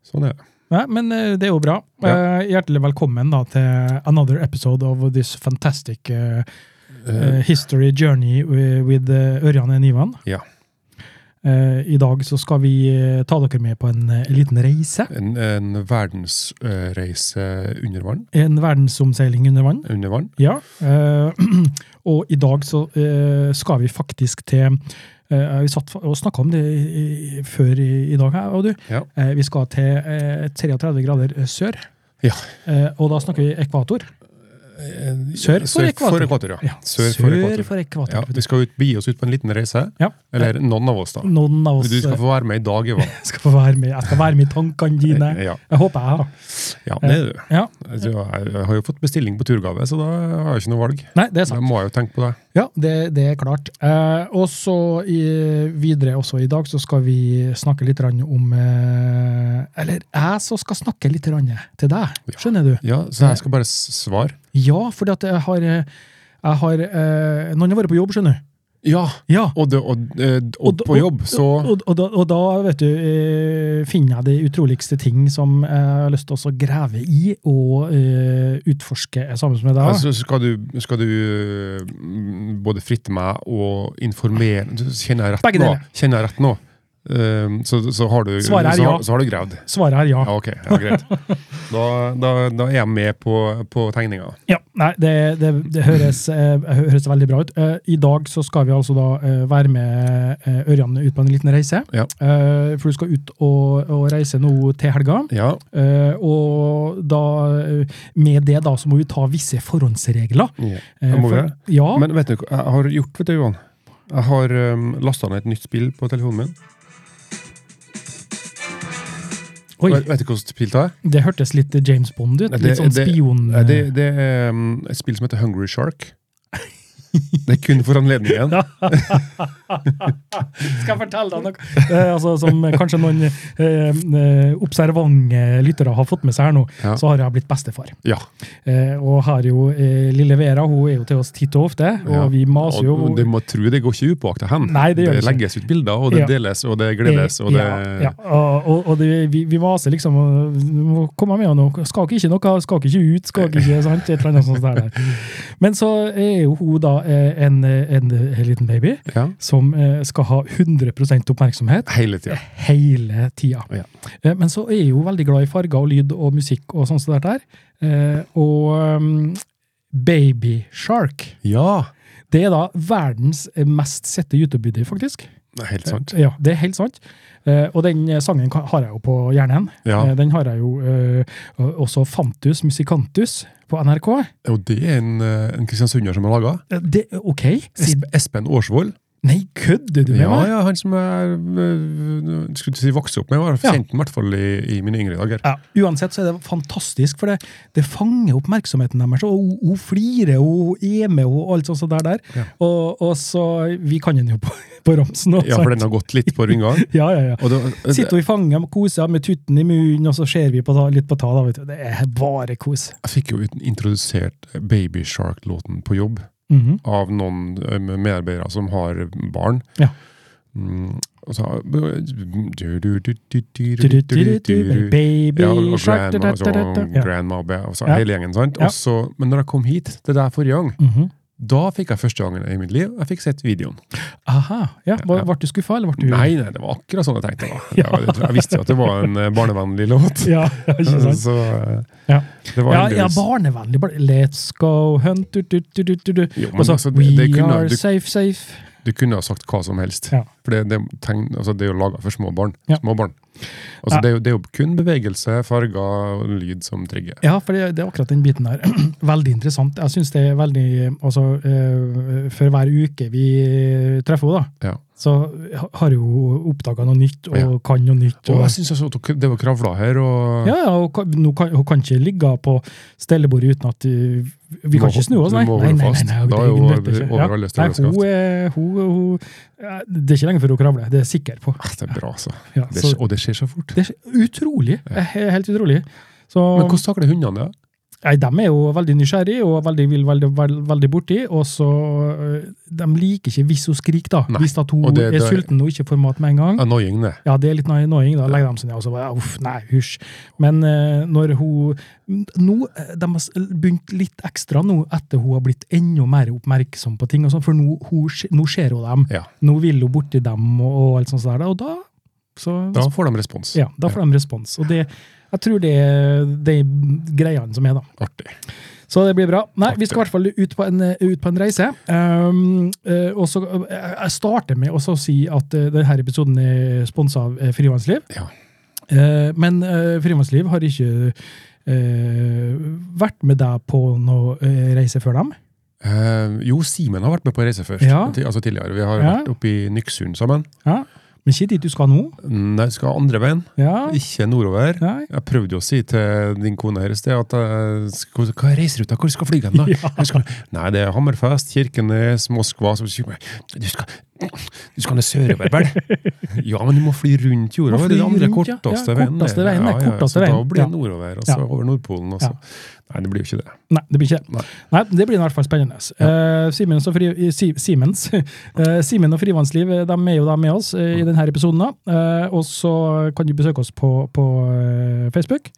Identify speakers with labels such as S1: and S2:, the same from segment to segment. S1: Sånn er det.
S2: Nei, men eh, det er jo bra.
S1: Ja.
S2: Eh, hjertelig velkommen da til another episode of this fantastic eh, eh, history journey wi- with eh, Ørjan og Ivan.
S1: Ja.
S2: Eh, I dag så skal vi eh, ta dere med på en eh, liten reise.
S1: En, en verdensreise under vann.
S2: En verdensomseiling under vann.
S1: Under vann.
S2: Ja. eh, og i dag så eh, skal vi faktisk til eh, Vi satt fa- og snakka om det i, i, før i, i dag, her, og du.
S1: Ja.
S2: Eh, vi skal til eh, 33 grader eh, sør.
S1: Ja.
S2: Eh, og da snakker vi ekvator. Sør for ekvator.
S1: For ekvator ja.
S2: Ja,
S1: Sør for ekvator.
S2: for ekvator.
S1: Ja, vi skal ut, begi oss ut på en liten reise.
S2: Ja.
S1: Eller noen av oss, da.
S2: Noen av oss
S1: Du skal
S2: eh,
S1: få være med i dag, Ivan.
S2: skal få være med. Jeg skal være med i tankene dine.
S1: Ja,
S2: Jeg håper jeg, da.
S1: ja det er du.
S2: Ja.
S1: Altså, Jeg jeg har jo fått bestilling på turgave, så da har jeg ikke noe valg.
S2: Nei, det er
S1: Da
S2: sant.
S1: må jeg jo tenke på det.
S2: Ja, det, det er klart. Eh, og så i- videre også i dag så skal vi snakke litt grann om eh, Eller jeg som skal snakke litt grann til deg, skjønner du?
S1: Ja, Så jeg skal bare s- svare.
S2: Ja, fordi at jeg har, eh, jeg har eh, Noen har vært på jobb, skjønner du.
S1: Ja,
S2: Ja.
S1: og, det, og, eh, og
S2: da-
S1: på jobb, så
S2: Og, og, da, og da vet du, eh, finner jeg de utroligste ting som jeg har lyst til også å grave i og eh, utforske eh, sammen med deg.
S1: altså, skal, du, skal du eh, m, både fritte meg og informere Du- Kjenner jeg rett
S2: Begge
S1: nå?
S2: deler.
S1: Kjenner jeg rett nå? Eh, så, så har du
S2: Svaret er
S1: så, har-
S2: ja.
S1: Så har du gravd?
S2: Svaret er ja.
S1: Ja, ok. Ja, greit. Da, da, da er jeg med på, på tegninga.
S2: Ja, nei, det, det, det høres, eh, høres veldig bra ut. Eh, I dag så skal vi altså da eh, være med eh, Ørjan ut på en liten reise.
S1: Ja.
S2: Eh, for du skal ut og, og reise nå til helga.
S1: Ja.
S2: Eh, og da, eh, med det da, så må vi ta visse forhåndsregler.
S1: ja.
S2: Eh,
S1: Må vi
S2: for-
S1: det?
S2: Ja.
S1: Men vet du hva jeg har gjort, vet du, Johan? Jeg har um, lasta ned et nytt spill på telefonen min.
S2: Oi,
S1: Vet, vet du hvilket spill det er?
S2: det hørtes litt James Bond ut.
S1: Nei,
S2: Litt sånn
S1: det-
S2: spion...
S1: Nei, Det, det er um, et spill som heter Hungry Shark. Det er kun for anledningen.
S2: Skal jeg fortelle deg noe? Eh, altså, som kanskje noen eh, eh, observante lyttere har fått med seg her nå,
S1: Ja.
S2: så har jeg blitt bestefar.
S1: Ja.
S2: Eh, og har jo eh, lille Vera, hun er jo til oss titt og ofte, og
S1: Ja.
S2: vi maser jo.
S1: Og Du må tro det går ikke upåakta hen.
S2: Nei, det gjør det ikke.
S1: legges ut bilder, og det
S2: Ja.
S1: deles, og det gledes, og det
S2: ja, ja, og, og, og det, vi, vi maser liksom og du må Komme med nå, skak ikke noe, skak ikke ut, skak ikke sant? Et eller annet sånt der. Men så er jo hun da eh, en, en, en liten baby
S1: Ja.
S2: som eh, skal ha 100 oppmerksomhet.
S1: Hele tida.
S2: hele tida.
S1: Ja.
S2: Eh, Men så er jeg jo veldig glad i farger og lyd og musikk og sånn som det der. Eh, Og um, Baby Shark,
S1: Ja.
S2: det er da verdens mest sette YouTube-video, faktisk.
S1: Det er
S2: Eh,
S1: Helt sant.
S2: Ja, det er helt sant. Eh, Og den eh, sangen kan- har jeg jo på hjernen.
S1: Ja.
S2: Eh, Den har jeg jo eh, også Fantus Musikantus på NRK.
S1: Og det er en, eh, en kristiansunder som har laga.
S2: Eh, Det, ok. Si-
S1: Espen Aasvold.
S2: Nei, kødder du med
S1: Ja,
S2: meg?
S1: ja, han som jeg eh, skulle si vokste opp med. Jeg
S2: Ja.
S1: har kjent ham i hvert fall i, i mine yngre dager.
S2: Ja, Uansett så er det fantastisk, for det, det fanger oppmerksomheten deres. og Hun, hun flirer, og hun er med og alt sånt som det der.
S1: Ja.
S2: Og, og så Vi kan den jo på, på ramsen. Og,
S1: Ja, for den har gått litt på rundgang.
S2: ja, ja, ja.
S1: Og det-
S2: Sitter vi i fanget og koser med tutten i munnen, og så ser vi på ta, litt på ta. da, vet du. Det er bare kos.
S1: Jeg fikk jo ut- introdusert Baby Shark-låten på jobb
S2: Mhm.
S1: av noen eh, medarbeidere som har barn.
S2: Ja.
S1: Mm, og så Ja,
S2: Baby
S1: og
S2: shark da,
S1: grandma,
S2: da, da, da, da.
S1: så,
S2: Ja.
S1: grandma og så
S2: Ja.
S1: hele gjengen. sant?
S2: Ja.
S1: Og så, men når jeg kom hit, det der forrige gang,
S2: Mhm.
S1: da fikk jeg første gangen i mitt liv jeg fikk sett videoen.
S2: Aha. Ja,
S1: Ja.
S2: Ble du skuffa, eller ble du
S1: Nei, nei, det var akkurat sånn jeg tenkte. da. Jeg, jeg visste jo at det var en eh, barnevennlig låt.
S2: Ja, ja, ikke sant?
S1: Så eh,
S2: Ja.
S1: det var
S2: Ja,
S1: heldigvis-
S2: ja, barnevennlig. Bare, let's go hunt du, du, du, du, du, du.
S1: Jo, men
S2: Og så
S1: altså, det-
S2: We
S1: det kunne-
S2: are
S1: du-
S2: safe, safe.
S1: Du kunne ha sagt hva som helst.
S2: Ja.
S1: For det, det, tegn, altså det er jo laga for små barn.
S2: Ja.
S1: Små barn. Altså
S2: Ja.
S1: det, er jo, det er jo kun bevegelse, farger og lyd som trigger.
S2: Ja, for det, det er akkurat den biten der. veldig interessant. Jeg syns det er veldig Altså, eh, for hver uke vi treffer henne, da,
S1: Ja.
S2: så ha- har hun oppdaga noe nytt, og
S1: Ja.
S2: kan noe nytt.
S1: Og
S2: Og,
S1: jeg syns også at dere- det var kravla her, og
S2: ja, ja, hun kan, nå kan, hun kan ikke ligge på stellebordet uten at eh, Vi
S1: Må
S2: kan ikke
S1: ho-
S2: snu oss,
S1: du
S2: nei.
S1: må
S2: nei,
S1: holde
S2: nei,
S1: fast.
S2: nei,
S1: Da er
S2: det-
S1: hun
S2: hun nøtter ikke.
S1: over
S2: Ja.
S1: alle
S2: Nei,
S1: størrelser.
S2: hun, er- hun, hun, ja, Det er ikke lenge før hun kravler, det er jeg sikker på.
S1: Ah, Det er bra, altså.
S2: Ja,
S1: Det,
S2: så,
S1: skj- og det skjer så fort.
S2: det er utrolig. Det er Helt utrolig. Så,
S1: Men hvordan takler hundene det?
S2: Nei, de er jo veldig nysgjerrige og veldig, vil veldig, veldig, veldig borti. Og så øh, De liker ikke hvis hun skriker, da.
S1: Nei,
S2: Hvis at hun
S1: og det-
S2: er
S1: det-
S2: sulten og ikke får mat med en gang.
S1: Annoying, det.
S2: Ja, det er litt annoying. Da legger de seg ned og så bare uff, nei, hysj. Men øh, når hun Nå, øh, de har s- begynt litt ekstra nå etter hun har blitt enda mer oppmerksom på ting og sånn, for nå, hun, sk- nå ser hun dem.
S1: Ja.
S2: Nå vil hun borti dem og, og alt sånt der, da, og da så,
S1: Da får de respons.
S2: Ja, da får de respons. Og det jeg tror det er de greiene som er, da.
S1: Artig.
S2: Så det blir bra. Nei, vi skal i hvert fall ut på en, ut på en reise. Um, eh, og så, eh, jeg starter med også å si at eh, denne episoden er sponsa av eh, Frivannsliv.
S1: Ja.
S2: Eh, men uh, Frivannsliv har ikke eh, vært med deg på noe eh, reise før dem.
S1: Eh, jo, Simen har vært med på reise først.
S2: Ja.
S1: Ti- Altså tidligere. Vi har
S2: Ja.
S1: vært oppe i Nyksund sammen.
S2: Ja. Men ikke dit du skal nå.
S1: Nei, skal andre veien.
S2: Ja.
S1: Ikke nordover.
S2: Nei.
S1: Jeg prøvde jo å si til din kone her i sted at eh, sk- hvor- hva er reiseruta, hvor skal flyge den da?
S2: Ja.
S1: Hvor Skal, nei, det er Hammerfest, Kirkenes, Moskva. Så sier jeg, du skal, du skal ned sørover, vel? ja, men du må fly rundt jorda.
S2: Må
S1: Det er
S2: fly
S1: den andre
S2: rundt, ja.
S1: korteste
S2: Ja,
S1: veien.
S2: korteste veien, det er korteste
S1: så da
S2: veien.
S1: blir det
S2: Ja.
S1: nordover, og
S2: Ja.
S1: så over Nordpolen. Og så. Nei, det blir jo ikke det.
S2: Nei, det blir ikke det.
S1: Nei.
S2: Nei, det blir i hvert fall spennende. Eh, Simens og fri, eh, Si- Simens. Eh, Simen og Frivannsliv eh, de er jo da med oss eh, i denne episoden. da. Eh, og så kan du besøke oss på, på eh, Facebook,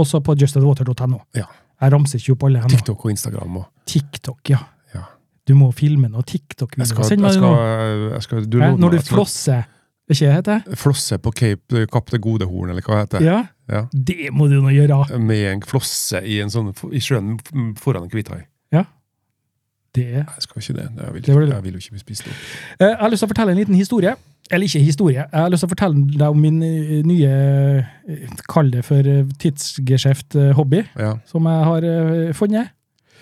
S2: også på justedwater.no.
S1: Ja.
S2: Jeg ramser ikke opp alle ennå.
S1: TikTok og Instagram og
S2: TikTok, ja.
S1: ja.
S2: Du må filme noe tiktok
S1: Jeg skal,
S2: Send
S1: jeg
S2: meg det
S1: skal,
S2: nå.
S1: jeg skal, du
S2: Eh,
S1: lovde
S2: Når
S1: meg
S2: du
S1: at jeg skal
S2: flosser. Er ikke det heter?
S1: Flosse på Cape Kapp det gode horn, eller hva heter det?
S2: Ja.
S1: Ja.
S2: Det må du nå gjøre.
S1: Med en flosse i, en sånn, i sjøen foran en hvithai.
S2: Det
S1: Nei, Jeg skal ikke det. Jeg vil,
S2: Det var det.
S1: jeg vil jo ikke bli spist opp.
S2: Eh, Jeg har lyst til å fortelle en liten historie. Eller ikke historie. Jeg har lyst til å fortelle deg om min eh, nye eh, Kall det for eh, tidsgeskjeft eh, hobby,
S1: Ja.
S2: som jeg har eh, funnet.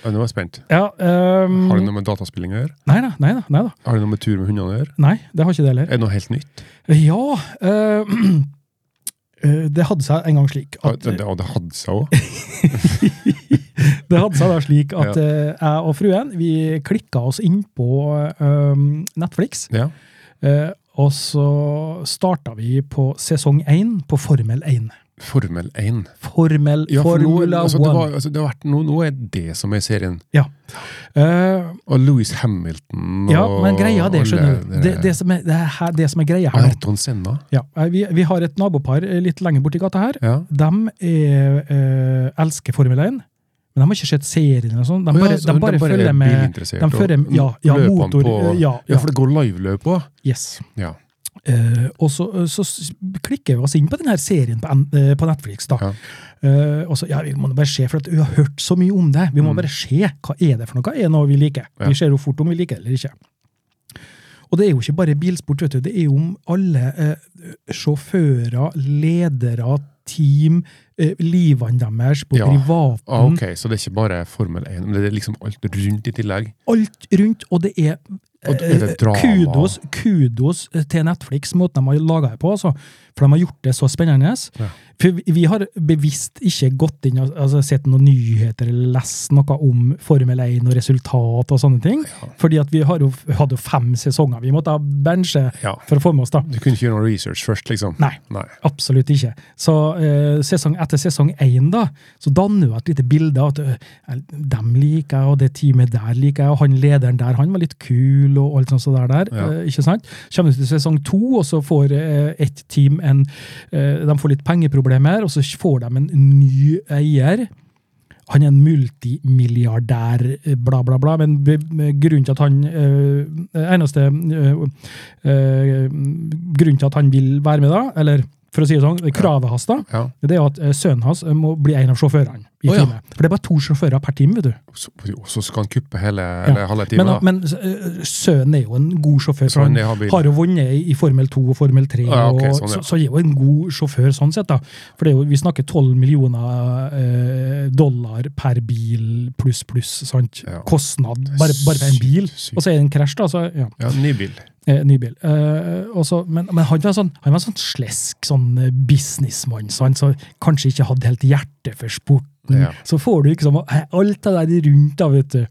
S1: Ja, Nå er jeg spent.
S2: Ja, ehm,
S1: Har det noe med dataspilling å gjøre?
S2: Nei da, nei da. Nei, da.
S1: Har det noe med tur med hundene å gjøre?
S2: nei det har ikke det heller.
S1: Er det noe helt nytt?
S2: Ja eh, eh, Det hadde seg en gang slik
S1: Ja,
S2: at
S1: det, ja, det hadde seg òg.
S2: Det hadde seg da slik at
S1: Ja.
S2: eh, jeg og fruen vi klikka oss inn på eh, Netflix.
S1: Ja.
S2: eh, og så starta vi på sesong én på Formel 1.
S1: Formel 1.
S2: Formel,
S1: Ja, for nå,
S2: Formula
S1: altså, det
S2: One.
S1: var, altså, det har vært, nå, nå er det som er serien.
S2: Eh,
S1: Og Louis Hamilton og
S2: ja, men greia er det, skjønner du.
S1: alle
S2: Det, det, som, er, det, er her, det som er greia her nå.
S1: Ayrton Senna.
S2: ja, eh, vi, vi har et nabopar eh, litt lenger borti gata her.
S1: Ja.
S2: De er, eh, elsker Formel 1, men de har ikke sett serien eller sånn. De
S1: Å ja,
S2: bare,
S1: så
S2: de bare følger med
S1: bilinteressert,
S2: de følger
S1: og
S2: med- ja, ja,
S1: løpene
S2: motor,
S1: på,
S2: ja, ja.
S1: for det går liveløp òg.
S2: Yes.
S1: Ja.
S2: Eh, og så, så s- klikker vi oss inn på denne serien på, N- eh, på Netflix. da.
S1: Ja.
S2: Eh, og så, ja, Vi må nå bare se, for at vi har hørt så mye om det. Vi må bare se. Hva er det for noe? Er det noe vi liker?
S1: Mm. Ja.
S2: Vi ser jo fort om vi liker det eller ikke. Og det er jo ikke bare bilsport, vet du. det er jo om alle eh, sjåfører, ledere, team, eh, livene deres på
S1: Ja.
S2: privaten.
S1: Ah, ok, så det er ikke bare Formel 1, men det er liksom alt rundt i tillegg.
S2: Alt rundt, og det er eh,
S1: Og er det drama?
S2: Kudos, kudos eh, til Netflix, måten de har laga det på. Altså. For de har gjort det så spennende.
S1: Ja.
S2: For vi- vi har bevisst ikke gått inn og altså, sett noen nyheter eller lest noe om Formel 1 og resultat og sånne ting. Fordi at vi har jo, hadde jo fem sesonger vi måtte ha benche
S1: Ja.
S2: for å få med oss. da.
S1: Du kunne ikke gjøre noe research først, liksom?
S2: Nei. Absolutt ikke. Så eh, sesong, etter sesong én da, så danner jo et lite bilde av at eh, dem liker jeg, og det teamet der liker jeg, og han lederen der han var litt kul, og alt sånt så der. der
S1: Ja.
S2: eh, ikke sant? Kommer du til sesong to, og så får eh, ett team en eh, De får litt pengeproblemer, og så får de en ny eier. Han er en multimilliardær, eh, bla, bla, bla. Men be- grunnen til at han eh, eneste eh, eh, grunnen til at han vil være med, da, eller for å si det sånn, kravet hans, da,
S1: Ja.
S2: det er jo at eh, sønnen hans eh, må bli en av sjåførene i
S1: Å, ja.
S2: teamet. For det er bare to sjåfører per team, vet du.
S1: Så, og så skal han kuppe hele eller halve timen?
S2: Men,
S1: da.
S2: men eh, sønnen er jo en god sjåfør,
S1: Så
S2: for
S1: han
S2: han
S1: er habil.
S2: har jo vunnet i i Formel 2 og Formel 3,
S1: Ja, ok, sånn,
S2: og,
S1: ja.
S2: så, så er jo en god sjåfør sånn sett. da. For det er jo, vi snakker 12 millioner eh, dollar per bil pluss, pluss. sant?
S1: Ja.
S2: Kostnad bare, bare for en bil.
S1: Sykt.
S2: Og så er det en krasj, da. så ja.
S1: Ja, ny bil.
S2: Eh, ny bil. Eh, og så- men, men han var sånn, han var sånn slesk sånn eh, businessmann, så han så kanskje ikke hadde helt hjerte for sporten.
S1: Ja.
S2: Så får du liksom eh, alt det der rundt, da, vet du.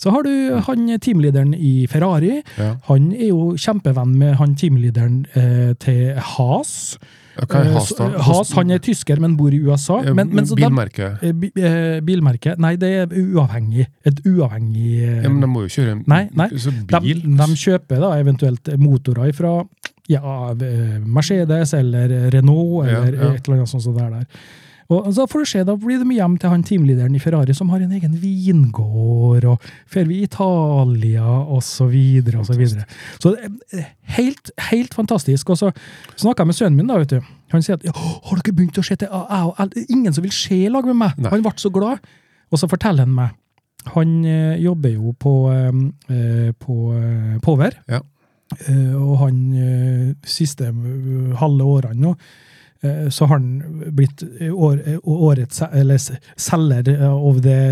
S2: Så har du han teamlederen i Ferrari.
S1: Ja.
S2: Han er jo kjempevenn med han teamlederen eh, til Has.
S1: Ja, Hva er
S2: Eh,
S1: Has, da?
S2: Has han er tysker, men bor i USA.
S1: Eh,
S2: Men, men så da-
S1: Bilmerke?
S2: eh, bi- eh, bilmerke? Nei, det er uavhengig. Et uavhengig eh,
S1: Ja, men de må jo kjøre en
S2: Nei, nei.
S1: Så
S2: de,
S1: bil?
S2: de kjøper da eventuelt motorer fra ja, av, eh, Mercedes eller eh, Renault
S1: Ja,
S2: eller
S1: ja.
S2: et eller annet sånt. som det er der. Og så får du se, da blir de hjem til han teamlederen i Ferrari som har en egen vingård, og fer vi i Italia, og så videre, og så videre. Så det er helt, helt fantastisk. Og så snakket jeg med sønnen min, da, vet du. Han sier at, «Ja, har dere begynt å se til AL? Det er ingen som vil se i lag med meg.
S1: Nei.
S2: Han ble så glad. Og så forteller han meg, han eh, jobber jo på, eh, eh, på eh, Power,
S1: Ja.
S2: Eh, og han eh, siste eh, halve årene nå, eh, så har han blitt eh, år, eh, årets se- eller s- selger eh, av det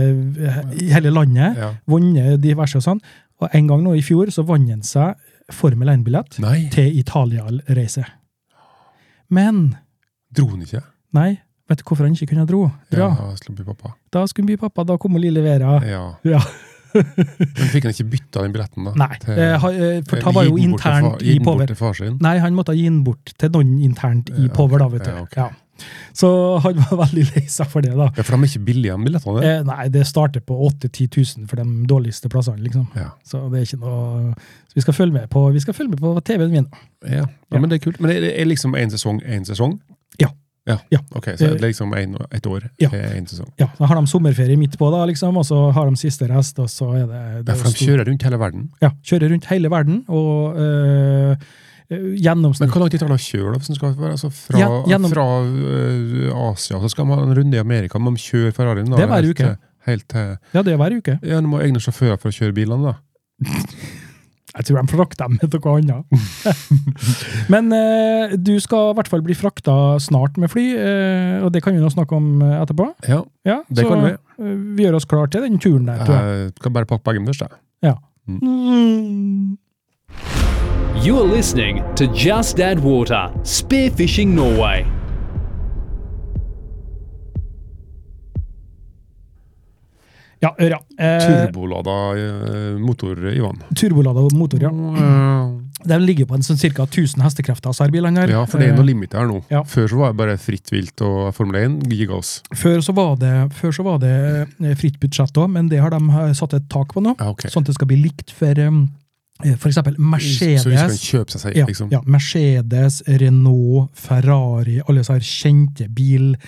S2: eh, i hele landet,
S1: Ja.
S2: vunnet diverse og sånn. Og en gang nå i fjor så vant han seg Formel 1-billett
S1: Nei,
S2: til Italia-reise. Men
S1: dro han ikke?
S2: nei, vet du hvorfor han ikke kunne dro? dra?
S1: Ja, slumpy pappa.
S2: Da skulle bli pappa, da kom hun lille Vera.
S1: Ja.
S2: Ja.
S1: Men fikk han ikke bytta den billetten, da?
S2: Nei,
S1: Til-
S2: eh, ha- eh, for
S1: Eller
S2: da var jo
S1: gi den bort til far-
S2: internt
S1: gi
S2: i
S1: den bort
S2: Power.
S1: til far sin?
S2: Nei, han måtte gi den bort til noen internt i
S1: Ja,
S2: Power, da, vet du.
S1: ja, ok.
S2: Ja. Så han var veldig lei seg for det, da.
S1: Ja, for de er ikke billige, de billettene?
S2: Eh, nei, det starter på 8 000-10 000 for de dårligste plassene, liksom.
S1: Ja.
S2: Så det er ikke noe Så vi skal følge med på, vi skal følge med på TV-en min.
S1: Ja. ja, men det er kult. Men det er liksom én sesong, én sesong?
S2: Ja.
S1: Ja,
S2: Ja. Eh,
S1: Ok, Så det er liksom en, et år
S2: Ja.
S1: til én sesong?
S2: Ja, så har de sommerferie midt på, da, liksom, og så har de siste rest, og så er det, det
S1: Ja,
S2: er
S1: for de
S2: stor-
S1: kjører rundt hele verden.
S2: ja, kjører rundt hele verden, og øh, øh,
S1: Men
S2: gjennomsnitt
S1: hvor lang tid tar det å kjøre? da, hvis den skal være? Altså, fra
S2: Ja, gjennom-
S1: fra øh, Asia så skal man ha en runde i Amerika, men de kjører Ferrarien da?
S2: Det er hver
S1: helt
S2: uke.
S1: til- Helt til
S2: Ja, det er hver uke.
S1: Ja, du må ha egne sjåfører for å kjøre bilene, da.
S2: Jeg tror de frakter dem med noe annet. Men eh, du skal i hvert fall bli frakta snart med fly, eh, og det kan vi nå snakke om eh, etterpå.
S1: Ja,
S2: Ja,
S1: det
S2: så
S1: kan vi. Eh,
S2: eh, vi gjør oss klar til den turen der, tror jeg.
S1: Jeg kan bare pakke bagen først, jeg.
S2: Ja. Mm.
S3: You are listening to Just Add Water, Spearfishing Norway.
S2: Ja, Ørja. Eh,
S1: Turbolada øh, motor, Ivan.
S2: Turbolada og motor, ja. De ligger på en sånn ca. 1000 hestekrefter, sa bilene her.
S1: Ja, for det er noe limit her nå.
S2: Eh, ja.
S1: Før så var det bare fritt vilt og Formel 1 gigaoss.
S2: Eh, Før så var det, før så var det eh, fritt budsjett òg, men det har de eh, satt et tak på nå.
S1: Ja, Ah, ok.
S2: Sånn at det skal bli likt for f.eks. Mercedes.
S1: Så hvis man kjøper seg,
S2: Ja,
S1: liksom.
S2: ja. Mercedes, Renault, Ferrari, alle disse her kjente bilmerkene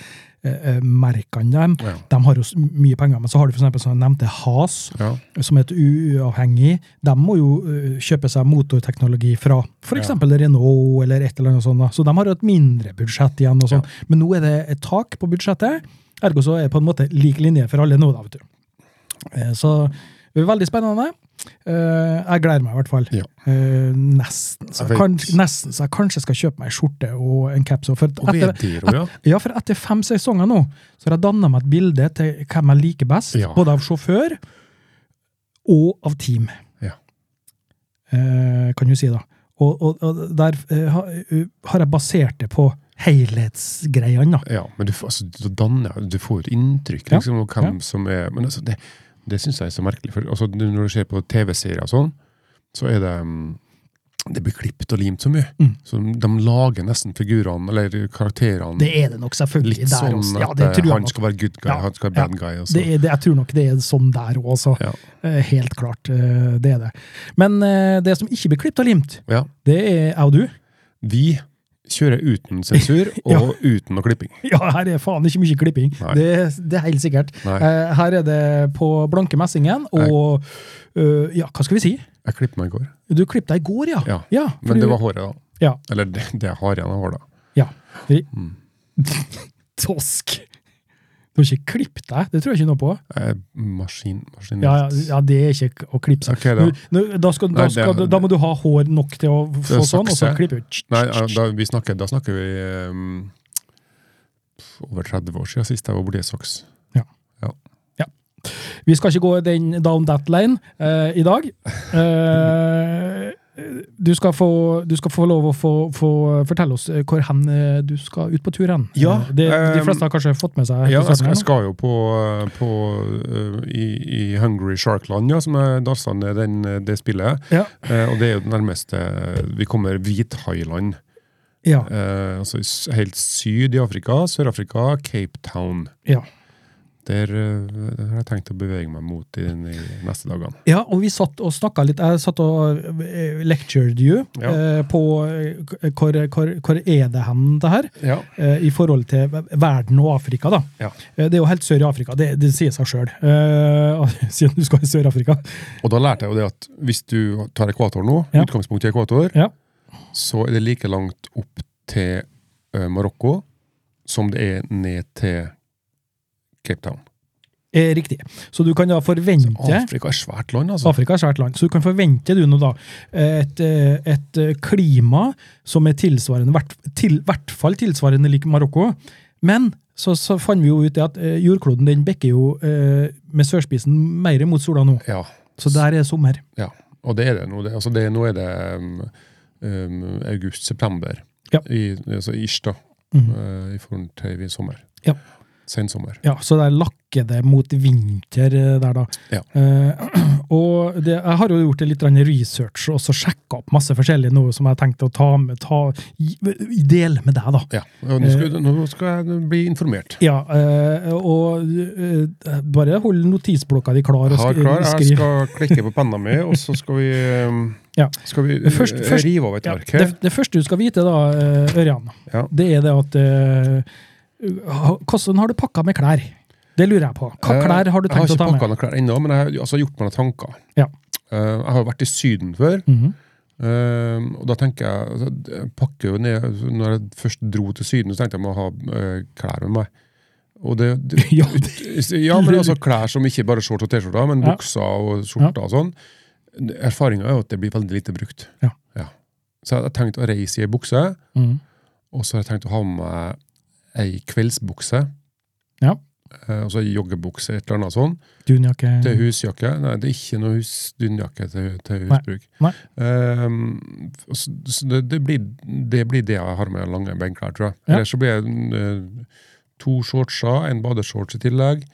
S2: dem.
S1: Ja.
S2: De har jo s- mye penger, men så har du for eksempel, som jeg nevnte, Has,
S1: Ja.
S2: som er et uavhengig. De må jo eh, kjøpe seg motorteknologi fra for
S1: Ja.
S2: eksempel Renault eller et eller annet sånt. da. Så de har jo et mindre budsjett igjen, og sånn. men nå er det et tak på budsjettet. Ergo så er det på en måte lik linje for alle nå, da, vet du. Eh, Så det er veldig spennende. Eh, Jeg gleder meg i hvert fall.
S1: Ja.
S2: Eh, Nesten så,
S1: Jeg vet.
S2: jeg kan, nesten så jeg kanskje skal kjøpe meg en skjorte og en caps. og For
S1: Og
S2: etter,
S1: VD, da, ja.
S2: ja, for etter fem sesonger nå så har jeg danna meg et bilde til hvem jeg liker best,
S1: Ja.
S2: både av sjåfør og av team.
S1: Ja.
S2: eh, kan du si, da. Og, og, og der eh, ha- eh, har jeg basert det på helhetsgreiene, da.
S1: Ja, men du, får- altså, da danner, du får et inntrykk
S2: Ja,
S1: liksom, av hvem som er Men altså, det, det syns jeg er så merkelig. For, altså, du- når du ser på TV-serier og sånn, så er det mm, det blir klippet og limt så mye.
S2: Mm.
S1: Så de lager nesten figurene, eller karakterene,
S2: Det er det nok selvfølgelig
S1: litt
S2: der
S1: sånn
S2: også. Ja,
S1: at
S2: det
S1: eh,
S2: tror jeg
S1: han
S2: nok.
S1: skal være good guy,
S2: Ja,
S1: han skal være
S2: ja.
S1: bad guy. Og så.
S2: Det er, det, jeg tror nok det er sånn der òg, altså.
S1: Ja.
S2: Eh, Helt klart. eh, Det er det. Men eh, det som ikke blir klippet og limt,
S1: Ja.
S2: det er jeg og du.
S1: Vi kjører uten sensur og
S2: Ja.
S1: uten noe klipping.
S2: Ja, her er faen ikke mye klipping.
S1: Nei.
S2: Det, det er helt sikkert.
S1: Nei.
S2: Eh, her er det på blanke messingen og øh, Ja, hva skal vi si?
S1: Jeg klippet meg i går.
S2: Du klippet deg i går, ja.
S1: Ja,
S2: for du-
S1: Men det var håret, da.
S2: Ja.
S1: Eller det, det jeg har igjen av håret. da.
S2: ja. Vi-
S1: Mm.
S2: Tosk! Du har ikke klippet deg, det tror jeg ikke noe på.
S1: Jeg er Eh, maskin, maskinist.
S2: Ja, ja, ja, det er ikke å klippe seg.
S1: Ok, da.
S2: Du- nå- da, skal,
S1: Nei,
S2: da,
S1: det-
S2: skal, da må du ha hår nok til å få
S1: Det er
S2: sånn, og så
S1: sakse.
S2: klippe ut.
S1: Nei, ja, da, vi snakker, da snakker vi ehm, pff, over 30 år siden sist jeg var borti en saks.
S2: Vi skal ikke gå den down that lane eh, i dag. Eh, du, skal få, du skal få lov å få, få fortelle oss eh, hvor hen eh, du skal ut på tur hen.
S1: Ja,
S2: Eh, det, de
S1: ehm,
S2: fleste har kanskje fått med seg
S1: Ja, jeg, skal-
S2: konserten her
S1: jeg
S2: nå.
S1: skal jo på, eh, på eh, i, i Hungry Sharkland, ja, som er Dalsand, er den, eh, det spillet.
S2: Ja.
S1: Eh, og det er jo det nærmeste eh, Vi kommer Hvithailand.
S2: Ja,
S1: Eh, altså s- helt syd i Afrika. Sør-Afrika, Cape Town.
S2: ja.
S1: Der, eh, der har jeg tenkt å bevege meg mot i de neste dagene.
S2: ja, og vi satt og snakka litt. Jeg satt og eh, lectured you
S1: Ja.
S2: eh, på eh, hvor, hvor, hvor er det hen, det her?
S1: Ja.
S2: eh, i forhold til verden og Afrika. da.
S1: Ja.
S2: Eh, Det er jo helt sør i Afrika, det, det sier seg sjøl. Siden du skal i Sør-Afrika.
S1: Og da lærte jeg jo det at hvis du tar ekvator nå,
S2: Ja.
S1: utgangspunktet i ekvator,
S2: Ja.
S1: så er det like langt opp til eh, Marokko som det er ned til Cape Town.
S2: Eh, Riktig. Så du kan da forvente
S1: Afrika er svært land, altså.
S2: Afrika er svært land, så du kan forvente du nå da et, eh, et eh, klima som er tilsvarende, hvert, til, hvert fall tilsvarende lik Marokko. Men så, så fant vi jo ut det at eh, jordkloden den bekker jo eh, med sørspissen mer mot sola nå.
S1: Ja,
S2: Så der er sommer.
S1: ja. Og det er det nå. Det, altså det, nå er det um, um, august-september.
S2: Ja.
S1: I, altså ish, da.
S2: Mhm.
S1: eh, I forhold til i sommer.
S2: Ja.
S1: Sensommer.
S2: Ja, så der lakker det mot vinter eh, der, da.
S1: Ja.
S2: Eh, og det, jeg har jo gjort litt grann research og så sjekka opp masse forskjellig noe som jeg tenkte å ta med, ta, gi- dele med deg, da.
S1: Ja. Og nå
S2: Eh.
S1: skal, nå skal jeg bli informert.
S2: Ja, eh, og eh, bare hold notisblokka di klar. Og
S1: Har
S2: skri-
S1: klar, jeg
S2: skriv.
S1: skal klikke på penna mi, og så skal vi, um,
S2: Ja.
S1: skal vi
S2: Først-
S1: eh,
S2: først-
S1: rive av et
S2: Ja,
S1: ark
S2: det,
S1: her.
S2: det første du skal vite, da, eh, Ørjan,
S1: Ja.
S2: det er det at eh, ha- Hvordan har du pakka med klær? Det lurer jeg på. Hva
S1: Eh,
S2: klær har du tenkt å
S1: Jeg
S2: ta
S1: har ikke pakka
S2: med?
S1: noen klær ennå, men jeg har altså, gjort meg noen tanker.
S2: Ja.
S1: Eh, jeg har jo vært i Syden før,
S2: Mhm.
S1: eh, og da tenker jeg altså, jeg pakker jo ned, altså, Når jeg først dro til Syden, så tenkte jeg jeg må ha eh, klær med meg. Og det, det,
S2: Ja,
S1: ja, men altså klær som ikke bare shorts og T-skjorter, men
S2: Ja.
S1: bukser og skjorter og sånn. Erfaringa er jo at det blir veldig lite brukt.
S2: Ja.
S1: Så jeg har tenkt å reise i ei bukse,
S2: Mhm.
S1: og så har jeg tenkt å ha med meg ei kveldsbukse.
S2: Ja.
S1: Eh, og så ei joggebukse, et eller annet sånn.
S2: Dunjakke
S1: Til husjakke? Nei, det er ikke noe hus, dunjakke til, til
S2: Nei.
S1: husbruk.
S2: Nei.
S1: Ehm, så, så det, det, blir, det blir det jeg har med lange benklær, tror jeg.
S2: Ja.
S1: Ellers så blir det mm, eh, to shortser, en badeshorts i tillegg.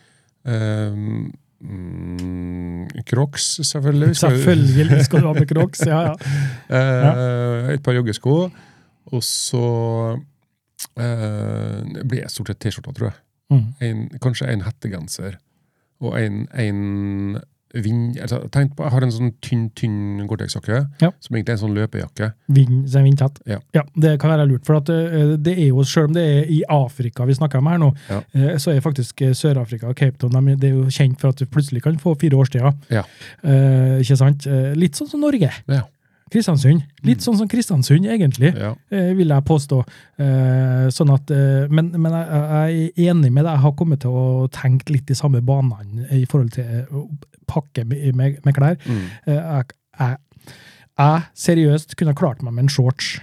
S1: Ehm, mm, Crocs, selvfølgelig. Skal-
S2: Selvfølgelig skal du ha med crocs. Ja, ja.
S1: Eh, Et par joggesko. Og så eh, blir det stort sett T-skjorter, tror jeg.
S2: Mm.
S1: en, kanskje en hettegenser og en, en vind... Altså, tenk på, jeg har en sånn tynn, tynn Gore-Tex-jakke,
S2: Ja.
S1: som egentlig er en sånn løpejakke.
S2: Vind, så er vind tett.
S1: Ja.
S2: det kan være lurt. For at, eh, det er jo, selv om det er i Afrika vi snakker om her nå,
S1: Ja.
S2: eh, så er faktisk eh, Sør-Afrika og Cape Town de, det er jo kjent for at du plutselig kan få fire årstider.
S1: Ja.
S2: Eh, ikke sant? Eh, litt sånn som Norge.
S1: Ja.
S2: Kristiansund. Litt
S1: Mm.
S2: sånn som Kristiansund, egentlig,
S1: Ja.
S2: eh, vil jeg påstå. Eh, sånn at, eh, men men jeg, jeg er enig med deg. Jeg har kommet til å tenke litt i samme banene i forhold til eh, å pakke med, med, med klær.
S1: Mm.
S2: Eh, Jeg, jeg, jeg seriøst kunne klart meg med en shorts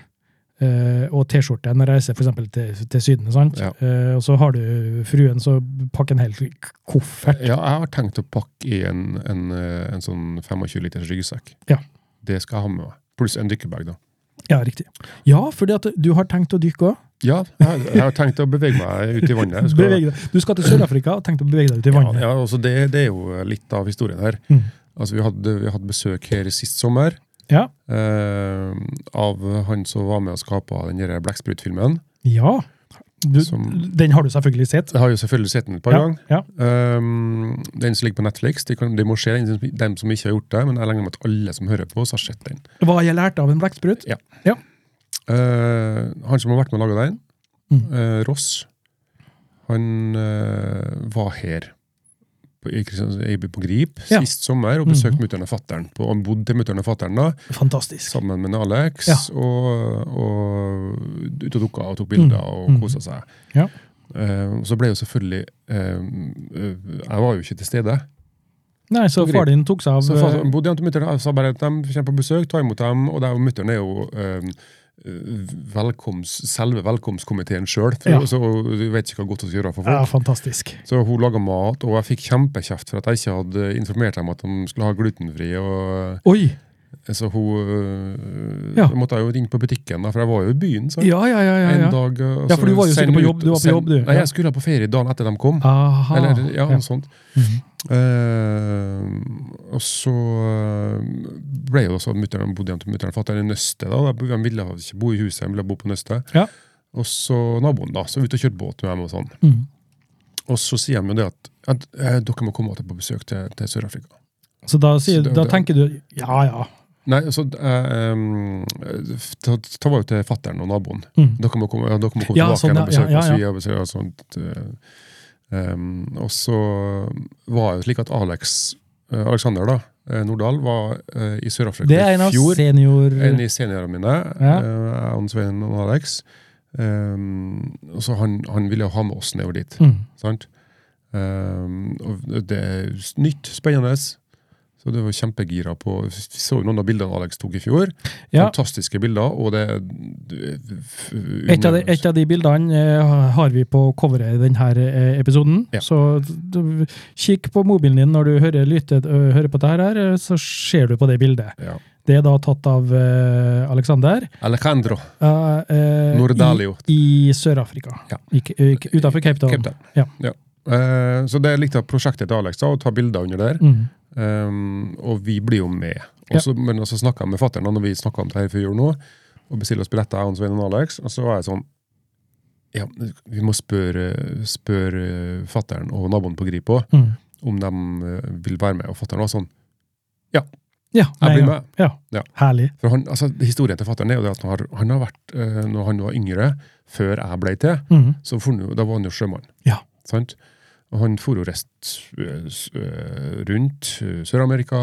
S2: eh, og T-skjorte når jeg reiser for eksempel til, til Syden. sant?
S1: Ja.
S2: Eh, og så har du fruen, så pakk en hel k- koffert.
S1: ja, jeg har tenkt å pakke i en, en, eh, en sånn 25 liters ryggsekk.
S2: Ja.
S1: Det skal jeg ha med meg. Pluss en dykkebag, da.
S2: Ja, riktig. Ja, fordi at du har tenkt å dykke òg.
S1: Ja, jeg har- jeg har tenkt å bevege meg ut i vannet. Jeg skal-
S2: Bevege deg. Du skal til Sør-Afrika og tenkt å bevege deg ut i
S1: Ja,
S2: vannet.
S1: ja, altså det, det er jo litt av historien her.
S2: Mm.
S1: Altså, vi hadde, vi hadde besøk her sist sommer
S2: Ja.
S1: eh, av han som var med og skapa den der Blekksprut-filmen.
S2: ja. Du,
S1: Som-
S2: den har du selvfølgelig sett.
S1: Jeg har jo selvfølgelig sett den et par
S2: Ja,
S1: ganger.
S2: ja.
S1: Um, den som ligger på Netflix, de, kan, de må se den, de- dem som ikke har gjort det. Men jeg regner med at alle som hører på oss, har sett den.
S2: Hva jeg lærte av en blekksprut?
S1: Eh, han som har vært med og laga den,
S2: Mm.
S1: eh, Ross, han eh, var her på, i, Kristiansand- i- på Grip
S2: Ja. Mhm.
S1: sist sommer og besøkte mutter'n og fatter'n. på- Han bodde til mutter'n og fatter'n da,
S2: Fantastisk.
S1: sammen med Alex,
S2: Ja.
S1: og, og ut og dukka og tok bilder og
S2: Mm.
S1: kosa seg.
S2: Ja.
S1: Eh, og så ble jo selvfølgelig eh, eh, Jeg var jo ikke til stede.
S2: Nei, så
S1: Grip.
S2: far din tok seg
S1: Så
S2: av
S1: fa-
S2: eh,
S1: bodde han til mutter'n og sa bare at de kommer på besøk, ta imot dem. Og der mutter'n er jo eh, velkoms, selve velkomstkomiteen sjøl,
S2: Ja.
S1: så hun vet ikke hva godt hun skal gjøre for
S2: Ja,
S1: folk.
S2: fantastisk.
S1: Så hun laga mat, og jeg fikk kjempekjeft for at jeg ikke hadde informert dem at de skulle ha glutenfri. og
S2: Oi!
S1: eh, Så hun eh,
S2: Ja.
S1: så måtte jeg jo inn på butikken, da, for jeg var jo i byen. sant?
S2: Ja, ja, ja. ja,
S1: En
S2: ja.
S1: dag, eh,
S2: Ja,
S1: så
S2: for du var jo
S1: send
S2: sikkert på
S1: ut-
S2: jobb, du var på
S1: send-
S2: jobb, du.
S1: Nei,
S2: Ja.
S1: jeg skulle på ferie dagen etter de kom.
S2: Aha.
S1: Eller,
S2: Ah, Ja.
S1: ja, altså. noe sånt.
S2: Mhm.
S1: Eh, og så eh, ble jo også mutteren bodde hjem til mutteren og fatter'n i Nøstet. da, De ville ikke bo i huset, de ville bo på Nøstet.
S2: Ja.
S1: Og så naboen, da. Så ut og kjørte båt med dem. Og sånn.
S2: Mhm.
S1: Og så sier de jo det at, at eh, dere må komme på besøk til, til Sør-Afrika.
S2: Så da, sier,
S1: Så det-
S2: da
S1: det-
S2: tenker du ja, ja.
S1: Nei, så eh, em, ta, ta var jo til fatter'n og naboen.
S2: Mm.
S1: Dere må komme, ja, dere må komme
S2: Ja,
S1: tilbake
S2: sånn,
S1: igjen
S2: ja,
S1: og besøke
S2: ja,
S1: oss.
S2: ja,
S1: Vi har besøk og sånt. eh, em, og så var det jo slik at Alex eh, Alexander da, eh, Nordahl var eh, i Sør-Afrika
S2: Det er en
S1: i
S2: av
S1: fjor.
S2: senior...
S1: En i seniorene mine.
S2: Ja.
S1: eh, Jeg og Svein og Alex. Em, og så han, han ville jo ha med oss nedover dit.
S2: Mm.
S1: Sant? Em, og det er s- nytt, spennende. Så det var kjempegira på Vi så jo noen av bildene Alex tok i fjor.
S2: Ja.
S1: Fantastiske bilder. Og det eh, er
S2: Et av, de, et av de bildene eh, har vi på coveret i denne eh, episoden.
S1: Ja.
S2: Så du, kikk på mobilen din når du hører, lytter, ø, hører på dette her, eh, så ser du på det bildet.
S1: ja.
S2: Det er da tatt av eh, Alexander
S1: Alejandro
S2: eh, eh,
S1: Nordalio.
S2: i, i Sør-Afrika.
S1: Ja.
S2: Ikke- ikke- Utenfor Cape Town.
S1: Cape Town.
S2: Ja.
S1: Eh, så det er litt av prosjektet til Alex, da, å ta bilder under der.
S2: Mm.
S1: Um, og vi blir jo med. Og så- Men så snakka jeg med fatter'n når vi snakket om det her før jul nå, og bestilte oss billetter, jeg og Svein og Alex. Og så var jeg sånn ja, Vi må spørre, spørre fatter'n og naboen på Grip også,
S2: Mm.
S1: om de eh, vil være med. Og fatter'n var sånn.
S2: Ja,
S1: Jeg
S2: nei,
S1: blir
S2: ja.
S1: med.
S2: Ja.
S1: Ja.
S2: Herlig.
S1: For han, altså, historien til fatter'n er jo det at han har, han har vært, eh, når han var yngre, før jeg ble til,
S2: Mm.
S1: så for, da var han jo sjømann.
S2: Ja.
S1: Sant? Og han for jo rest øh, s- øh, rundt øh, Sør-Amerika,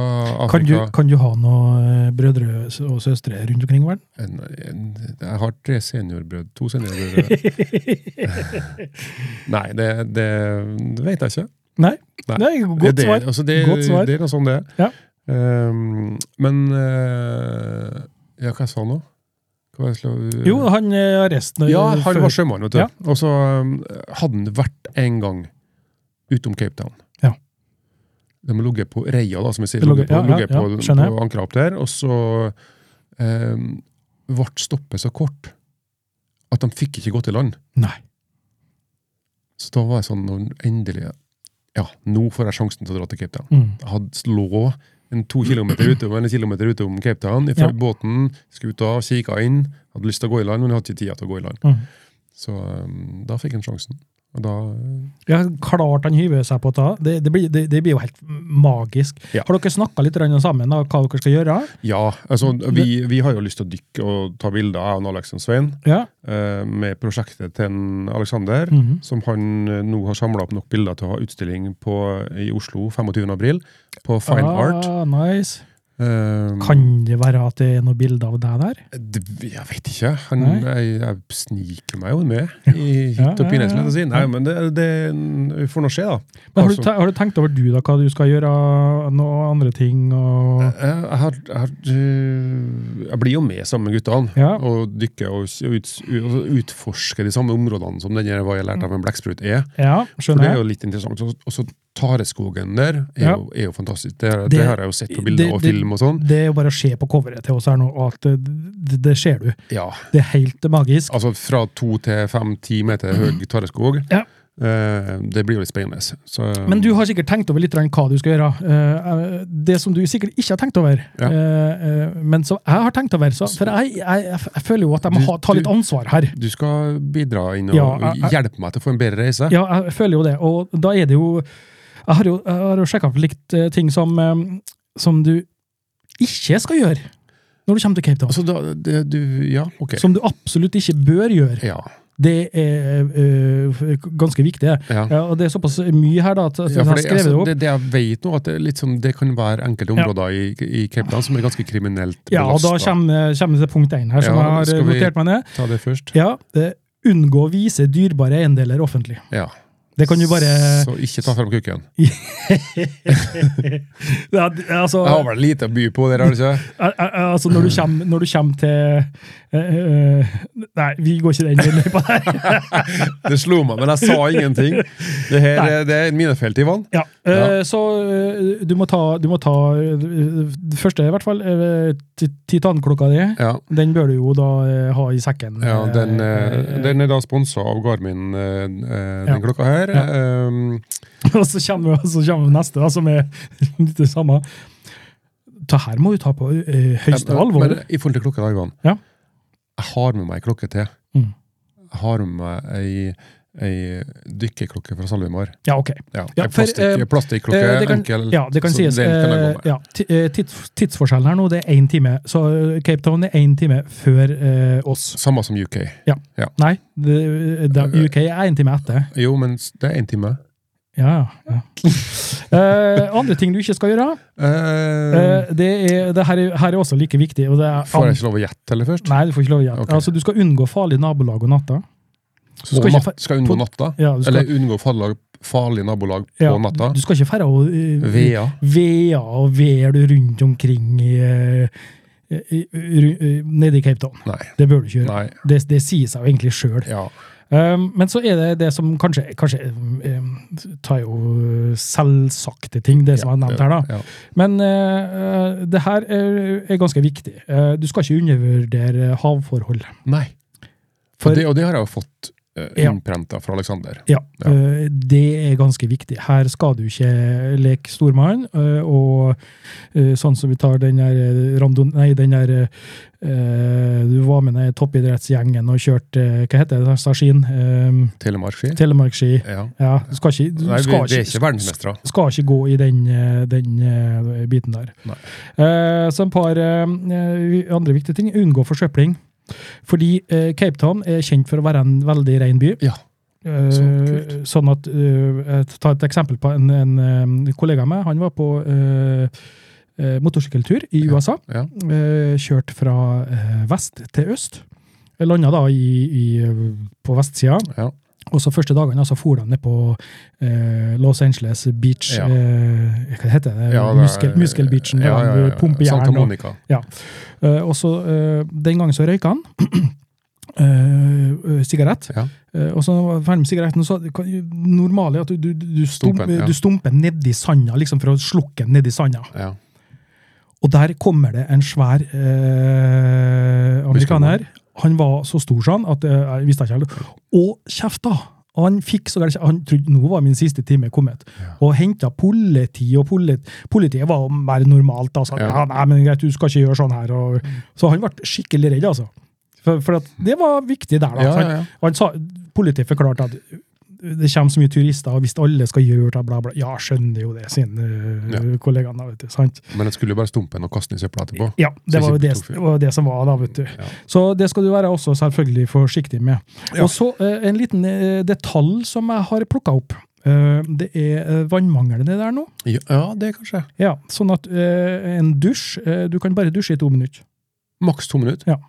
S1: Afrika
S2: Kan, du, kan du ha noen eh, brødre og søstre rundt omkring i verden?
S1: en, en, Jeg har tre seniorbrød, to seniorbrødre. Nei, det, det, det vet jeg ikke.
S2: Nei.
S1: Nei.
S2: Nei, godt
S1: det, er-
S2: svar.
S1: Altså, det,
S2: Godt svar.
S1: Det er noe sånn det er.
S2: Ja.
S1: Ehm, men eh, Ja, hva jeg sa nå? Hva var det jeg skulle-
S2: Jo, han eh, arresten
S1: ja,
S2: eh,
S1: han
S2: før-
S1: var sjømann, vet du.
S2: Ja.
S1: Og så um, hadde han vært en gang utom Cape Town.
S2: Ja.
S1: De ligger på reia, da, som vi sier.
S2: Det lå-
S1: Ligger på,
S2: ja, ja,
S1: ligger
S2: ja,
S1: på,
S2: skjønner jeg.
S1: på ankeret opp der. Og så um, ble stoppet så kort at de fikk ikke gått i land.
S2: Nei.
S1: Så da var jeg sånn når endelig Ja, nå får jeg sjansen til å dra til Cape Town.
S2: Mm.
S1: Jeg hadde lå en to kilometer utom, eller en kilometer utom Cape Town fra
S2: Ja.
S1: båten, skuta, kikka inn. Hadde lyst til å gå i land, men jeg hadde ikke tid til å gå i land.
S2: Mm.
S1: Så um, da fikk han sjansen. Og da
S2: Ja, klart han hyver seg på å ta. Det, det, blir, det, det blir jo helt magisk.
S1: Ja.
S2: Har dere snakka litt grann sammen om hva dere skal gjøre?
S1: Ja, altså vi, vi har jo lyst til å dykke og ta bilder, jeg og Alex og Svein,
S2: Ja.
S1: eh, med prosjektet til en Alexander,
S2: Mhm.
S1: som han eh, nå har samla opp nok bilder til å ha utstilling på, i Oslo 25. april, på Fine Art.
S2: Ah, nice.
S1: Um,
S2: Kan det være at det er noe bilde av deg der?
S1: det- Jeg vet ikke. Han,
S2: Nei.
S1: jeg, jeg sniker meg jo med i hytt og
S2: Ja, ja,
S1: pine,
S2: ja,
S1: som jeg sier. Nei,
S2: ja.
S1: men det, det vi får nå se, da.
S2: Men har, du,
S1: Altså-
S2: te- har du tenkt over du da, hva du skal gjøre? Noe andre ting? Og...
S1: Jeg, jeg, har, jeg, har, øh, jeg blir jo med sammen med guttene
S2: Ja.
S1: og dykker og s- ut, og utforsker de samme områdene som denne hva jeg lærte av en blekksprut er.
S2: Ja,
S1: For det
S2: skjønner
S1: er
S2: jeg.
S1: jo litt interessant. Og så- Og så Tareskogen der er,
S2: Ja.
S1: jo, er jo fantastisk. Det, det,
S2: Det-
S1: har jeg jo sett på
S2: det-
S1: bilder og
S2: det-
S1: film og sånn.
S2: Det er jo bare å se på coveret til oss her nå, at det, det, det ser du.
S1: Ja,
S2: Det er helt magisk.
S1: altså fra to til fem-ti meter høy tareskog.
S2: Ja.
S1: Eh, det blir jo litt spennende. Så,
S2: Men du har sikkert tenkt over litt grann hva du skal gjøre. Eh, eh, Det som du sikkert ikke har tenkt over,
S1: Ja.
S2: eh, eh, men som jeg har tenkt over. Så, for jeg, jeg, jeg føler jo at jeg må
S1: Du-
S2: ha, ta litt
S1: du-
S2: ansvar her.
S1: du skal bidra inn og,
S2: Ja, jeg- jeg-
S1: hjelpe meg til å få en bedre reise.
S2: Ja, jeg føler jo det. Og da er det jo Jeg har jo, jeg har jo sjekka opp litt eh, ting som, eh, som du ikke skal gjøre når du kommer til Cape Town.
S1: Altså, da, det, du, ja, ok.
S2: Som du absolutt ikke bør gjøre.
S1: Ja,
S2: Det er eh, f- ganske viktig. det.
S1: ja.
S2: Ja, og det er såpass mye her da, at at
S1: Ja,
S2: jeg
S1: for
S2: har
S1: det,
S2: skrevet det
S1: altså,
S2: opp.
S1: det, det jeg vet nå, at det, er litt sånn, det kan være enkelte områder i, i Cape Town som er ganske kriminelt
S2: Ja, og da
S1: belastet.
S2: kommer, kommer det til punkt én her, som
S1: Ja,
S2: jeg
S1: skal
S2: har
S1: vi-
S2: notert meg ned.
S1: Ta det først.
S2: Ja, eh, Unngå å vise dyrebare eiendeler offentlig.
S1: Ja.
S2: Det kan du bare
S1: Så ikke ta fram kukken.
S2: ja, d- altså,
S1: Jeg har vel lite å by på der, har du ikke?
S2: eh, eh, altså, når du kommer, når du kommer til eh, eh, Nei, vi går ikke den løypa der.
S1: Det slo meg, men jeg sa ingenting. Det her
S2: Nei.
S1: er- det er et minefelt, Ivan.
S2: Ja, eh, Så eh, du må ta, du må ta eh, det første, i hvert fall, eh, ti- titanklokka di.
S1: Ja,
S2: Den bør du jo da eh, ha i sekken.
S1: ja den, eh,
S2: eh,
S1: den er da sponsa av Garmin, eh, eh, den
S2: Ja.
S1: klokka her. Um,
S2: Og så kommer, så kommer neste, da, som er litt det samme. Det her må du ta på eh, høyeste
S1: men-
S2: alvor.
S1: Men i forhold til klokka, da, Ivan.
S2: Ja.
S1: Jeg har med meg ei klokke til.
S2: Mm.
S1: Jeg har med meg ei, ei dykkerklokke fra Salvemar.
S2: Ja, ok.
S1: Ja,
S2: Ja,
S1: ei
S2: for,
S1: plastikk,
S2: eh,
S1: plastikklokke,
S2: eh, det kan-
S1: enkel.
S2: Ja, det kan
S1: så
S2: sies.
S1: Den kan jeg gå
S2: eh,
S1: med.
S2: ja, ti- eh, tids, tidsforskjellen her nå, det er én time. Så eh, Cape Town er én time før eh, oss.
S1: Samme som UK.
S2: Nei, det, eh, det, UK er én time etter.
S1: Jo, men s- det er én time.
S2: Ja, ja. Eh, andre ting du ikke skal gjøre,
S1: Eh,
S2: eh, det er, det her, er, her er også like viktig. Og det er
S1: får jeg ikke lov å gjette, eller først?
S2: Nei, du får ikke lov å gjette.
S1: Ok.
S2: Altså, du skal unngå farlig nabolag og natta. skal
S1: Så skal,
S2: ikke
S1: natt, skal unngå
S2: på-
S1: natta?
S2: Ja, du skal,
S1: Eller unngå farlig, farlig nabolag på
S2: Ja,
S1: natta?
S2: Du skal ikke fære og eh,
S1: Vea.
S2: vea og veer du rundt omkring i, eh, i, ru- eh, nede i Cape Town.
S1: Nei.
S2: Det bør du ikke gjøre.
S1: Nei.
S2: Det, det sier seg jo egentlig sjøl.
S1: Ja.
S2: Um, men så er det det som kanskje, kanskje um, um, tar jo selvsagte ting, det som er nevnt her, da.
S1: Ja.
S2: Men eh, eh, det her er, er ganske viktig. Eh, du skal ikke undervurdere havforhold.
S1: Nei.
S2: For-
S1: og, det, og det har jeg jo fått uh,
S2: Ja.
S1: innprenta fra Aleksander.
S2: Ja,
S1: Ja.
S2: eh, det er ganske viktig. Her skal du ikke leke stormann, eh, og eh, sånn som vi tar den der eh, randon... Nei, den der eh, Du var med den toppidrettsgjengen og kjørte eh, Hva heter det? der, Staskin? Eh,
S1: Telemarkski.
S2: Telemarkski.
S1: Ja.
S2: Ja, du skal ikke, du
S1: Nei, vi,
S2: skal
S1: vi er ikke
S2: ikke
S1: verdensmestere.
S2: skal ikke gå i den, eh, den eh, biten der.
S1: Nei.
S2: Eh, så et par eh, vi- andre viktige ting. Unngå forsøpling. Fordi eh, Cape Town er kjent for å være en veldig ren by.
S1: Ja.
S2: Eh,
S1: Så kult.
S2: sånn at eh, jeg Ta et eksempel på en, en eh, kollega av meg. Han var på eh, eh, motorsykkeltur i
S1: Ja,
S2: USA.
S1: ja.
S2: Eh, kjørt fra eh, vest til øst. Landa da i, i, eh, på vestsida.
S1: Ja.
S2: Og så første dagene altså, for de ned på eh, Los Angeles Beach
S1: Ja.
S2: eh, Hva heter det?
S1: Ja, det er-
S2: Muskel, muskelbeachen. der de pumper
S1: Santa
S2: jern. Og,
S1: Monica.
S2: eh, og så eh, Den gangen så røyka han eh, eh, sigarett.
S1: Ja.
S2: Eh, og så når han var ferdig med sigaretten, så kan- normalt er at du, du, du, stumper,
S1: Stumpen, ja.
S2: du stumper nedi sanda, liksom for å slukke den nedi sanda.
S1: Ja.
S2: Og der kommer det en svær eh, amerikaner. Han var så stor sånn at eh, jeg visste ikke helt. Og kjefta! Og Han fikk så galt, han trodde nå var min siste time kommet. Og henta politi, og polit, politiet var jo mer normalt. da, sa,
S1: Ja.
S2: ja, nei, men greit, du skal ikke gjøre sånn her. Og, så han ble skikkelig redd, altså. For, for at det var viktig der. da.
S1: Ja,
S2: Så han,
S1: ja, ja.
S2: Han sa, politiet forklarte at det kommer så mye turister, og hvis alle skal gjøre det, bla, bla Ja, skjønner jo det, sine
S1: Ja.
S2: uh, kollegaene. da, vet du, sant?
S1: Men jeg skulle jo bare stumpe den og kaste den i søpla etterpå.
S2: Ja, det
S1: Så
S2: var jo
S1: ikke
S2: det,
S1: tok fyr.
S2: det var jo det som var da, vet du.
S1: Ja.
S2: Så det skal du være også selvfølgelig forsiktig med.
S1: Ja.
S2: Og så eh, en liten eh, detalj som jeg har plukka opp. Eh, det er eh, vannmangel nede der nå.
S1: Ja, ja, det kanskje.
S2: Ja, Sånn at eh, en dusj eh, Du kan bare dusje i to minutter.
S1: Maks to minutter.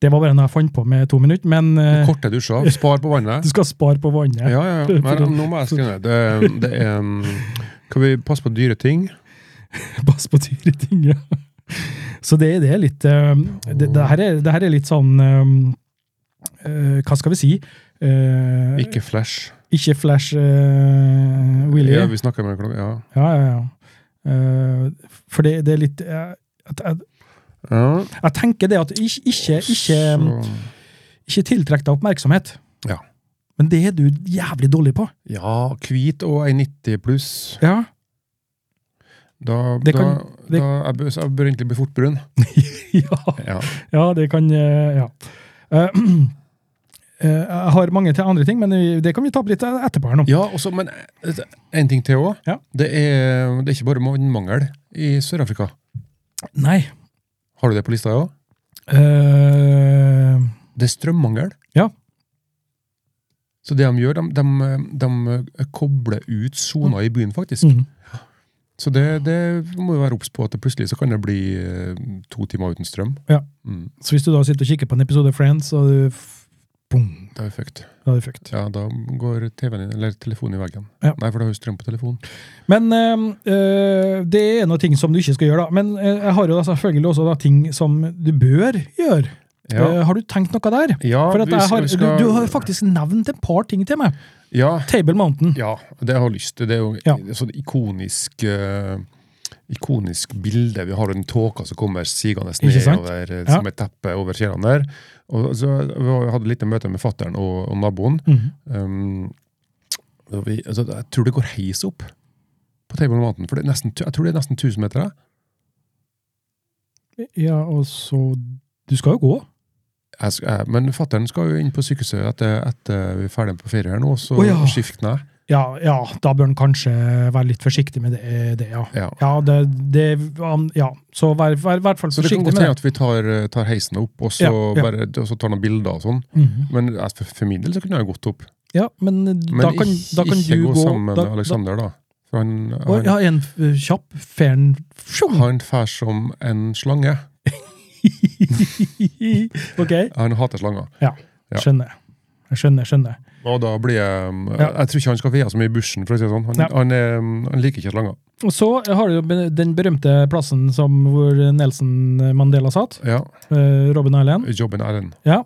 S2: Det var bare noe jeg fant på med to minutter, men eh,
S1: Korte dusjer. Spar på vannet.
S2: du skal spare på vannet.
S1: Ja, ja, ja. Nei, nå må jeg skrive ned. Det, det er um, Kan vi passe på dyre ting?
S2: Pass på dyre ting, ja. Så det, det er litt eh, det, det, her er, det her er litt sånn eh, eh, Hva skal vi si? Eh,
S1: Ikke flash.
S2: Ikke Flash eh, Willy.
S1: Ja,
S2: Ja,
S1: vi snakket med klokka. Ja.
S2: ja, ja. Eh, for det, det er litt eh, at, jeg,
S1: Ja,
S2: jeg tenker det at du ikke, ikke, ikke, mm, um,
S1: så-
S2: ikke tiltrekker deg oppmerksomhet.
S1: Ja.
S2: Men det er du jævlig dårlig på.
S1: ja, hvit og ei 90 pluss.
S2: Ja.
S1: Da,
S2: Det kan-
S1: da,
S2: det-
S1: da jeg, bør, så jeg bør egentlig bli fort brun.
S2: ja.
S1: Ja.
S2: Ja, det kan eh, Ja. Eh, eh, Jeg har mange til andre ting, men vi- det kan vi ta opp litt etterpå. her nå.
S1: Ja, også, men eh, en ting til òg.
S2: Ja.
S1: Det, er- det er ikke bare vannmangel i Sør-Afrika.
S2: Nei.
S1: Har du det på lista òg?
S2: Eh,
S1: Det er strømmangel.
S2: Ja.
S1: Så det de gjør, de, de, de kobler ut soner i byen, faktisk.
S2: mm.
S1: Så det, det må jo være obs på at det plutselig så kan det bli eh, to timer uten strøm.
S2: Ja.
S1: Mm,
S2: Så hvis du da sitter og kikker på en episode av Friends, og du f- Boom!
S1: det er fucked.
S2: Da er det fucked.
S1: Ja, da går TV-en din, eller telefonen i veggen.
S2: Ja.
S1: Nei, for da har du strøm på telefonen.
S2: Men eh, eh, det er noen ting som du ikke skal gjøre, da. Men eh, jeg har jo da selvfølgelig også da ting som du bør gjøre.
S1: Ja,
S2: Eh, har du tenkt noe der?
S1: ja
S2: For at
S1: vi
S2: jeg
S1: skal-
S2: har,
S1: vi skal-
S2: du, du har faktisk nevnt et par ting til meg.
S1: ja,
S2: Table Mountain.
S1: Ja, det har jeg lyst til. Det er jo
S2: Ja.
S1: et sånt ikonisk, eh, ikonisk bilde. Vi har den tåka som kommer sigende
S2: Ikke sant?
S1: nedover eh,
S2: Ja.
S1: som et teppe over kjelene der. Og så Vi var- hadde et lite møte med fattern og, og naboen.
S2: Mhm.
S1: Um, og vi, altså, jeg tror det går heis opp på Table Mountain. For det er nesten, tu- jeg tror det er nesten 1000 meter. jeg.
S2: Ja, og så Du skal jo gå.
S1: Jeg, sk- jeg, men fattern skal jo inn på sykehuset etter, etter vi er ferdig på ferie her nå, så
S2: Å ja.
S1: skifter han.
S2: Ja, ja, da bør en kanskje være litt forsiktig med det, det ja.
S1: Ja.
S2: Ja, det, det, um, ja. så vær i hvert fall
S1: Så det kan
S2: forsiktig
S1: godt
S2: med det.
S1: hende at vi tar, eh, tar heisen opp, og så,
S2: Ja, ja.
S1: Bare, og så tar noen bilder og sånn.
S2: Mhm.
S1: Men eh, for, for min del så kunne jeg jo gått opp.
S2: Ja, men, eh,
S1: Men
S2: da kan,
S1: ikke,
S2: da kan
S1: ikke
S2: du
S1: gå
S2: gå
S1: sammen
S2: da,
S1: med Aleksander, da. For han,
S2: Da, Å,
S1: han,
S2: ja, en f- kjapp fern Fjong!
S1: han fær som en slange.
S2: Ok,
S1: Han hater slanger. Ja.
S2: skjønner. Jeg skjønner, skjønner.
S1: Og da blir jeg um,
S2: Ja.
S1: jeg, jeg tror ikke han skal veie så mye i bushen, for å si det sånn. Han,
S2: Nei.
S1: han, er, um, han liker ikke slanger.
S2: Og så har du jo be- den berømte plassen som, hvor Nelson Mandela satt,
S1: Ja.
S2: eh, Robin Island.
S1: Jobben er den.
S2: Ja.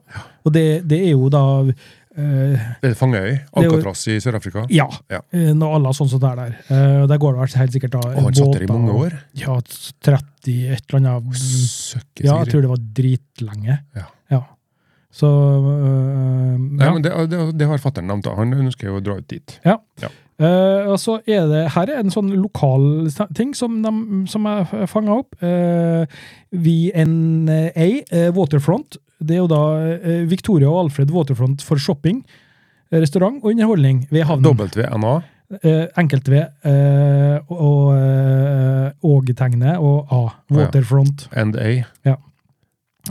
S2: Og det, det er jo da eh,
S1: Det er Fangeøy.
S2: er jo-
S1: Alcatraz i Sør-Afrika.
S2: Ja.
S1: Ja.
S2: Eh, Når alle har sånn som det er der. Eh, og Der går det vel helt sikkert da
S1: Og han satt der i
S2: båter
S1: mange
S2: og-
S1: år.
S2: Ja, 30 et eller annet.
S1: Søkke
S2: Ja, jeg
S1: Sigrid.
S2: tror det var dritlenge.
S1: Ja.
S2: Så øh,
S1: Nei,
S2: ja.
S1: men det, det, det har fattern nevnt. da. Han ønsker jo å dra ut dit.
S2: Eh, og så er det Her er en sånn lokal sa- ting som, de, som jeg fanga opp. Eh, VNA, eh, Waterfront. Det er jo da eh, Victoria og Alfred Waterfront for shopping, eh, restaurant og underholdning ved havnen.
S1: WNA.
S2: Eh, enkelt V eh, og eh, og-tegnet og A. Waterfront.
S1: And A.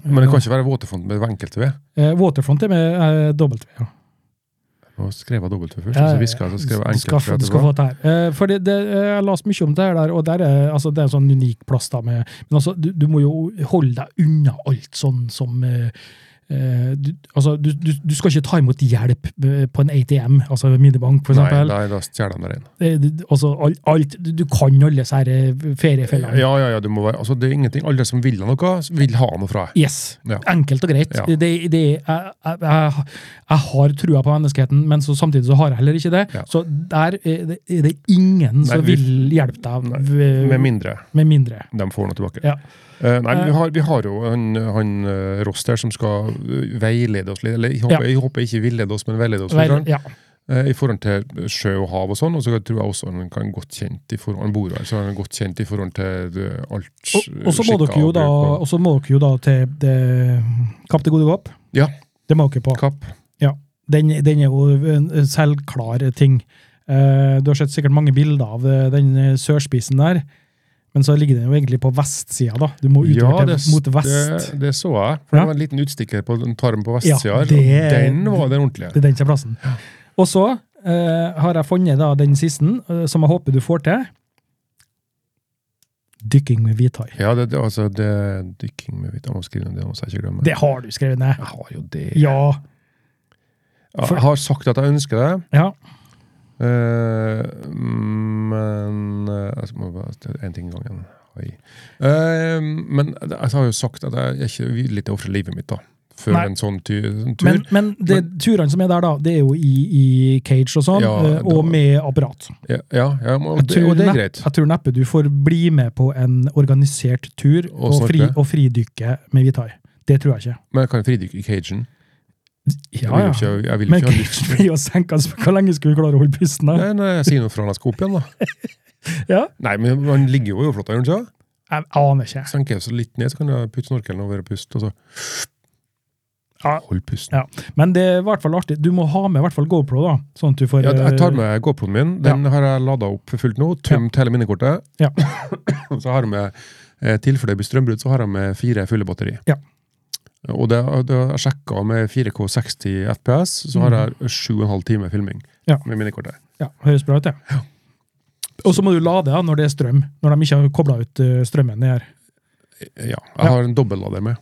S1: Men det kan ikke være Waterfront med enkelt V.
S2: Eh, Waterfront er med eh, dobbelt V. Ja.
S1: Nå skrev jeg W først,
S2: Ja,
S1: og
S2: ja,
S1: så
S2: ja.
S1: hviska jeg, så skrev jeg
S2: Du skal,
S1: enkelt V
S2: få- du skal
S1: etterpå.
S2: få det her. Eh, for det, det, eh, jeg leste mye om det her, der, og der er, altså, det er en sånn unik plass. da med, Men altså, du, du må jo holde deg unna alt sånn som eh, eh, du, altså, du, du, du skal ikke ta imot hjelp eh, på en ATM, altså minibank, for
S1: Nei,
S2: eksempel.
S1: nei, da stjeler de det inn.
S2: Eh, du- altså, alt, alt, du, du kan alle disse her, eh, feriefellene.
S1: Ja, ja, ja, du må være, altså det er ingenting. Alle som vil ha noe, vil ha noe fra deg.
S2: Yes.
S1: Ja.
S2: Enkelt og greit.
S1: Ja.
S2: Det, det, jeg, jeg, jeg, jeg har trua på menneskeheten, men så samtidig så har jeg heller ikke det.
S1: Ja.
S2: Så der er det, er det ingen som
S1: vi-
S2: vil hjelpe deg
S1: Nei,
S2: v-
S1: Med mindre
S2: med mindre.
S1: de får noe tilbake.
S2: Ja.
S1: Eh, nei, men vi har, vi har jo han, han eh, Ross der som skal eh, veilede oss litt. Eller jeg håper,
S2: Ja.
S1: jeg håper ikke veilede oss, men veilede oss litt.
S2: Vel,
S1: grann.
S2: ja.
S1: Eh, I forhold til sjø og hav og sånn. Og så tror jeg også han kan godt kjent i forhold, han bor her, så han er godt kjent i forhold til eh, alt
S2: Og, og så må
S1: skikker
S2: dere jo
S1: og
S2: da,
S1: bruk og
S2: og så må dere jo da til det, Kapp til gode håp.
S1: Ja.
S2: Det må dere på.
S1: Kapp.
S2: Den, den er jo en en selvklar ting. Eh, du har sett sikkert mange bilder av eh, den eh, sørspissen der, men så ligger den jo egentlig på vestsida, da. Du må utover til, mot vest.
S1: Det, det så jeg. For
S2: Ja.
S1: Det var en liten utstikker på den tarmen på
S2: Ja,
S1: vestsida. her,
S2: det-
S1: og den var den ordentlige.
S2: Det er den som er plassen. Og så eh, har jeg funnet da, den siste, eh, som jeg håper du får til. Dykking med hvithai.
S1: Ja, det, det, altså, det dykking med hvitt Jeg må skrive ned det nå, så jeg ikke glemmer
S2: Det har du skrevet ned.
S1: Jeg har jo det.
S2: Ja.
S1: Ja,
S2: for-
S1: Jeg har sagt at jeg ønsker det,
S2: ja.
S1: eh, men eh, Jeg skal må bare én ting i gangen. Oi. Eh, men jeg har jo sagt at jeg er ikke villig til å ofre livet mitt da, før
S2: Nei.
S1: en sånn ty- en tur.
S2: Men, men det, turene som er der, da, det er jo i, i cage og sånn,
S1: Ja,
S2: eh, og
S1: da-
S2: med apparat.
S1: ja, ja, ja, og,
S2: Jeg
S1: det,
S2: tror,
S1: og det er
S2: nepp-
S1: greit.
S2: jeg tror neppe du får bli med på en organisert tur
S1: Og
S2: og, fri,
S1: snorkle.
S2: og fridykke med hvithai. Det tror jeg ikke.
S1: Men jeg kan fridykke i cagen. Jeg
S2: Ja,
S1: vil jo
S2: ja.
S1: ikke, jeg vil jo
S2: Men
S1: ikke ha lyst
S2: cage blir jo senka, så hvor lenge skal vi klare å holde pusten? da?
S1: Nei, nei, jeg sier noe fra når jeg skal opp igjen, da.
S2: Ja.
S1: Nei, men han ligger jo i overflata, gjør han ikke?
S2: Jeg aner ikke.
S1: Senker jeg så litt ned, så kan jeg putte snorkelen over og puste, og så
S2: Ja.
S1: Hold pusten.
S2: Ja. Men det er i hvert fall artig. Du må ha med i hvert fall GoPro, da. Sånn at du får
S1: Ja, jeg tar
S2: eh,
S1: med GoPro-en min. Den har jeg lada opp for fullt nå. Tømt hele minnekortet.
S2: Ja.
S1: så har jeg med eh, tilfelle det blir strømbrudd, så har jeg med fire fulle batteri.
S2: Ja.
S1: Og det, det har jeg sjekka med 4K60 FPS, så har jeg 7,5 timer filming
S2: Mhm. Ja.
S1: med minnekortet.
S2: Ja, høres bra ut, det. Og så må du lade da, når det er strøm, når de ikke har kobla ut eh, strømmen. ned her.
S1: Ja.
S2: Ja.
S1: Jeg har en dobbeltlader med.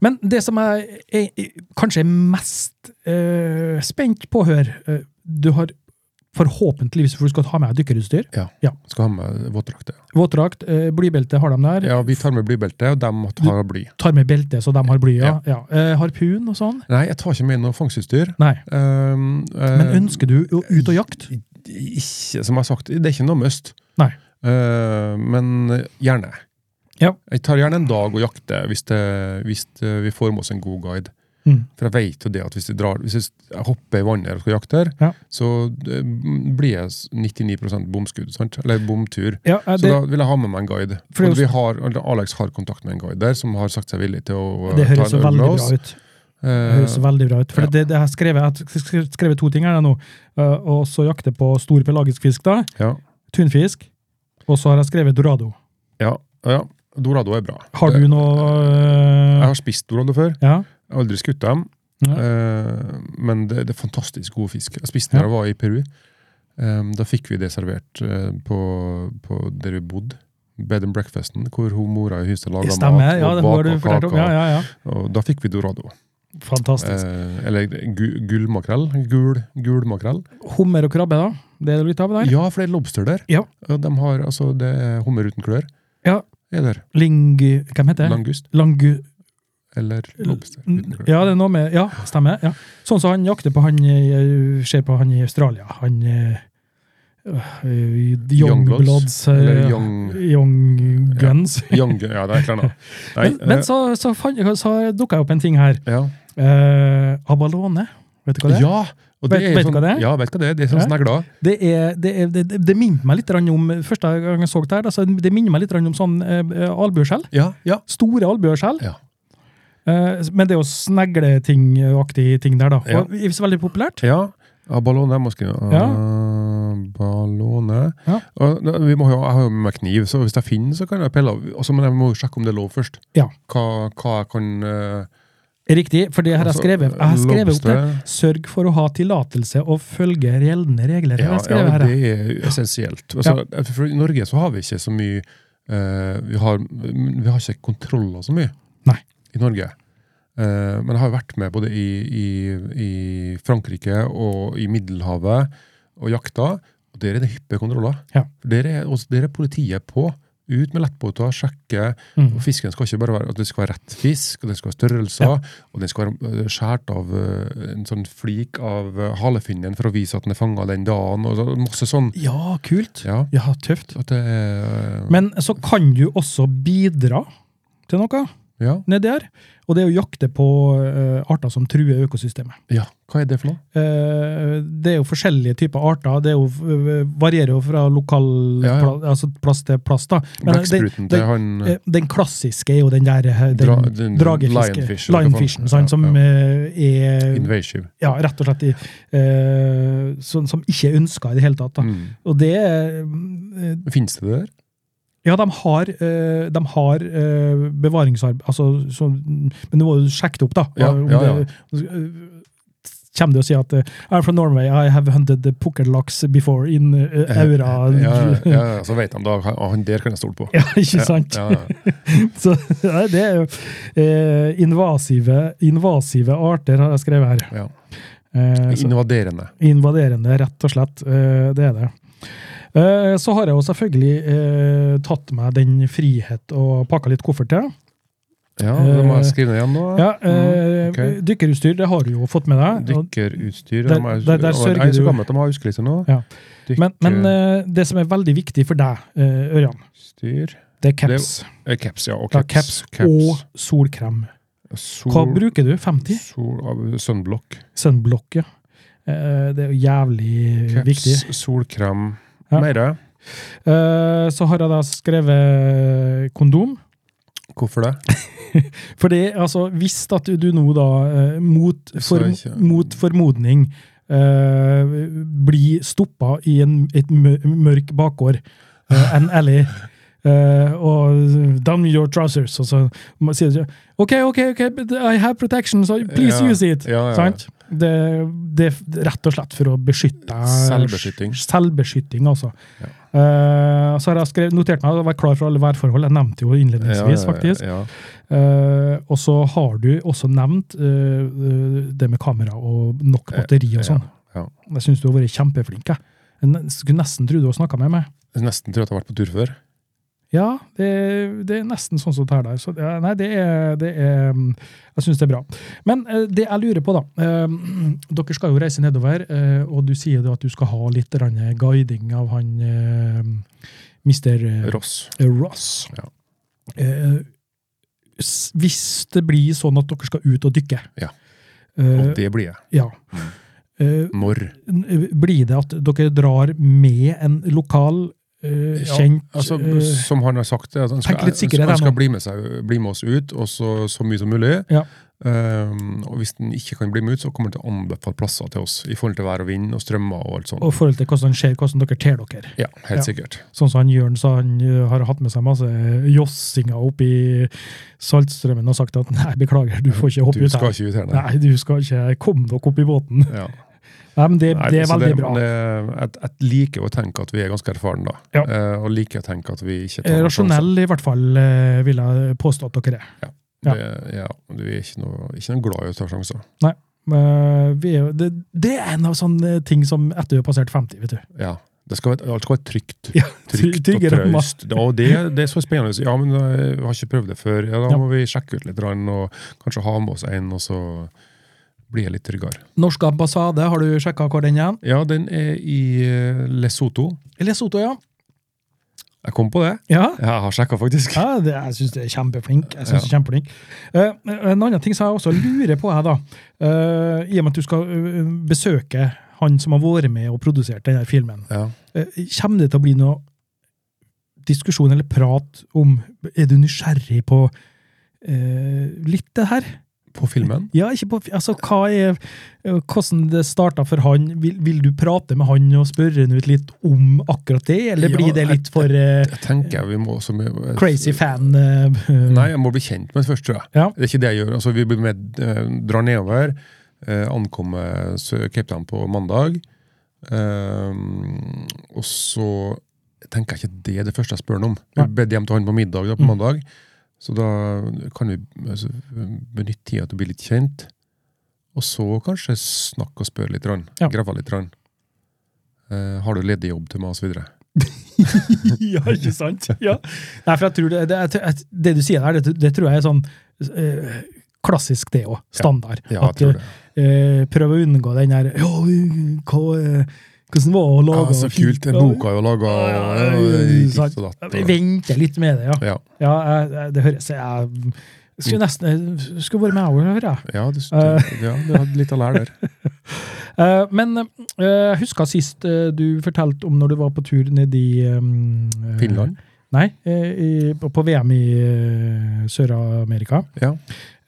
S2: Men det som jeg er- er- kanskje er mest eh, spent på å høre eh, Du har forhåpentligvis, for du skal ha med deg dykkerutstyr,
S1: Skal ha med våtdrakter.
S2: våtdrakt, eh, blybelte har de der,
S1: Ja, vi tar med blybelte, og de tar bly.
S2: tar med belte så de har bly, ja. ja. Eh, harpun og sånn.
S1: Nei, jeg tar ikke med noe fangstutstyr.
S2: Nei.
S1: Um,
S2: Men ønsker du å ut og jakte?
S1: Ikke, som jeg har sagt, det er ikke noe must.
S2: Nei.
S1: Eh, men gjerne.
S2: Ja.
S1: Jeg tar gjerne en dag og jakter hvis, det, hvis det, vi får med oss en god guide.
S2: Mm.
S1: For jeg vet jo det at hvis jeg, drar, hvis jeg s- jeg hopper i vannet og skal jakte, her,
S2: Ja.
S1: så eh, blir jeg s- 99 bomskudd. Sant? Eller bomtur.
S2: Ja, eh,
S1: Så
S2: det,
S1: da vil jeg ha med meg en guide.
S2: For det er
S1: Og
S2: jo-
S1: vi har, eller Alex har kontakt med en guide der, som har sagt seg villig til å eh,
S2: det
S1: ta
S2: høres
S1: en øl med
S2: veldig
S1: oss.
S2: bra ut. Det høres veldig bra ut. For
S1: Eh, ja.
S2: det, det jeg, har skrevet, jeg har skrevet- skrevet to ting her nå. Eh, og så jakte på stor pelagisk fisk, da.
S1: Ja.
S2: Tunfisk. Og så har jeg skrevet dorado.
S1: Ja, ja. Dorado er bra.
S2: Har du
S1: Det-
S2: noe
S1: Eh, Jeg
S2: eh,
S1: har spist dorado før.
S2: Ja.
S1: Jeg har aldri skutt dem.
S2: ja.
S1: Eh, men det, det er fantastisk god fisk. Jeg spiste den da jeg var i Peru. Em, da fikk vi det servert eh, på, på der vi bodde. Bed and breakfasten, hvor hun mora i huset laga
S2: Stemmer. Ja,
S1: mat
S2: det har
S1: og
S2: du
S1: baka
S2: fortalt om. Ja,
S1: kaker.
S2: ja, ja.
S1: Og da fikk vi dorado.
S2: Fantastisk.
S1: Eh, eller gu, gullmakrell. Gul, gul makrell.
S2: Hummer og krabbe, da? Det er det litt av der?
S1: Eh. Ja, for det er lobster der.
S2: Ja.
S1: Og de har, altså, det er hummer uten klør.
S2: Ja.
S1: Er der.
S2: Ling... Hvem heter det?
S1: Langust
S2: Langu...
S1: eller lobster uten klør.
S2: Ja, det er noe med Ja, stemmer. Ja. Sånn som han jakter på han eh, Ser på han i Australia. Han eh, øh, Young
S1: Young
S2: Bloods.
S1: Bloods,
S2: eh,
S1: eller young-
S2: Young Guns.
S1: Young, ja, det er et eller annet. Nei,
S2: Men, men så, så, fant- så dukka jeg opp en ting her.
S1: eh, ja.
S2: Eh, abalone. Vet du hva det er?
S1: Ja! Og det
S2: Vet-
S1: er
S2: vet du
S1: sånn,
S2: hva det er?
S1: Ja, vet du hva det er? Det er sånn
S2: Ja.
S1: snegler.
S2: Det, er, det, er, det, det- det minner meg litt grann om første gang jeg så det her, altså, det minner meg litt grann om sånn eh, eh, albueskjell.
S1: Ja, ja.
S2: Store albueskjell.
S1: Ja.
S2: Eh, men det er jo snegletingaktig ting der, da.
S1: Ja.
S2: Og ikke så veldig populært.
S1: ja. Abalone jeg må skrive.
S2: Ja.
S1: Abalone
S2: Ja.
S1: Og da- vi må, jo- Jeg har jo med meg kniv, så hvis jeg finner, så kan jeg pelle av. Altså, men jeg må jo sjekke om det er lov først.
S2: Ja.
S1: Hva, hva jeg kan eh,
S2: Riktig, for det her har jeg
S1: Altså,
S2: skrevet. Jeg har skrevet opp det.
S1: lobster.
S2: Sørg for å ha tillatelse og følge gjeldende regler. har
S1: ja,
S2: jeg skrevet
S1: ja,
S2: her,
S1: det
S2: ja.
S1: er essensielt. Altså, for I Norge så har vi ikke så mye eh, vi, har, vi har ikke kontroller så mye
S2: Nei.
S1: i Norge. Eh, men jeg har vært med både i, i, i Frankrike og i Middelhavet og jakta. Og der er det hyppe kontroller.
S2: Ja.
S1: Der, er, også- der er politiet på. Ut med lettbåter, sjekke.
S2: Mm.
S1: Og fisken skal ikke bare være at det skal være rett fisk, og den skal være størrelser, og den skal være eh, skåret av eh, en sånn flik av eh, halefinnen for å vise at den er fanga den dagen, og så- masse sånn.
S2: ja, kult.
S1: Ja.
S2: Ja, tøft.
S1: At det er
S2: Men så kan du også bidra til noe
S1: ja.
S2: nedi her. Og det er å jakte på eh, arter som truer økosystemet.
S1: ja. Hva er det for noe?
S2: Eh, det er jo forskjellige typer arter. Det er jo, eh, varierer jo fra lokal
S1: Ja, ja.
S2: pla- Altså plass til plass, da. den,
S1: Blekkspruten til han
S2: den, eh, den klassiske er jo den der eh, den,
S1: Dra- den-
S2: dragefiske-
S1: lionfish, eller hva
S2: Lionfishen, sant,
S1: faen. Ja,
S2: som
S1: ja.
S2: eh, er
S1: Invasive.
S2: ja, rett og slett i, eh, sånn som ikke er ønska i det hele tatt. Da.
S1: Mm.
S2: Og det er, mm, eh,
S1: Fins det det der?
S2: Ja, de har, eh, de har eh, bevaringsarbeid altså, så, Men du må jo sjekke det opp, da.
S1: Ja,
S2: Om
S1: ja, ja.
S2: det- Kommer du og sier at eh, I'm from Norway, I have hunted the pukkellaks before in eh, aura
S1: Ja, ja, ja, så vet han da. Han, han der kan jeg stole på.
S2: Ja, ikke sant?
S1: Ja, ja.
S2: Så ja, det er jo eh, invasive, invasive arter, har jeg skrevet her.
S1: ja.
S2: Eh, så,
S1: Invaderende.
S2: invaderende, rett og slett. Eh, det er det. Eh, så har jeg jo selvfølgelig eh, tatt meg den frihet og pakka litt koffert til.
S1: Ja, det må jeg skrive ned igjen nå.
S2: Ja, eh,
S1: Mm, ok.
S2: Dykkerutstyr det har du jo fått med deg. og-
S1: Dykkerutstyr.
S2: Der-
S1: de er-
S2: der- der
S1: og
S2: sørger
S1: Jeg er så
S2: du-
S1: gammel at de har huskeliste nå.
S2: Ja.
S1: Dykker-
S2: Men, men eh, det som er veldig viktig for deg, eh, Ørjan,
S1: Styr.
S2: det er caps.
S1: Eh, Caps, ja. Og
S2: Ja,
S1: caps.
S2: caps,
S1: caps.
S2: og solkrem.
S1: sol,
S2: Hva bruker du? 50?
S1: sol, av- Sunblock.
S2: Sunblock, ja. Eh, det er jo jævlig
S1: Caps,
S2: viktig.
S1: solkrem.
S2: Ja.
S1: Mere.
S2: Eh, så har jeg da skrevet kondom.
S1: Hvorfor det?
S2: Fordi altså, hvis at du nå da, eh, mot,
S1: Så
S2: for,
S1: ikke-
S2: mot formodning, eh, blir stoppa i en, et mø- mørk bakgård, eh, en alley, eh, og down your trousers, og så må- sier du OK, OK, ok, but I have protection, so please
S1: Ja,
S2: use it.
S1: ja, ja.
S2: Sant? Det, det er rett og slett for å beskytte
S1: Selvbeskytting.
S2: Selvbeskytting, altså. Eh, så har jeg skrevet, notert meg å være klar for alle værforhold. Jeg nevnte jo innledningsvis, faktisk.
S1: Ja,
S2: Eh, og så har du også nevnt eh, eh, det med kamera og nok batteri og sånn.
S1: ja.
S2: Jeg syns du har vært kjempeflink. Jeg Jeg ne- skulle nesten tro du har snakka med meg.
S1: Jeg Nesten tror jeg at jeg har vært på tur før.
S2: Ja, det, det er nesten sånn som det her der. Så, ja, nei, det er, det er mm, Jeg syns det er bra. Men eh, det jeg lurer på, da eh, Dere skal jo reise nedover, eh, og du sier da at du skal ha litt grann guiding av han uh, mister eh,
S1: Ross.
S2: Eh, Ross.
S1: Ja.
S2: Eh, s- hvis det blir sånn at dere skal ut og dykke
S1: Ja. Og Mm.
S2: Eh,
S1: det blir jeg.
S2: ja. Eh,
S1: Når?
S2: n- blir det at dere drar med en lokal, eh,
S1: Ja,
S2: kjent
S1: Altså,
S2: eh,
S1: som han har sagt, det, at han skal,
S2: tenk litt sikkerhet
S1: han skal
S2: her nå.
S1: bli, med seg, bli med oss ut, og så, så mye som mulig.
S2: Ja.
S1: Ehm, og hvis den ikke kan bli med ut, så kommer han til å anbefale plasser til oss i forhold til vær og vind og strømmer og alt sånt.
S2: og i forhold til hvordan det skjer, hvordan dere ter dere.
S1: Ja, helt
S2: Ja.
S1: sikkert.
S2: Sånn som han Jørn sa, han eh, har hatt med seg masse jossinger opp i Saltstrømmen og sagt at nei, beklager, du får ikke hoppe
S1: Du
S2: ut
S1: skal
S2: her.
S1: ikke ut her, nei.
S2: Nei, du skal ikke komme dere opp i båten.
S1: Ja.
S2: Nei, men det,
S1: Nei,
S2: det er
S1: så
S2: veldig bra.
S1: men det- Jeg jeg liker å tenke at vi er ganske erfarne, da.
S2: Ja.
S1: Eh, og liker å tenke at vi ikke
S2: Eh,
S1: noen sjanser.
S2: Rasjonell, i hvert fall, eh, vil jeg påstå at dere er. ja.
S1: Det- Ja, vi er ikke noe, ikke noe glad i å ta sjanser.
S2: Eh, Vi er jo, det, det er en av sånne ting som etter vi har passert 50, vet du.
S1: Ja. Det skal være, alt skal være trygt.
S2: Ja,
S1: trygt og
S2: tryggere enn
S1: traust. Ja, og det, det er så spennende. Ja, men eh, vi har ikke prøvd det før. Ja, da
S2: Ja.
S1: må vi sjekke ut litt, grann, og kanskje ha med oss en, og så blir det litt tryggere.
S2: Norsk ambassade, har du sjekka hvor den er?
S1: Ja, den er i eh, Lesotho.
S2: Lesotho, ja.
S1: Jeg kom på det.
S2: Ja,
S1: Jeg har sjekka, faktisk.
S2: ja det, jeg syns det er kjempeflink. Jeg synes det er kjempeflink. Eh, en annen ting som jeg også lurer på her, da. eh, I og med at du skal eh, besøke han som har vært med og produsert denne filmen.
S1: Ja.
S2: Eh, Kommer det til å bli noe diskusjon eller prat om Er du nysgjerrig på eh, litt det her?
S1: På filmen.
S2: Ja, ikke på, altså, hva er, eh, hvordan det starta for han? Vil, vil du prate med han og spørre han ut litt om akkurat det, eller
S1: Ja,
S2: blir det litt for eh,
S1: Jeg tenker vi må også
S2: crazy fan? eh,
S1: Nei, jeg må bli kjent med det først, tror jeg.
S2: Ja.
S1: Det er ikke det jeg gjør. Altså, vi blir med, eh, drar nedover, eh, ankommer Sø- Cape Town på mandag. Eh, og så tenker jeg ikke det er det første jeg spør han om. Vi
S2: Nei.
S1: bedt hjem til han på middag da, på
S2: Mm.
S1: mandag. Så da kan vi altså, benytte tida til å bli litt kjent. Og så kanskje snakke og spørre litt. grann.
S2: Ja.
S1: Grave litt. grann. Eh, har du ledig jobb til meg, og så videre.
S2: ja, ikke sant? Ja. Nei, for jeg tror det, det, jeg- jeg- det du sier der, det, det tror jeg er sånn eh, klassisk, det òg. Standard.
S1: Ja, jeg
S2: At,
S1: tror det.
S2: eh, prøv å unngå den der «Ja, hva, eh, Hvordan var det å
S1: Ja,
S2: lage
S1: så kult. Den boka er jo laga
S2: Ja,
S1: og ditt
S2: sant.
S1: og datt.
S2: Vi
S1: og-
S2: venter litt med det, ja.
S1: Ja,
S2: Ja, jeg- jeg- det høres Jeg
S1: Mm.
S2: skulle nesten jeg skulle vært med over, hører jeg.
S1: ja, du, du, ja, du hadde litt å lære der.
S2: Eh, Men eh, jeg husker sist eh, du fortalte om når du var på tur ned i eh, eh,
S1: Finland.
S2: Nei, eh, i, på på VM i eh, Sør-Amerika.
S1: Ja.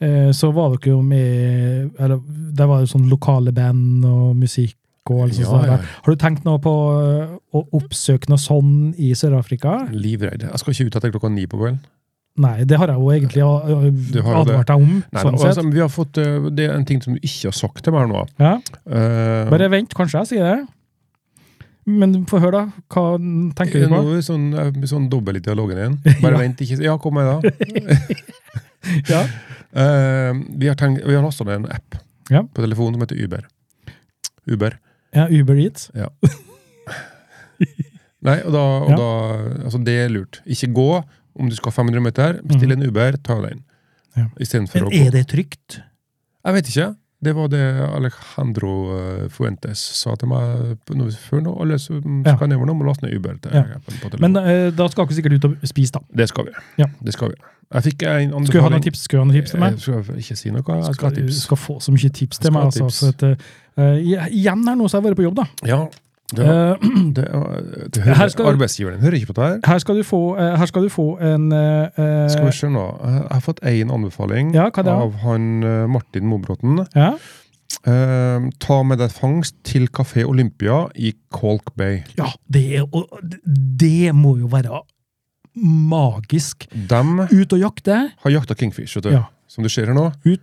S2: Eh, Så var dere jo med eller, Der var det sånn lokale band og musikk. Og alt sånt
S1: Ja, ja.
S2: der. Har du tenkt noe på eh, å oppsøke noe sånn i Sør-Afrika?
S1: Livredd. Jeg skal ikke ut etter klokka ni på kvelden.
S2: Nei, det har jeg jo egentlig eh,
S1: Du har jo det.
S2: advart deg om.
S1: Nei,
S2: sånn
S1: da,
S2: sett.
S1: altså, vi har fått, eh, det er en ting som du ikke har sagt til meg nå.
S2: Ja.
S1: Eh,
S2: Bare vent, kanskje jeg sier det. Men få høre, da. Hva tenker du
S1: nå
S2: på?
S1: er det sånn, jeg blir sånn dobbel i dialogen igjen. Bare vent, ikke Ja, kom med, da.
S2: Ja.
S1: Eh, vi har, tenkt- vi har lasta ned en app
S2: Ja.
S1: på telefonen som heter Uber. Uber.
S2: ja, Uber Eats.
S1: Nei, og da, og
S2: Ja.
S1: da Altså, det er lurt. Ikke gå om du skal 500 meter. Bestill en Uber, ta
S2: Mhm.
S1: den.
S2: Ja.
S1: Istedenfor
S4: Men
S1: å gå
S4: er det trygt?
S1: Jeg vet ikke. Det var det Alejandro eh, Fuentes sa til meg på- nå- før nå. Alle som
S2: Ja.
S1: skal nedover nå, må laste ned Uber. Til,
S2: Ja.
S1: på, på telefonen.
S2: Men eh, da skal dere sikkert ut og spise, da.
S1: det skal vi.
S2: Ja.
S1: Det skal vi. Jeg fikk en Eh, anbefaling.
S2: Skulle jeg ha noen tips, skulle jeg ha noen tips til meg?
S1: Jeg skal ikke si noe. Jeg skal
S2: Skal,
S1: ha tips.
S2: skal få så mye tips
S1: Jeg
S2: til
S1: skal
S2: meg.
S1: ha
S2: Altså,
S1: tips.
S2: for at, eh, igjen her nå så har jeg vært på jobb, da.
S1: Ja, det, var-
S2: Eh,
S1: det, var- det hører,
S2: Her skal-
S1: Arbeidsgiveren hører ikke på det her.
S2: her, skal du få, eh, her skal du få en eh, eh,
S1: Skal vi se nå. Jeg har fått én anbefaling
S2: Ja, hva det er?
S1: av han eh, Martin Mobråten.
S2: ja?
S1: Eh, ta med deg fangst til Kafé Olympia i Colk Bay.
S4: Ja, det, er, og, det må jo være magisk.
S1: De
S4: Ut og jakte.
S1: har jakta kingfish, vet du.
S2: Ja.
S1: som du ser her nå.
S2: Ut.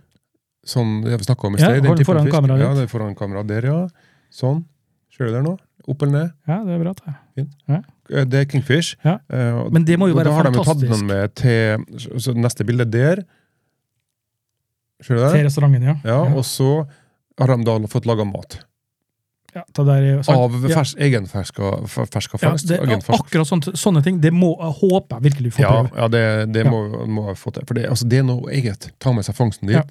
S1: Sånn, det har vi snakket om i
S2: Ja,
S1: sted. den
S2: hold den
S1: typen
S2: foran
S1: fisk.
S2: kameraet
S1: Ja,
S2: ditt.
S1: det er foran kameraet der, ja. Sånn. Ser du der nå? Opp eller ned.
S2: ja, det er bra. Det.
S1: Eh, Det er kingfish.
S2: Ja.
S1: Eh, og
S4: Men det må jo
S1: da
S4: være
S1: har de jo tatt
S4: fantastisk.
S1: den med til så- så Neste bilde der. Ser du
S2: Til
S1: der?
S2: restauranten, ja.
S1: Ja,
S2: Ja.
S1: og så har de da fått laga mat.
S2: ja det der er, jo sant.
S1: Av
S2: Ja.
S1: fers, egenferska f- ferska
S2: Ja,
S1: fangst.
S2: det,
S1: egenfersk-
S2: akkurat sånt, sånne ting. Det må, jeg håper jeg virkelig du får
S1: Ja,
S2: prøve.
S1: ja, det, det
S2: Ja.
S1: Må, må jeg få til. For det, altså, det er noe eget. Ta med seg fangsten dit.
S2: Ja.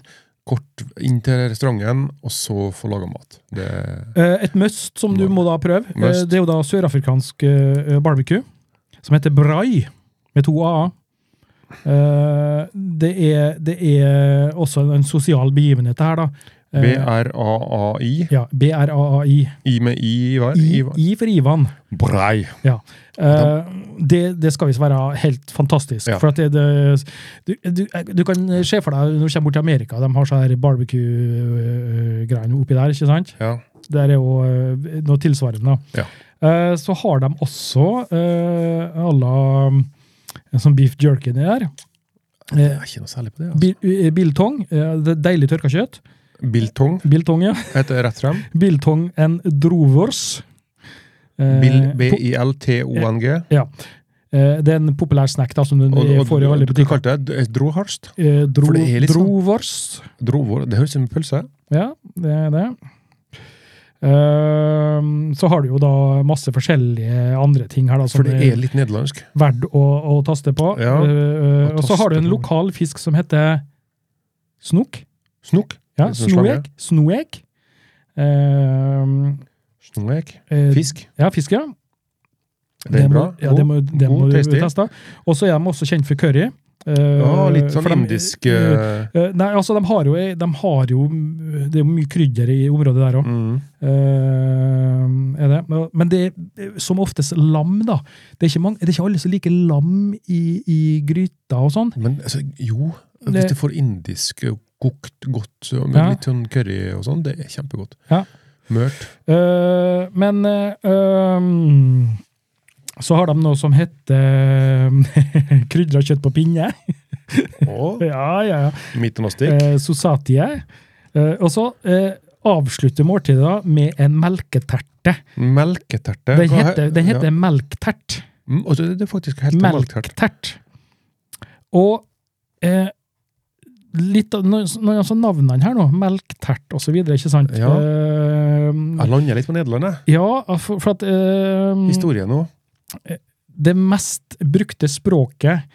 S1: Kort inn til restauranten, og så få laga mat. Det,
S2: Eh, Et must som du må da prøve, eh,
S1: Must.
S2: det er jo da sørafrikansk eh, barbecue, som heter brai, med to a-a. Eh, Det er, det er også en sosial begivenhet det her, da. Eh,
S1: B-R-A-A-I.
S2: Ja, B-R-A-A-I.
S1: I med I hver.
S2: I,
S1: I hver.
S2: I for Ivan.
S1: Brei.
S2: Eh, det, det skal visst være helt fantastisk.
S1: Ja.
S2: For at det, det, du, du, eh, du kan se for deg, når du kommer bort til Amerika, de har sånne her barbecue-greiene oppi der, ikke sant?
S1: Ja.
S2: Der er jo eh, noe tilsvarende.
S1: Ja.
S2: Eh, så har de også eh, alla en sånn beef jerky nedi der. Eh,
S1: er ikke noe særlig på det. altså.
S2: bil- eh, Biltong. Eh, det er deilig tørka kjøtt.
S1: Biltong
S2: Biltong, ja.
S1: heter det rett frem.
S2: Biltong en drovors. Eh,
S1: Bil-
S2: po-
S1: B-I-L-T-O-N-G.
S2: eh, det er en populær snack da, som du
S1: Og, og,
S2: får i alle
S1: og du
S2: butikker.
S1: kalte det et droharst?
S2: Eh, dro,
S1: For det er litt sånn-
S2: Drovors.
S1: Drovor. Det høres ut som en pølse.
S2: Ja, det er det. Ehm, så har du jo da masse forskjellige andre ting her da, som eh,
S1: For det
S2: er
S1: er litt nederlandsk.
S2: verdt å, å taste på.
S1: Ja,
S2: Eh, og så
S1: taste
S2: har du en
S1: på.
S2: lokal fisk som heter snok.
S1: Snok.
S2: Ja,
S1: Litt sånn slange.
S2: snoek. Snoek. Ehm,
S1: Snoek.
S2: eh,
S1: Fisk.
S2: Ja, fisk, ja.
S1: Det er
S2: må-
S1: bra.
S2: Ja, det må, det
S1: god,
S2: må du
S1: tasty.
S2: teste. Og så er de også kjent for curry. Eh,
S1: Ja, litt sånn
S2: for de-
S1: indisk eh,
S2: Eh, Nei, altså, de har, jo, de har jo Det er jo mye krydder i området der òg.
S1: mm.
S2: er det. Men det er som oftest lam, da. Det er ikke, mange, det er ikke alle som liker lam i, i gryta og sånn.
S1: Men altså, jo, hvis
S2: Det-
S1: du får indisk eh, kokt godt så med
S2: Ja.
S1: litt sånn curry og sånn, det er kjempegodt.
S2: Ja.
S1: Mørt.
S2: Eh, men eh, ehm, så har de noe som heter eh, krydra kjøtt på pinne.
S1: Og
S2: Ja, ja, ja.
S1: midtnastikk.
S2: Eh, sosatie. Eh, og så eh, avslutter måltidet da med en melketerte.
S1: Melketerte.
S2: Den
S1: Hva he-
S2: heter, den
S1: ja.
S2: heter melktert.
S1: Mm, og det, det er faktisk helt melktert.
S2: Melktert. Og eh, litt av nå- nå er altså navnene her, nå. Melktert og så videre, ikke sant?
S1: Ja.
S2: Eh,
S1: Jeg lander litt på Nederland, jeg.
S2: ja, for, for at eh,
S1: Historien nå.
S2: det mest brukte språket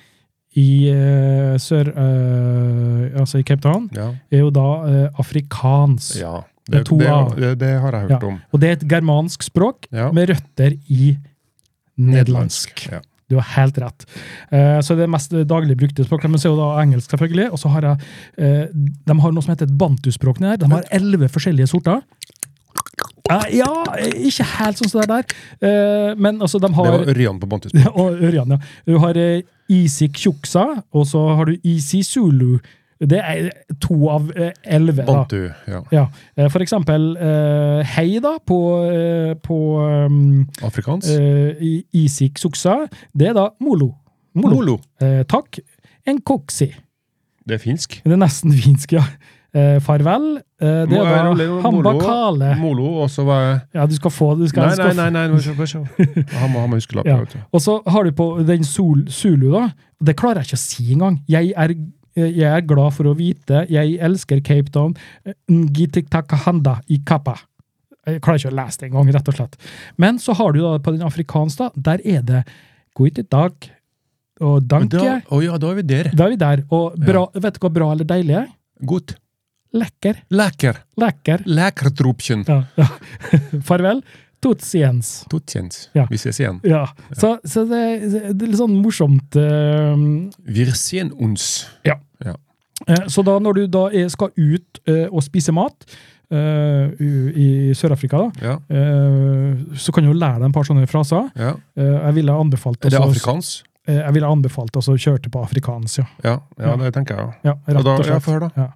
S2: i eh, sør... Eh, altså i Cape Town,
S1: Ja.
S2: er jo da eh, afrikansk.
S1: ja.
S2: Det
S1: Det,
S2: er to
S1: det,
S2: A.
S1: det, det har jeg hørt om.
S2: Og det er et germansk språk
S1: Ja.
S2: med røtter i nederlandsk.
S1: Ja.
S2: Du har helt rett. Eh, så det er mest daglig brukte språket, men så er jo da engelsk, selvfølgelig. Og så har jeg eh, De har noe som heter et bantuspråk nede her. De har elleve forskjellige sorter. Eh, ja, ikke helt sånn som det der. Eh, men altså, de
S1: Det
S2: har
S1: var Ørjan på Bantus.
S2: Og Ørjan, ja. Du har eh, Isi Kjuksa, og så har du Isi Zulu. Det er to av eh, elleve. da.
S1: Bantu, ja.
S2: Ja, eh, for eksempel eh, hei da på, eh, på um,
S1: Afrikansk.
S2: eh, i- isik suksa. Det er da molo. Molo.
S1: Molo.
S2: Eh, takk. En koksi.
S1: Det er finsk.
S2: Det er nesten finsk, ja. Eh, farvel. Eh, det
S1: Må
S2: er
S1: jeg
S2: da
S1: rulle inn molo?
S2: hambakale.
S1: Molo, og så var jeg
S2: Ja, du skal få det. Du skal,
S1: Nei,
S2: du
S1: nei,
S2: skal
S1: nei.
S2: få-
S1: nei, nå skal jeg se. Han må ha med huskelapp.
S2: Ja.
S1: vet du.
S2: Og så har du på den sol, Zulu, da. Det klarer jeg ikke å si engang. Jeg er eh, jeg er glad for å vite, jeg elsker Cape Town, Eh, Ngiti Takahanda i Kappa. Jeg klarer ikke å lese det engang, rett og slett. Men så har du da på den afrikanske, da, der er det Goititak og danke.
S1: Da, å ja, da er vi der.
S2: Da er vi der. Og bra, vet du hva bra eller deilig er?
S1: Godt.
S2: Lekker.
S1: Lekker.
S2: Lekker.
S1: Lekkertropchen.
S2: Ja, ja. Farvel. Tots igjen.
S1: Totjens.
S2: Ja.
S1: Vi ses igjen.
S2: Ja, så, så det, det er litt sånn morsomt. eh,
S1: Wir sehen uns.
S2: eh, Så da når du da er, skal ut eh, og spise mat eh, u- i Sør-Afrika, da,
S1: Ja.
S2: eh, så kan du jo lære deg en par sånne fraser.
S1: ja.
S2: Eh, Jeg ville anbefalt
S1: Er det
S2: også-
S1: afrikansk?
S2: eh, Jeg ville anbefalt også å kjøre til på afrikansk, ja.
S1: Ja, ja,
S2: Ja.
S1: det tenker jeg.
S2: ja
S1: ja. Og
S2: rett
S1: da,
S2: og
S1: ja,
S2: slett.
S1: få høre, da.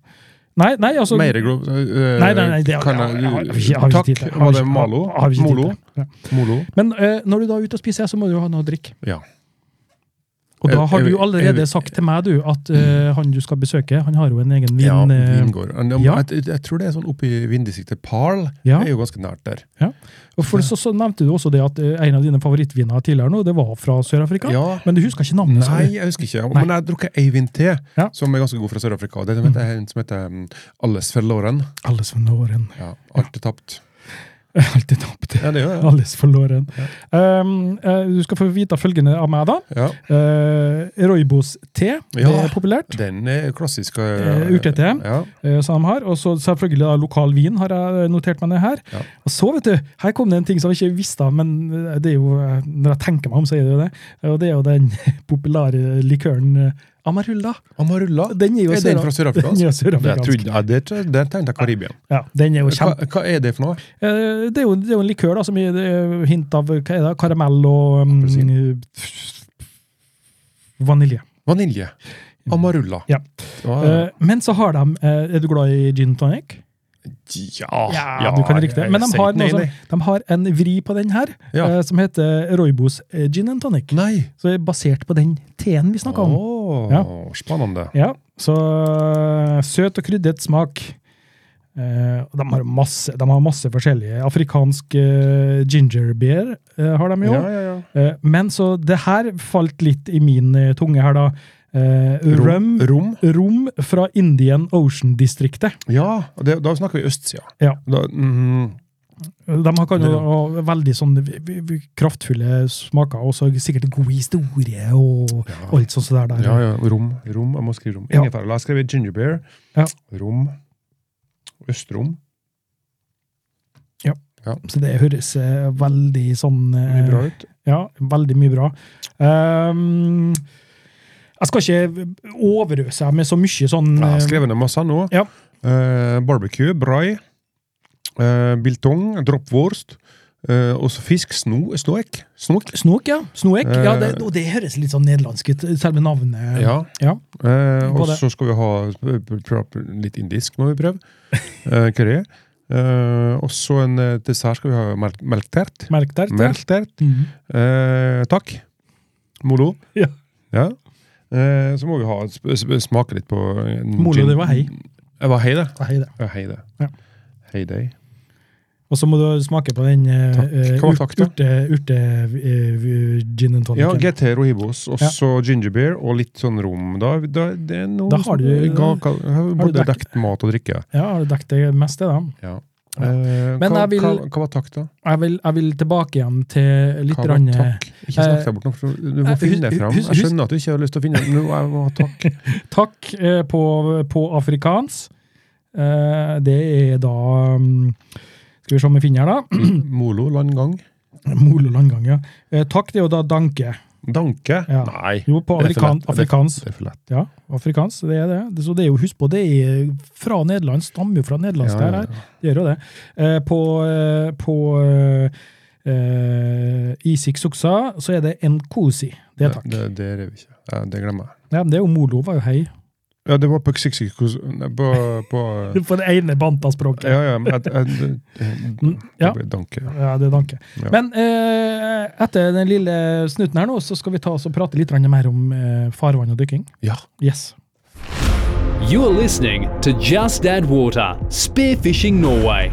S2: Nei, nei, altså
S1: Mer gro... øh,
S2: Nei, nei, nei, det har-
S1: kan
S2: har-
S1: jeg-
S2: har- har vi ikke- har vi ikke
S1: Takk.
S2: tid til. Har
S1: Var
S2: vi
S1: det
S2: ikke-
S1: Malo?
S2: har- har vi ikke tid
S1: Molo?
S2: til. Ja.
S1: Molo?
S2: Men eh, når du da er ute og spiser, så må du jo ha noe å drikke.
S1: Ja.
S2: Og da
S1: Jeg-
S2: har
S1: jeg-
S2: du jo allerede
S1: jeg-
S2: sagt til meg, du, at eh, han du skal besøke, han har jo en egen vin...
S1: ja,
S2: eh,
S1: vingård. Men om-
S2: ja.
S1: Jeg, jeg tror det er sånn oppe i vindistriktet. Parl
S2: Ja.
S1: er jo ganske nært der.
S2: Og for så, så nevnte du også det at eh, en av dine favorittviner tidligere nå, det var fra Sør-Afrika.
S1: Ja.
S2: Men du husker ikke navnet? sa
S1: Nei,
S2: du?
S1: jeg husker ikke.
S2: Nei.
S1: Men jeg har drukket ei vin til,
S2: Ja. Mm.
S1: som er ganske god fra Sør-Afrika. Det er en som heter, en som heter um, Alles for Lauren.
S2: Alles for Låren.
S1: Ja, alt er tapt.
S2: Alltid tapt.
S1: Ja, det er jo det.
S2: Alles for Låren. Um, eh, du skal få vite følgende av meg, da.
S1: Ja.
S2: Uh, Roybos te, det
S1: Ja.
S2: er populært.
S1: Den er klassisk.
S2: Eh, urtete.
S1: Ja.
S2: eh, som de har. Og så selvfølgelig da, lokal vin har jeg notert meg ned her.
S1: Ja.
S2: Og så, vet du, her kom det en ting som jeg ikke visste av, men eh, det er jo, eh, når jeg tenker meg om, så er det jo det. Eh, Og det er jo den populære likøren eh, Amarulda.
S1: Amarulla.
S2: Den er jo
S1: Er den fra Sør-Afrika?
S2: Den er jo
S1: Jeg
S2: sørafrikansk.
S1: trodde- Ja, det tror jeg- det tenkte jeg Karibia.
S2: Ja, den er jo
S1: Hva,
S2: kjempe...
S1: hva er det for noe?
S2: Eh, Det er jo, det er jo en likør da, som gir eh, hint av hva er det, karamell og um,
S1: Appelsin.
S2: vanilje.
S1: Vanilje. Amarulla.
S2: Ja.
S1: Ja,
S2: Eh, Men så har de eh, Er du glad i gin tonic?
S1: Ah, ja,
S2: Ja, du kan rikte det. Men de har, noe
S1: sånn-
S2: som, de har en vri på den her,
S1: Ja.
S2: eh, som heter Roybos eh, gin and tonic.
S1: Nei!
S2: Så det er basert på den teen vi snakka om. sånn-
S1: Åh,
S2: Ja.
S1: Spennende.
S2: Ja, Så eh, søt og krydret smak. Eh, og de, har masse, de har masse forskjellige. Afrikansk eh, ginger beer eh, har de jo.
S1: Ja, ja, ja.
S2: Eh, men så det her falt litt i min eh, tunge her, da. Eh, rum,
S1: Rom. Rom.
S2: rom fra Indian Ocean-distriktet.
S1: Ja, og det, da snakker vi østsida.
S2: Ja.
S1: Da, mhm.
S2: De har kan
S1: Det-
S2: jo ha veldig sånn v- v- v- kraftfulle smaker, og så sikkert god historie og
S1: ja.
S2: alt sånt der. der.
S1: ja, ja. Rom. rom. Jeg må skrive rom.
S2: Ja.
S1: Ingefær. La oss skrive ginger beer.
S2: Ja.
S1: Rom. Østrom.
S2: Så det høres eh, veldig sånn eh,
S1: Mye bra ut.
S2: Ja, veldig mye bra. Ehm, jeg skal ikke overøse deg med så mye sånn
S1: Jeg har
S2: eh,
S1: skrevet ned masse nå.
S2: Ja.
S1: Eh, barbecue, brai, eh, biltong, droppwurst, eh, og så fisk, sno, snoek. Snok.
S2: Snok, ja. Snoek.
S1: Eh.
S2: ja, det, og det høres litt sånn nederlandsk ut, selve navnet.
S1: Ja.
S2: Ja.
S1: Eh, og
S2: På det.
S1: så skal vi ha p- p- p- litt indisk, må vi prøve. Eh, curry. Eh, og så en eh, dessert skal vi ha melk, melktert.
S2: Merk der. til.
S1: Melktert.
S2: Mhm.
S1: Eh, takk. Molo.
S2: Ja.
S1: Ja. Eh, så må vi ha, sp- sp- smake litt på eh,
S2: Molo,
S1: gin.
S2: det var hei.
S1: Det var hei, det.
S2: Det var hei det.
S1: Ja, hei, det.
S2: Ja.
S1: Hei, deg.
S2: Og så må du smake på den eh,
S1: Takk.
S2: eh,
S1: Hva var
S2: urt-
S1: takk, da?
S2: urte, urte eh, v- gin and tonic.
S1: Ja, GT Rohibos, og
S2: Ja.
S1: så ginger beer og litt sånn rom. Da, da, det er noe
S2: Da har du-
S1: ga, ga, Både
S2: dekket-
S1: dekt mat og drikke.
S2: Ja, har du dekket det meste, da?
S1: Ja.
S2: Ja.
S1: Eh,
S2: Men
S1: hva,
S2: jeg vil-
S1: hva, hva var takk, da?
S2: Jeg vil, jeg vil tilbake igjen til litt
S1: Hva var
S2: rann, eh,
S1: takk? Ikke snakk deg bort nå, for du må
S2: eh,
S1: finne det
S2: hus-
S1: fram.
S2: hus-
S1: Jeg skjønner at du ikke har lyst til å finne det. Nå jeg må ha takk.
S2: takk eh, på, på afrikansk. Eh, det er da mm, Skal vi se om vi finner her, da.
S1: Molo, landgang.
S2: Molo landgang, ja. Eh, takk, det er jo da danke.
S1: Danke.
S2: Ja.
S1: Nei.
S2: Jo, på
S1: Det er for
S2: afrikan,
S1: lett.
S2: afrikansk.
S1: Det er for lett.
S2: Ja, afrikansk, det er det. Det- Så det er jo, husk på, det er fra Nederland. Stammer jo fra nederlandsk, det her. Det gjør jo det. Eh, på eh, på eh, eh, Isik Suksa så er det Nkosi. Det er takk.
S1: Det, det, det er vi ikke. Ja, det glemmer jeg.
S2: Ja, men det er jo Molo, var jo hei.
S1: Ja, det var på Xixikus På, på
S2: På det ene bantaspråket.
S1: Ja, ja. men Jeg, jeg, jeg,
S2: Mm, Ja.
S1: det blir danke. ja.
S2: Ja, det er danke.
S1: Ja.
S2: Men eh, etter den lille snutten her nå, så skal vi ta oss og prate litt grann mer om eh, farvann og dykking.
S1: Ja.
S2: Yes.
S3: You're listening to Just Add Water Spearfishing Norway.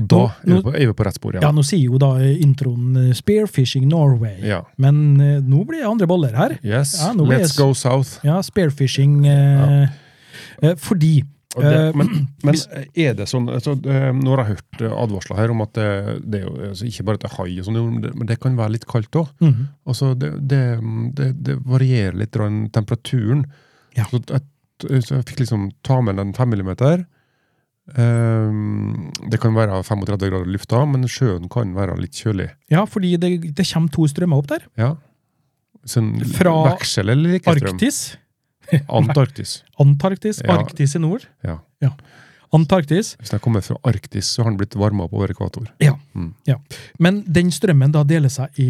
S1: Og da er vi
S2: Nå-
S1: på, er vi på rett spor,
S2: Ja, nå sier jo da eh, introen eh, Spearfishing Norway,
S1: Ja.
S2: men eh, nå blir det andre boller her.
S1: Yes,
S2: Ja, nå blir
S1: let's
S2: jeg-
S1: go south.
S2: Ja, spearfishing eh, eh, Fordi
S1: Og det,
S2: Eh,
S1: men, men er det sånn altså, eh, Nå har jeg hørt eh, advarsler her om at det, det er jo altså, ikke bare at det er hai, og sånn, men det- men det kan være litt kaldt òg.
S2: Mhm.
S1: Altså, det, det, det, det varierer litt grann temperaturen.
S2: Ja.
S1: Så, jeg, så jeg fikk liksom ta med en 5 millimeter. Ehm, det kan være 35 grader i lufta, men sjøen kan være litt kjølig.
S2: Ja, fordi det, det kommer to strømmer opp der.
S1: Ja. Sånn
S2: Fra
S1: veksel eller ikke strøm?
S2: Arktis,
S1: Antarktis.
S2: Antarktis,
S1: Ja.
S2: Arktis i nord.
S1: Ja.
S2: Antarktis.
S1: Hvis den kommer fra Arktis, så har den blitt varma opp over ekvator.
S2: Men den strømmen da deler seg i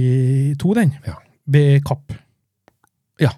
S2: to, den.
S1: Ja.
S2: Ved Kapp.
S1: Ja.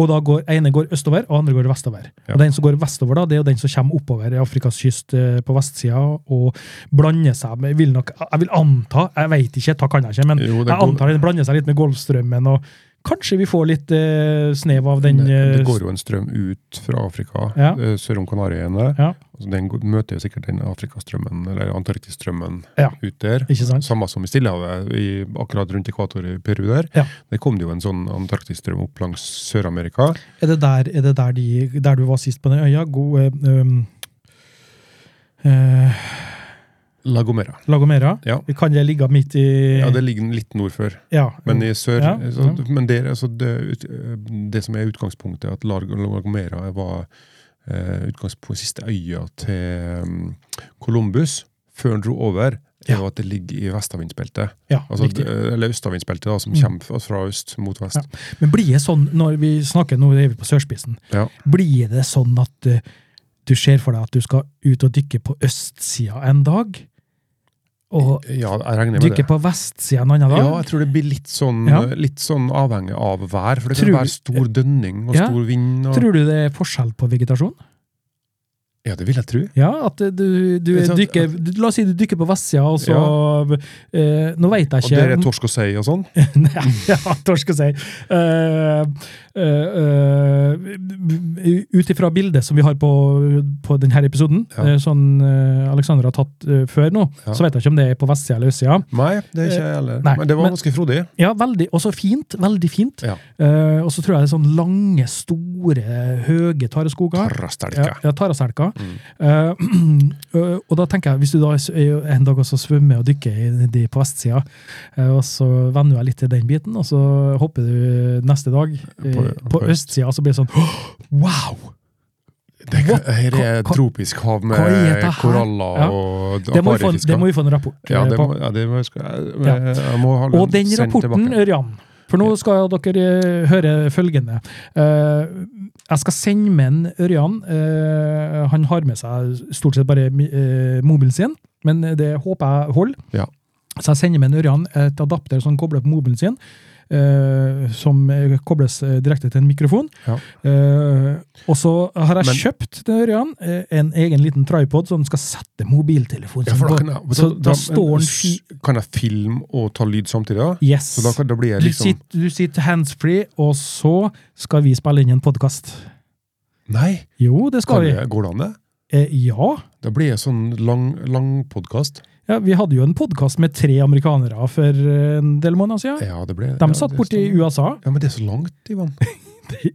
S2: Og da går, ene går østover, og andre går vestover.
S1: Ja.
S2: Og Den som går vestover, da, det er jo den som kommer oppover i Afrikas kyst eh, på vestsida og blander seg med vil nok, Jeg vil anta, jeg veit ikke, ta kan jeg ikke, men
S1: Jo,
S2: jeg
S1: det går-
S2: antar den blander seg litt med Golfstrømmen. og Kanskje vi får litt eh, snev av den
S1: det,
S2: eh,
S1: det går jo en strøm ut fra Afrika,
S2: Ja.
S1: eh, sør om Kanariøyene.
S2: Ja.
S1: Altså, Den går- møter jo sikkert den Afrikastrømmen, eller Antarktisstrømmen,
S2: Ja.
S1: ut der.
S2: Ikke sant?
S1: Samme som i Stillehavet, i, akkurat rundt ekvator i Peru der.
S2: Ja.
S1: Det kom det jo en sånn Antarktisstrøm opp langs Sør-Amerika.
S2: Er det der, er det der, de, der du var sist på den øya? God eh, um, eh,
S1: La Gomera.
S2: Lagomera?
S1: Ja.
S2: Kan det ligge midt i
S1: Ja, det ligger litt nord for.
S2: Ja. mm,
S1: Men i sør
S2: Ja,
S1: så,
S2: ja.
S1: Men der, altså, det, ut- det som er utgangspunktet, er at La La Gomera var eh, utgangspunkt siste øya til um, Columbus før han dro over. er
S2: Ja.
S1: jo at det ligger i vestavindsbeltet.
S2: ja
S1: Altså,
S2: riktig.
S1: d- eller østavindsbeltet, da, som
S2: Mm.
S1: kommer fra- fra øst mot vest.
S2: Ja. Men blir det sånn, når vi snakker, nå er vi på sørspissen,
S1: Ja.
S2: blir det sånn at eh, du ser for deg at du skal ut og dykke på østsida en dag, og
S1: Ja, jeg regner med
S2: dykke
S1: det.
S2: på vestsida en annen dag?
S1: Ja, jeg tror det blir litt sånn,
S2: Ja.
S1: litt sånn avhengig av vær. For det kan
S2: Tror-
S1: være stor dønning og
S2: Ja.
S1: stor vind. Og,
S2: Tror du det er forskjell på vegetasjon?
S1: ja, det vil jeg tro.
S2: Ja, at eh, du, du
S1: Det er sant,
S2: dykker du- La oss si du dykker på vestsida, og så eh, Nå veit jeg
S1: Og
S2: ikke
S1: der er torsk og sei og sånn.
S2: Nei, ja, torsk å si. Uh, eh, Ut ifra bildet som vi har på, på denne episoden,
S1: Ja.
S2: eh, sånn eh, Alexander har tatt eh, før nå,
S1: Ja.
S2: så vet jeg ikke om det er på vestsida eller østsida.
S1: Nei, det er ikke jeg heller.
S2: Nei,
S1: Men det var
S2: men-
S1: ganske frodig.
S2: Ja, veldig, også fint. Veldig fint.
S1: Ja.
S2: Eh, og så tror jeg det er sånn lange, store, høye tareskoger.
S1: Parastelka.
S2: Ja, ja, taraselka.
S1: Mm.
S2: Eh, øh, og da tenker jeg, hvis du da s- er en dag også svømmer og dykker i- nedi på vestsida, eh, og så venner du deg litt til den biten, og så hopper du neste dag eh,
S1: På-
S2: på,
S1: på øst.
S2: østsida, og så blir det sånn «Åh, Wow!
S1: Det,
S2: What?
S1: her er
S2: Hva- hva-
S1: tropisk hav med
S2: hva er dette her?
S1: koraller
S2: Ja.
S1: og
S2: Det må, vi få,
S1: akvariefisker.
S2: det må vi få en rapport
S1: Ja,
S2: eh,
S1: det
S2: på.
S1: må, ja, det må jeg, skal, jeg,
S2: Ja.
S1: jeg, må ha
S2: Og den
S1: sendt
S2: rapporten,
S1: tilbake.
S2: Ørjan For nå skal dere eh, høre følgende. Eh, jeg skal sende med en Ørjan. eh, han har med seg stort sett bare mi- eh, mobilen sin, men det håper jeg holder.
S1: Ja.
S2: Så jeg sender med en Ørjan et adapter som kobler på mobilen sin. eh, som eh, kobles eh, direkte til en mikrofon.
S1: Ja.
S2: Eh, og så har jeg
S1: Men-
S2: kjøpt til Ørjan eh, en egen liten tripod som skal sette mobiltelefonen
S1: Ja,
S2: sin
S1: for da
S2: på.
S1: kan jeg,
S2: Så da står den fi-
S1: Kan jeg filme og ta lyd samtidig? da?
S2: Yes.
S1: Så da, kan, da blir jeg
S2: Du
S1: liksom
S2: sitter, du sitter handsfree, og så skal vi spille inn en podkast.
S1: Nei,
S2: Jo, det
S1: kan
S2: skal vi.
S1: jeg, går det an, det?
S2: Eh, ja.
S1: Da blir jeg sånn lang, lang podkast.
S2: ja. Vi hadde jo en podkast med tre amerikanere for eh, en del måneder siden.
S1: Ja, det blir
S2: De
S1: ja,
S2: satt
S1: det
S2: borti
S1: stemmer.
S2: USA.
S1: Ja, men det er så langt, Ivan.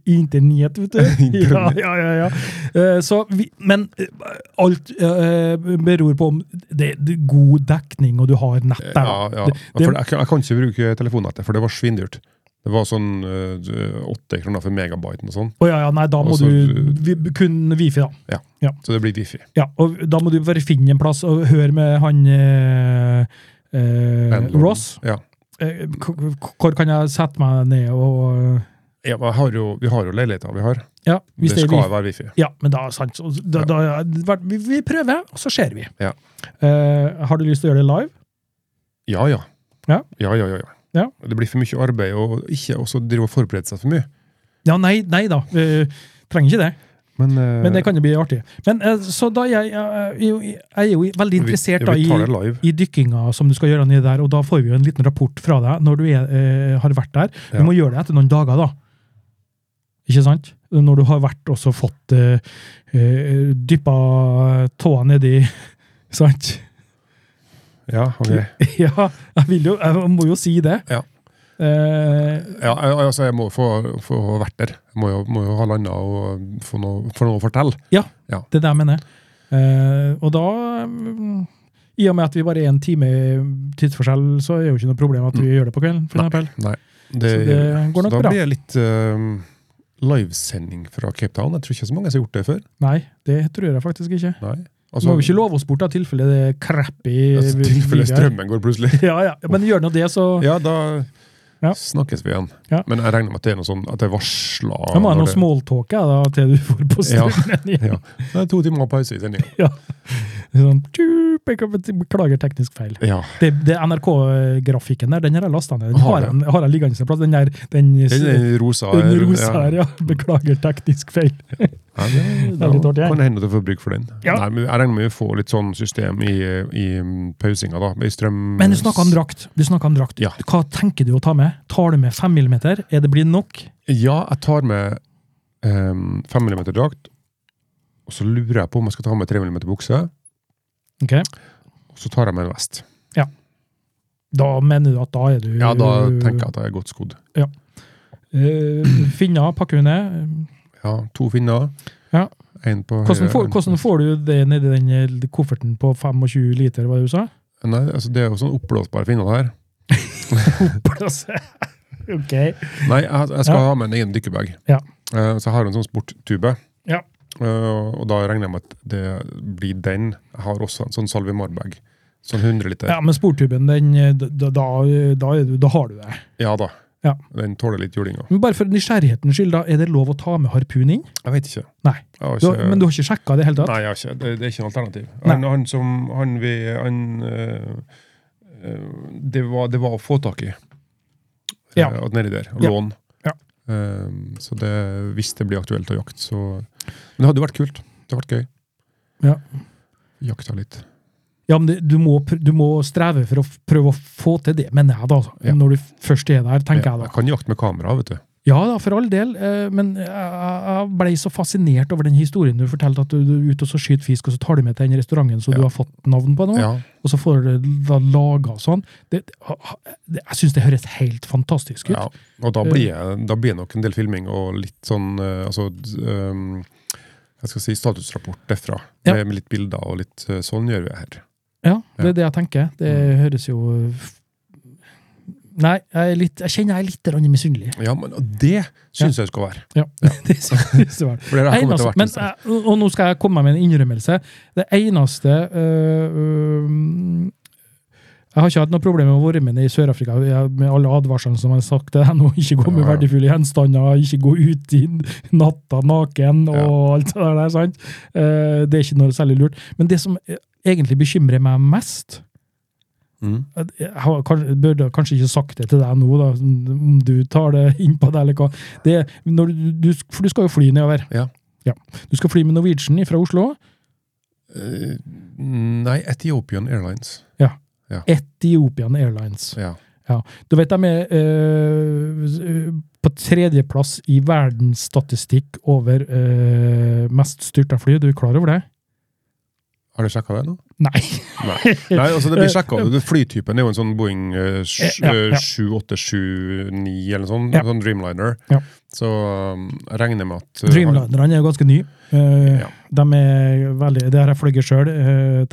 S2: Internett, vet du. Ja, ja, ja. ja. Eh, så vi, men eh, alt eh, beror på om det det er god dekning, og du har nett der.
S1: Ja,
S2: da.
S1: ja.
S2: Det- det-
S1: For jeg, kan- jeg kan ikke bruke telefonnettet, for det var svindyrt. Det var sånn eh, åtte kroner for megabyten og sånn.
S2: Å ja, ja, nei, da må
S1: Altså,
S2: du vi, kun Wifi, da.
S1: Så det blir wifi.
S2: Ja, og da må du bare finne en plass og høre med han eh, eh,
S1: Handler.
S2: Ross.
S1: Ja.
S2: Eh, k- k- Hvor kan jeg sette meg ned og eh,
S1: Ja, men jeg har jo, vi har jo leiligheter vi har.
S2: Ja, hvis
S1: det
S2: det, er
S1: skal
S2: vi,
S1: være wifi.
S2: ja men da, sant, så da, da, vi, vi prøver, og så ser vi.
S1: Ja.
S2: Eh, har du lyst til å gjøre det live?
S1: Ja, ja.
S2: Ja.
S1: ja, ja, ja, ja.
S2: Ja.
S1: Det blir for mye arbeid og ikke også drive og forberede seg for mye.
S2: Ja, nei, nei da. Eh, trenger ikke det.
S1: Men, eh,
S2: Men det kan jo bli artig. Men, eh, så da jeg, jeg, jeg, er jo veldig interessert
S1: vi, ja,
S2: da,
S1: vi tar
S2: i
S1: det live.
S2: i dykkinga som du skal gjøre nedi der, og da får vi jo en liten rapport fra deg når du er, eh, har vært der. Du
S1: Ja.
S2: må gjøre det etter noen dager, da. Ikke sant? Når du har vært og så fått eh, eh, dyppa tåa nedi Sant?
S1: Ja, ok.
S2: Ja, jeg, vil jo, jeg må jo si det. Eh,
S1: Ja, jeg- altså, jeg må få, få vært der. Jeg må jo, må jo ha landa og få noe, få noe å fortelle.
S2: Det der mener jeg. Eh, og da mm, I og med at vi bare er en time tidsforskjell, så er jo ikke noe problem at vi gjør det på kvelden. For
S1: Mm. Nei.
S2: eksempel.
S1: Nei,
S2: Så det går nok
S1: så da
S2: bra.
S1: blir det litt eh, livesending fra Cape Town. Jeg tror ikke så mange som har gjort det før.
S2: Nei, det tror jeg faktisk ikke.
S1: Nei.
S2: Må vi ikke love oss bort av tilfelle det er crap i
S1: altså, tilfelle strømmen går plutselig.
S2: Ja, ja. Men gjør nå det, så
S1: Ja, da
S2: Ja.
S1: snakkes vi igjen.
S2: Ja.
S1: Men jeg regner med at det er noe sånn at det er varsla
S2: Da må jeg nå
S1: når det-
S2: småtalke jeg, da, til du får på
S1: Ja.
S2: strømmen igjen.
S1: Ja. Det er to timer pause i sendinga.
S2: Sånn, tju, Beklager teknisk feil.
S1: Ja.
S2: Det, det NRK-grafikken der, den har jeg lasta ned. Den
S1: Har
S2: har
S1: du?
S2: jeg, har jeg liggende en plass. Den der, den,
S1: Den er rosa.
S2: den
S1: her,
S2: rosa
S1: ja.
S2: her, ja. Beklager teknisk feil.
S1: Ja, det, da
S2: Veldig dårlig, jeg.
S1: kan det hende at du får bruk for den.
S2: Ja.
S1: Nei, men Jeg regner med vi får litt sånn system i, i um, pausinga, da. I strøm...
S2: Men du snakka om drakt. Du snakket om drakt.
S1: Ja.
S2: Hva tenker du å ta med? Tar du med 5 millimeter? Er det blitt nok?
S1: Ja, jeg tar med um, 5 mm drakt. Og så lurer jeg på om jeg skal ta med 3 mm bukse.
S2: Ok.
S1: Og så tar jeg med en vest.
S2: Da mener du at da er du
S1: Ja, da tenker jeg at jeg er godt skodd.
S2: Eh, finner, pakker du ned.
S1: Ja, to finner.
S2: Ja.
S1: En på
S2: Hvordan
S1: høyre,
S2: får,
S1: en-
S2: hvordan får du det nedi den eh, kofferten på 25 liter, hva du sa?
S1: Nei, altså Det er jo sånn oppblåsbare finner her.
S2: ok.
S1: Nei, jeg, jeg skal ha med en egen dykkebag.
S2: Ja.
S1: Eh, så jeg har en sånn sporttube.
S2: Ja.
S1: Eh, og da regner jeg med at det blir den. Jeg har også en sånn Salvimar-bag. Sånn 100 liter.
S2: Ja, men sportuben, den, eh, da, da, da, er du, da har du det.
S1: Ja da.
S2: Ja.
S1: Den tåler litt juling òg.
S2: Men bare for nysgjerrighetens skyld, da, er det lov å ta med harpun inn?
S1: Jeg vet ikke.
S2: Nei.
S1: Jeg har
S2: Du,
S1: ikke
S2: men du har ikke sjekka det i det hele tatt?
S1: Altså, Nei, jeg har ikke. Det, det er ikke noe alternativ.
S2: Nei.
S1: Han, han som Han vi Han eh, eh, det, var, det var å få tak i.
S2: Ja.
S1: Eh, at nedi der. og
S2: Ja.
S1: Lån.
S2: Ja.
S1: Eh, så det, hvis det blir aktuelt å jakte, så Men det hadde vært kult. Det hadde vært gøy.
S2: Ja.
S1: Jakta litt.
S2: Ja, men det, du, må, pr- du må streve for å f- prøve å få til det, mener jeg, da. altså.
S1: Ja.
S2: Når du først er der, tenker jeg da.
S1: jeg kan jakte med kamera, vet du.
S2: Ja da, for all del, eh, men jeg- jeg ble så fascinert over den historien du fortalte, at du, du er ute og så skyter fisk, og så tar du med til den restauranten som
S1: Ja.
S2: du har fått navn på nå,
S1: Ja.
S2: og så får du det da laga og sånn. Det, det, jeg syns det høres helt fantastisk ut.
S1: ja. Og da
S2: Eh.
S1: blir, jeg, da blir det nok en del filming og litt sånn eh, altså, d- ehm, jeg skal si statusrapport derfra.
S2: Ja.
S1: Med, med litt bilder og litt eh, Sånn gjør vi her.
S2: Ja, Mm. det er det jeg tenker. Det høres jo f- Nei, jeg, er litt, jeg kjenner jeg er litt grann misunnelig.
S1: Ja, men og det syns jeg det skal være.
S2: Ja. det synes jeg var.
S1: For det der kommer
S2: Eneste-
S1: til å liksom- være
S2: men,
S1: til stede.
S2: jeg- og nå skal jeg komme med en innrømmelse. Det eneste øh, øh, Jeg har ikke hatt noe problem med å være med ned i Sør-Afrika jeg- med alle advarslene som jeg har sagt til deg nå. Ikke gå med
S1: Ja, ja.
S2: verdifulle gjenstander, ikke gå ut i natta naken og
S1: Ja.
S2: alt det der. sant? Eh, det er ikke noe særlig lurt. Men det som eh, egentlig bekymrer meg mest
S1: Mm.
S2: at jeg har, kan- burde kanskje ikke sagt det til deg nå, da, om du tar det innpå deg eller hva. Det, er når du, du, for du skal jo fly nedover.
S1: Ja.
S2: Ja. Du skal fly med Norwegian fra Oslo.
S1: Eh, Nei, Ethiopian Airlines.
S2: Etiopian Airlines.
S1: Ja.
S2: Du vet de er eh, på tredjeplass i verdensstatistikk over eh, mest styrta fly. Du er klar over det?
S1: Har du sjekka det nå?
S2: Nei.
S1: Nei. Nei, altså det blir sjekka. Flytypen er jo en sånn Boeing eh, sj-
S2: Ja, ja.
S1: eh, 7879 eller noe sånt.
S2: Ja.
S1: Sånn Dreamliner.
S2: Ja.
S1: Så um, jeg regner med at eh,
S2: Dreamlinerne er jo ganske nye. Eh,
S1: Ja.
S2: De er veldig, det har jeg fløyet sjøl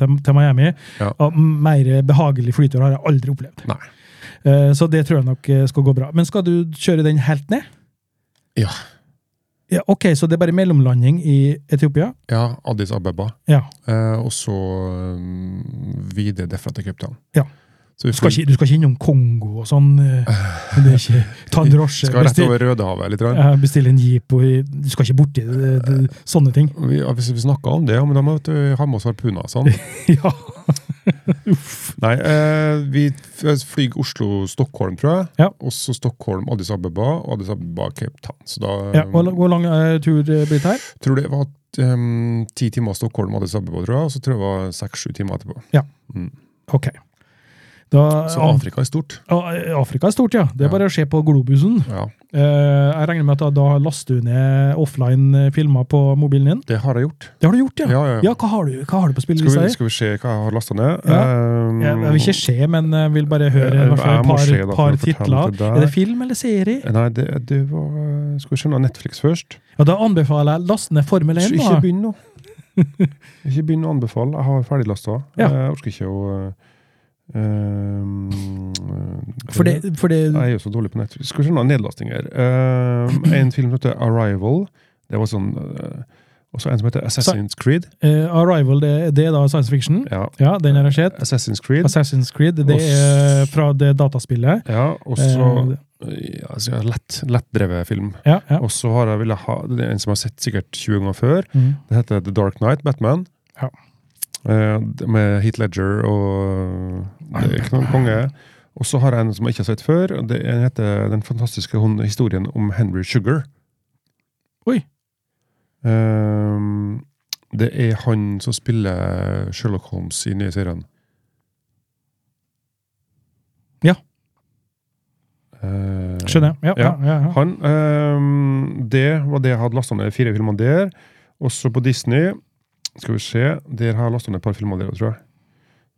S2: til, til Miami.
S1: Ja.
S2: Og mer behagelig flytur har jeg aldri opplevd.
S1: Nei.
S2: Eh, Så det tror jeg nok eh, skal gå bra. Men skal du kjøre den helt ned?
S1: Ja.
S2: ja ok, så det er bare mellomlanding i Etiopia?
S1: Ja, Addis Abeba.
S2: Ja.
S1: Eh, og så um, videre derfra til Cape Town.
S2: Ja.
S1: Så vi
S2: Du skal
S1: flyr-
S2: ikke, du skal ikke innom Kongo og sånn? eh, Det er ikke, ta en drosje,
S1: skal rett
S2: bestill,
S1: over Rødehavet litt. grann.
S2: ja, bestill en jeep og i- Du skal ikke borti det, det, sånne ting.
S1: Vi, ja, hvis vi snakker om det, ja, men da må vi ha med oss harpuner. og Sånn.
S2: Ja.
S1: Nei, eh, vi f- flyr Oslo-Stockholm, tror jeg.
S2: Ja.
S1: Og så Stockholm-Addis Abeba og Addis Abeba Cape Town. Så da
S2: ja. og Hvor lang eh, tur eh, blir det her?
S1: tror det var ehm, ti timer Stockholm-Addis Abeba, tror jeg. Og så tror jeg det var seks-sju timer etterpå.
S2: Ok. Da,
S1: Så Afrika er stort.
S2: Ja, Afrika er stort, ja. Det er
S1: Ja.
S2: bare å se på globusen.
S1: Ja,
S2: Eh, jeg regner med at da, da laster du ned offline eh, filmer på mobilen din.
S1: det har jeg gjort.
S2: Det har du gjort, ja?
S1: Ja, ja, ja.
S2: hva, har du, hva har du på
S1: Skal
S2: spillelista
S1: vi, liksom-
S2: di?
S1: skal vi se hva jeg har lasta ned?
S2: Ja.
S1: Ehm,
S2: Jeg, jeg vil ikke se, men jeg vil bare høre
S1: Jeg-
S2: i hvert fall
S1: jeg
S2: et
S1: må
S2: par,
S1: se, da, for å
S2: par
S1: fortelle
S2: titler.
S1: det der.
S2: er det film eller serie?
S1: Nei, det, det var Skal vi skjønne Netflix først?
S2: Ja, Da anbefaler jeg last ned Formel 1.
S1: ikke
S2: Da.
S1: begynn nå. ikke begynn å anbefale. Jeg har ferdiglasta.
S2: Ja.
S1: Jeg orker ikke å eh, ehm,
S2: For det, for det
S1: Jeg er jo så dårlig på Netflix. Skal vi skjønne nedlastinger. Ehm, en film som heter Arrival. Det var sånn eh, Også en som heter Assassin's Creed.
S2: eh, Arrival, det, det er da science fiction?
S1: Ja,
S2: Ja, den har jeg sett.
S1: Assassin's Creed.
S2: Assassin's Creed, det
S1: Og s-
S2: er fra det dataspillet.
S1: Ja, og så
S2: Eh,
S1: ja, altså, lett, Lettdrevet film.
S2: ja, ja.
S1: Og så har jeg ville ha Det er en som jeg har sett sikkert 20 ganger før.
S2: Mm.
S1: Det heter The Dark Knight, Batman.
S2: Ja.
S1: Eh, det- med Heat Ledger og Det er ikke noen konge. Og så har jeg en som jeg ikke har sett før. og Det den heter Den fantastiske hon- historien om Henry Sugar.
S2: Oi.
S1: Eh, det er han som spiller Sherlock Holmes i nye serien.
S2: Ja.
S1: Eh,
S2: Skjønner jeg. Ja, ja,
S1: Ja.
S2: ja, ja.
S1: han, ehm, det var det jeg hadde lasta ned fire filmer der. Også på Disney. Skal vi se, Der har jeg lasta ned et par filmer der òg, tror jeg.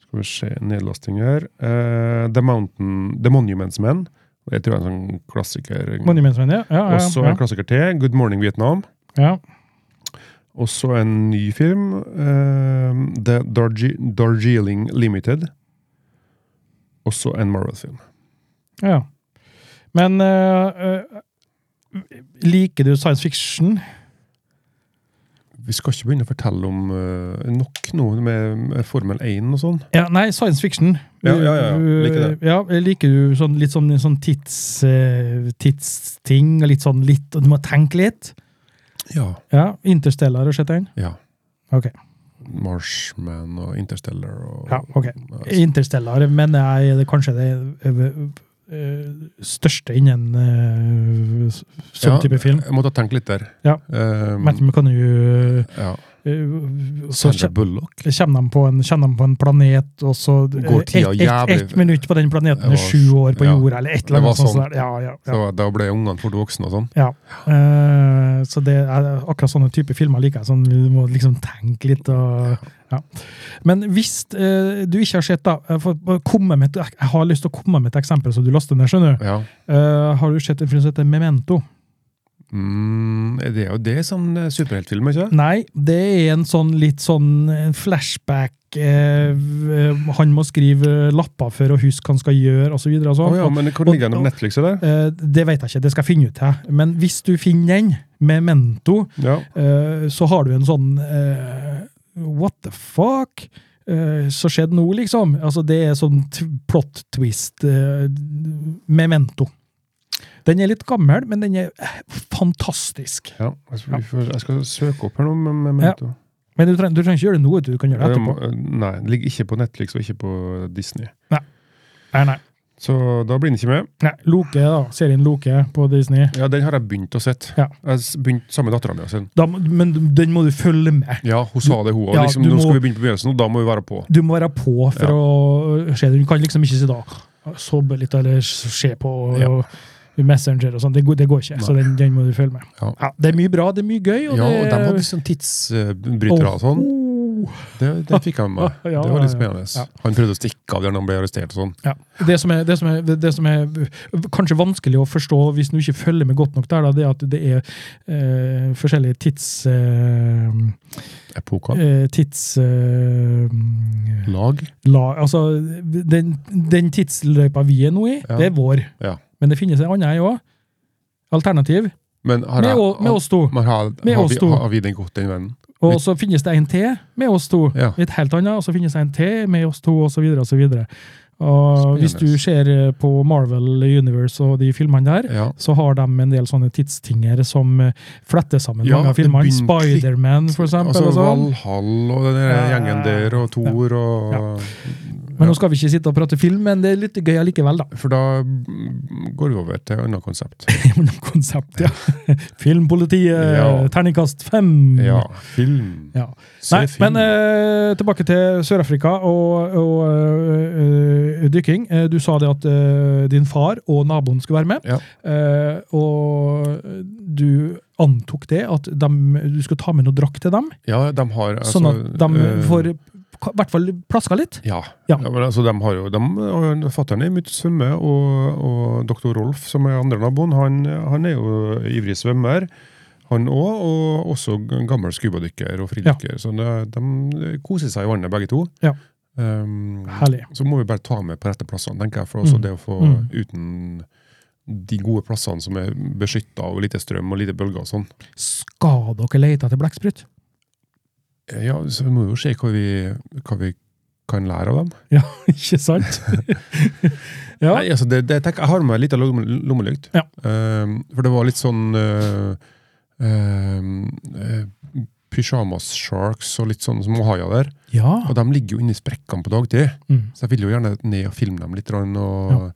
S1: Skal vi se, Nedlastinger. Eh, The Mountain, The Monuments Men. Det tror jeg er en sånn klassiker.
S2: Monumentsmenn, ja. Ja, ja,
S1: Også
S2: ja.
S1: en klassiker til. Good Morning Vietnam.
S2: ja.
S1: Også en ny film. ehm, The Darji Darjeeling Limited. Også en Marvel-film.
S2: Ja. Men eh, eh, liker du science fiction?
S1: Vi skal ikke begynne å fortelle om eh, nok noe med, med Formel 1 og sånn.
S2: Ja, nei, science fiction.
S1: Ja, ja, ja, ja.
S2: Uh,
S1: Liker det.
S2: Ja, liker du sånn, litt sånn, sånn tids, eh, tidsting, og litt sånn litt, og du må tenke litt?
S1: Ja.
S2: Ja, Interstellar har du sett den?
S1: Ja.
S2: Ok.
S1: Marshman og Interstellar og
S2: Ja, ok. Interstellar mener jeg er det kanskje det eh, eh, største innen eh, s- sånn
S1: Ja,
S2: type film.
S1: Jeg måtte tenke litt der.
S2: Ja.
S1: Um,
S2: Matthew McConaughey
S1: ja.
S2: eh, så
S1: Sandra Bullock.
S2: Kjenner de, på en, kjenner de på en planet, og så
S1: Går tida
S2: ett- ett-
S1: jævlig-
S2: ett minutt på den planeten
S1: Det var-
S2: er sju år på
S1: ja.
S2: jorda, eller et
S1: Det
S2: eller annet
S1: var
S2: sånt.
S1: sånn.
S2: sånt der. Ja, ja, ja.
S1: Så da ble ungene fort voksne og sånn.
S2: ja. Eh, så det er akkurat sånne type filmer liker jeg. Sånn, du må liksom tenke litt og ja. Men hvis eh, du ikke har sett da, jeg får bare komme med, et- Jeg har lyst til å komme med et eksempel, så du laster ned, skjønner du.
S1: Ja.
S2: Eh, har du sett en film som heter Memento?
S1: Mm, det er jo det som eh, superheltfilm, ikke
S2: Nei, det er en sånn litt sånn eh, flashback eh, v- Han må skrive lapper for å huske hva han skal gjøre, osv.
S1: Å ja, men hvor ligger den på Netflix, eller?
S2: sånn. Eh, det vet jeg ikke, det skal jeg finne ut. Her. Men hvis du finner den, Memento,
S1: Ja.
S2: eh, så har du en sånn eh, What the fuck? Eh, så skjedde nå, liksom. Altså, det er sånn t plot twist. Eh, memento. Den er litt gammel, men den er eh, fantastisk.
S1: ja. Jeg, skal, vi får- jeg skal søke opp her nå. Med, med
S2: Ja.
S1: Memento.
S2: Men du trenger, du trenger ikke gjøre det nå, vet du du kan gjøre det
S1: Jeg
S2: etterpå.
S1: må- eh, Nei, den ligger ikke på Netflix og ikke på Disney.
S2: Nei, nei.
S1: Så da blir den ikke med.
S2: nei Loke, da. Serien Loke på Disney.
S1: Ja, Den har jeg begynt å sett.
S2: Ja.
S1: Jeg s- begynte sammen med dattera mi.
S2: Da, må- men den må du følge med.
S1: Ja, hun sa det, hun òg.
S2: Ja,
S1: liksom,
S2: du
S1: nå
S2: må-
S1: skal vi begynne på begynnelsen, og da må vi være på.
S2: Du må være på for
S1: Ja.
S2: å se det. Du kan liksom ikke si da sove litt eller se på og,
S1: Ja.
S2: og Messenger og sånn. Det, går- det går ikke. Så den, den må du følge med.
S1: Ja.
S2: det er mye bra, det er mye gøy. Og
S1: Ja, og
S2: det,
S1: de hadde sånn tidsbrytere og sånn.
S2: Oh.
S1: Det, det fikk han med.
S2: Ja,
S1: det var litt
S2: ja, ja.
S1: spennende.
S2: Ja.
S1: Han prøvde å stikke av der når han ble arrestert og sånn.
S2: Ja. Det, som er, det, som er, det som er kanskje vanskelig å forstå hvis du ikke følger med godt nok der, da, det er at det er eh, forskjellige tids... Eh,
S1: Epoka.
S2: eh, tids... Eh,
S1: Lag.
S2: la, altså, den, den tidsløypa vi er nå i,
S1: Ja.
S2: det er vår.
S1: Ja.
S2: Men det finnes en annen ei òg. Alternativ.
S1: Men har,
S2: Med,
S1: jeg,
S2: å- med oss to.
S1: men har,
S2: Med
S1: har,
S2: oss
S1: vi,
S2: to.
S1: har vi den godt, den vennen?
S2: Og så finnes det en til med oss to.
S1: Ja.
S2: Et helt annet. Og så finnes det en til med oss to, osv. osv. Og hvis du
S1: Spennende.
S2: ser eh, på Marvel Universe og de filmene der,
S1: Ja.
S2: så har de en del sånne tidstinger som eh, fletter sammen
S1: Ja,
S2: mange av
S1: det
S2: filmene.
S1: begynte litt-
S2: Spiderman, for eksempel.
S1: Altså
S2: og sånn.
S1: Valhall og den der
S2: Ja.
S1: gjengen der, og Thor og
S2: Ja. Men nå skal vi ikke sitte og prate film, men det er litt gøy allikevel, da.
S1: For da mm, går vi over til et annet konsept.
S2: Gjennom konsept, ja. Filmpolitiet,
S1: Ja.
S2: terningkast fem.
S1: Ja, film.
S2: Ja.
S1: Se
S2: Nei,
S1: film.
S2: men eh, tilbake til Sør-Afrika og, og eh, eh, dykking. Eh, Du sa det at eh, din far og naboen skulle være med.
S1: Ja.
S2: Eh, og du antok det, at dem, du skulle ta med noe drakt til dem,
S1: ja, de har altså,
S2: sånn at de
S1: eh,
S2: får i hvert fall plaska litt.
S1: Ja.
S2: Ja.
S1: ja. men altså, de har jo, de, og Fattern er mye ute og svømmer, og, og doktor Rolf, som er andre naboen, han, han er jo ivrig svømmer. Han òg, og også gammel skubadykker og fridykker. Så de, de koser seg i vannet, begge to.
S2: Ja.
S1: Um,
S2: Herlig.
S1: så må vi bare ta med på rette plassene, tenker jeg. For også
S2: Mm.
S1: det å få
S2: Mm.
S1: uten de gode plassene som er beskytta av lite strøm og lite bølger og sånn.
S2: Skal dere lete etter blekksprut?
S1: Ja, så vi må jo se hva vi, hva vi kan lære av dem.
S2: Ja, ikke sant? ja.
S1: Nei, altså det, det, tenker, jeg har med meg litt av lomme, lommelykt.
S2: Ja.
S1: Ehm, for det var litt sånn uh, eh, Pyjamas sharks og litt sånn som ohaier der.
S2: ja.
S1: Og de ligger jo inni sprekkene på dagtid.
S2: Mm.
S1: Så jeg vil jo gjerne ned og filme dem litt. grann, Og,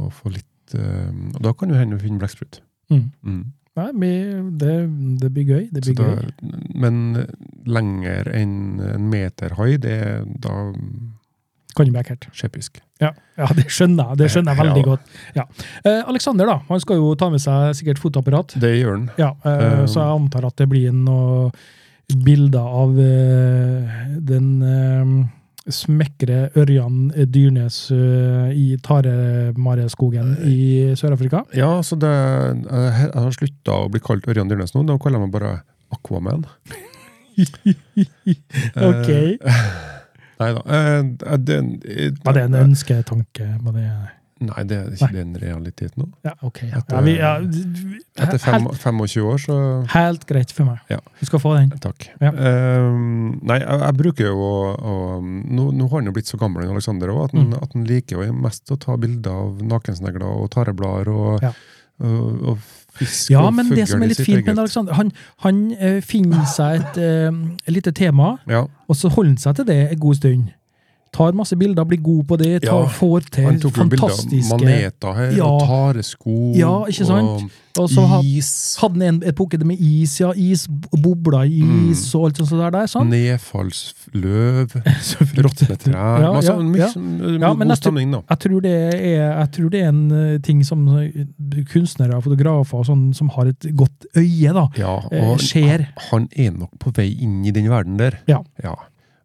S1: og få litt ehm, Og da kan jo hende vi finner blekksprut.
S2: Mm.
S1: Mm.
S2: Nei, vi- det, det blir gøy. Det
S1: Så
S2: blir gøy.
S1: da- Men eh, lenger enn en meter høy, det er da
S2: Kan bli ekkelt.
S1: skjepisk.
S2: Ja, ja det skjønner jeg. Det skjønner jeg
S1: Ja.
S2: veldig godt. Ja. Eh, Alexander da, han skal jo ta med seg sikkert fotoapparat.
S1: Det gjør den.
S2: Ja, eh,
S1: Eh,
S2: så jeg antar at det blir noen bilder av eh, den eh, smekre Ørjan Dyrnes eh, i Taremareskogen i Sør-Afrika.
S1: Ja, så det, jeg jeg har slutta å bli kalt Ørjan Dyrnes nå. Da kaller jeg meg bare Aquaman.
S2: Ok.
S1: Nei da. eh, eh, Det, eh,
S2: Var det en ønsketanke? Var det,
S1: Nei, det er ikke den realiteten nå.
S2: ja, ok. Ja.
S1: Etter-
S2: Ja, vi, ja,
S1: Etter fem,
S2: helt,
S1: 25 år, så
S2: helt greit for meg.
S1: Ja.
S2: Du skal få den.
S1: Takk.
S2: Ja.
S1: Eh, nei, jeg, jeg bruker jo å, å nå, nå har han jo blitt så gammel, Aleksander, at, han-
S2: Mm.
S1: at han liker jo mest å ta bilder av nakensnegler og tareblader og,
S2: Ja.
S1: og, og fisk
S2: Ja,
S1: og
S2: men det som
S1: fugl i
S2: er litt
S1: sitt
S2: fint med
S1: eget-
S2: Alexander, han, han eh, finner seg et eh, lite tema,
S1: ja,
S2: og så holder han seg til det en god stund. Tar masse bilder, blir god på det, tar,
S1: Ja,
S2: får
S1: Han
S2: til
S1: tok jo bilder av
S2: Eh, fantastiske
S1: maneter her,
S2: Ja.
S1: og taresko
S2: Ja, ikke sant? Og så ha-
S1: og is.
S2: hadde han en, et pocket med is, ja, is, bo- bobler i
S1: Mm.
S2: is og alt sånt der. der sant?
S1: Nedfallsløv,
S2: Selvfølgelig.
S1: råtne trær
S2: Ja,
S1: masse,
S2: ja,
S1: mye,
S2: ja.
S1: mye
S2: Ja, men
S1: God
S2: jeg tror-
S1: stemning, da.
S2: Jeg tror, det er, jeg tror det er en eh, ting som eh, kunstnere og fotografer og sånn, som har et godt øye, da,
S1: Ja,
S2: eh,
S1: og
S2: ser.
S1: han er nok på vei inn i den verden der.
S2: Ja.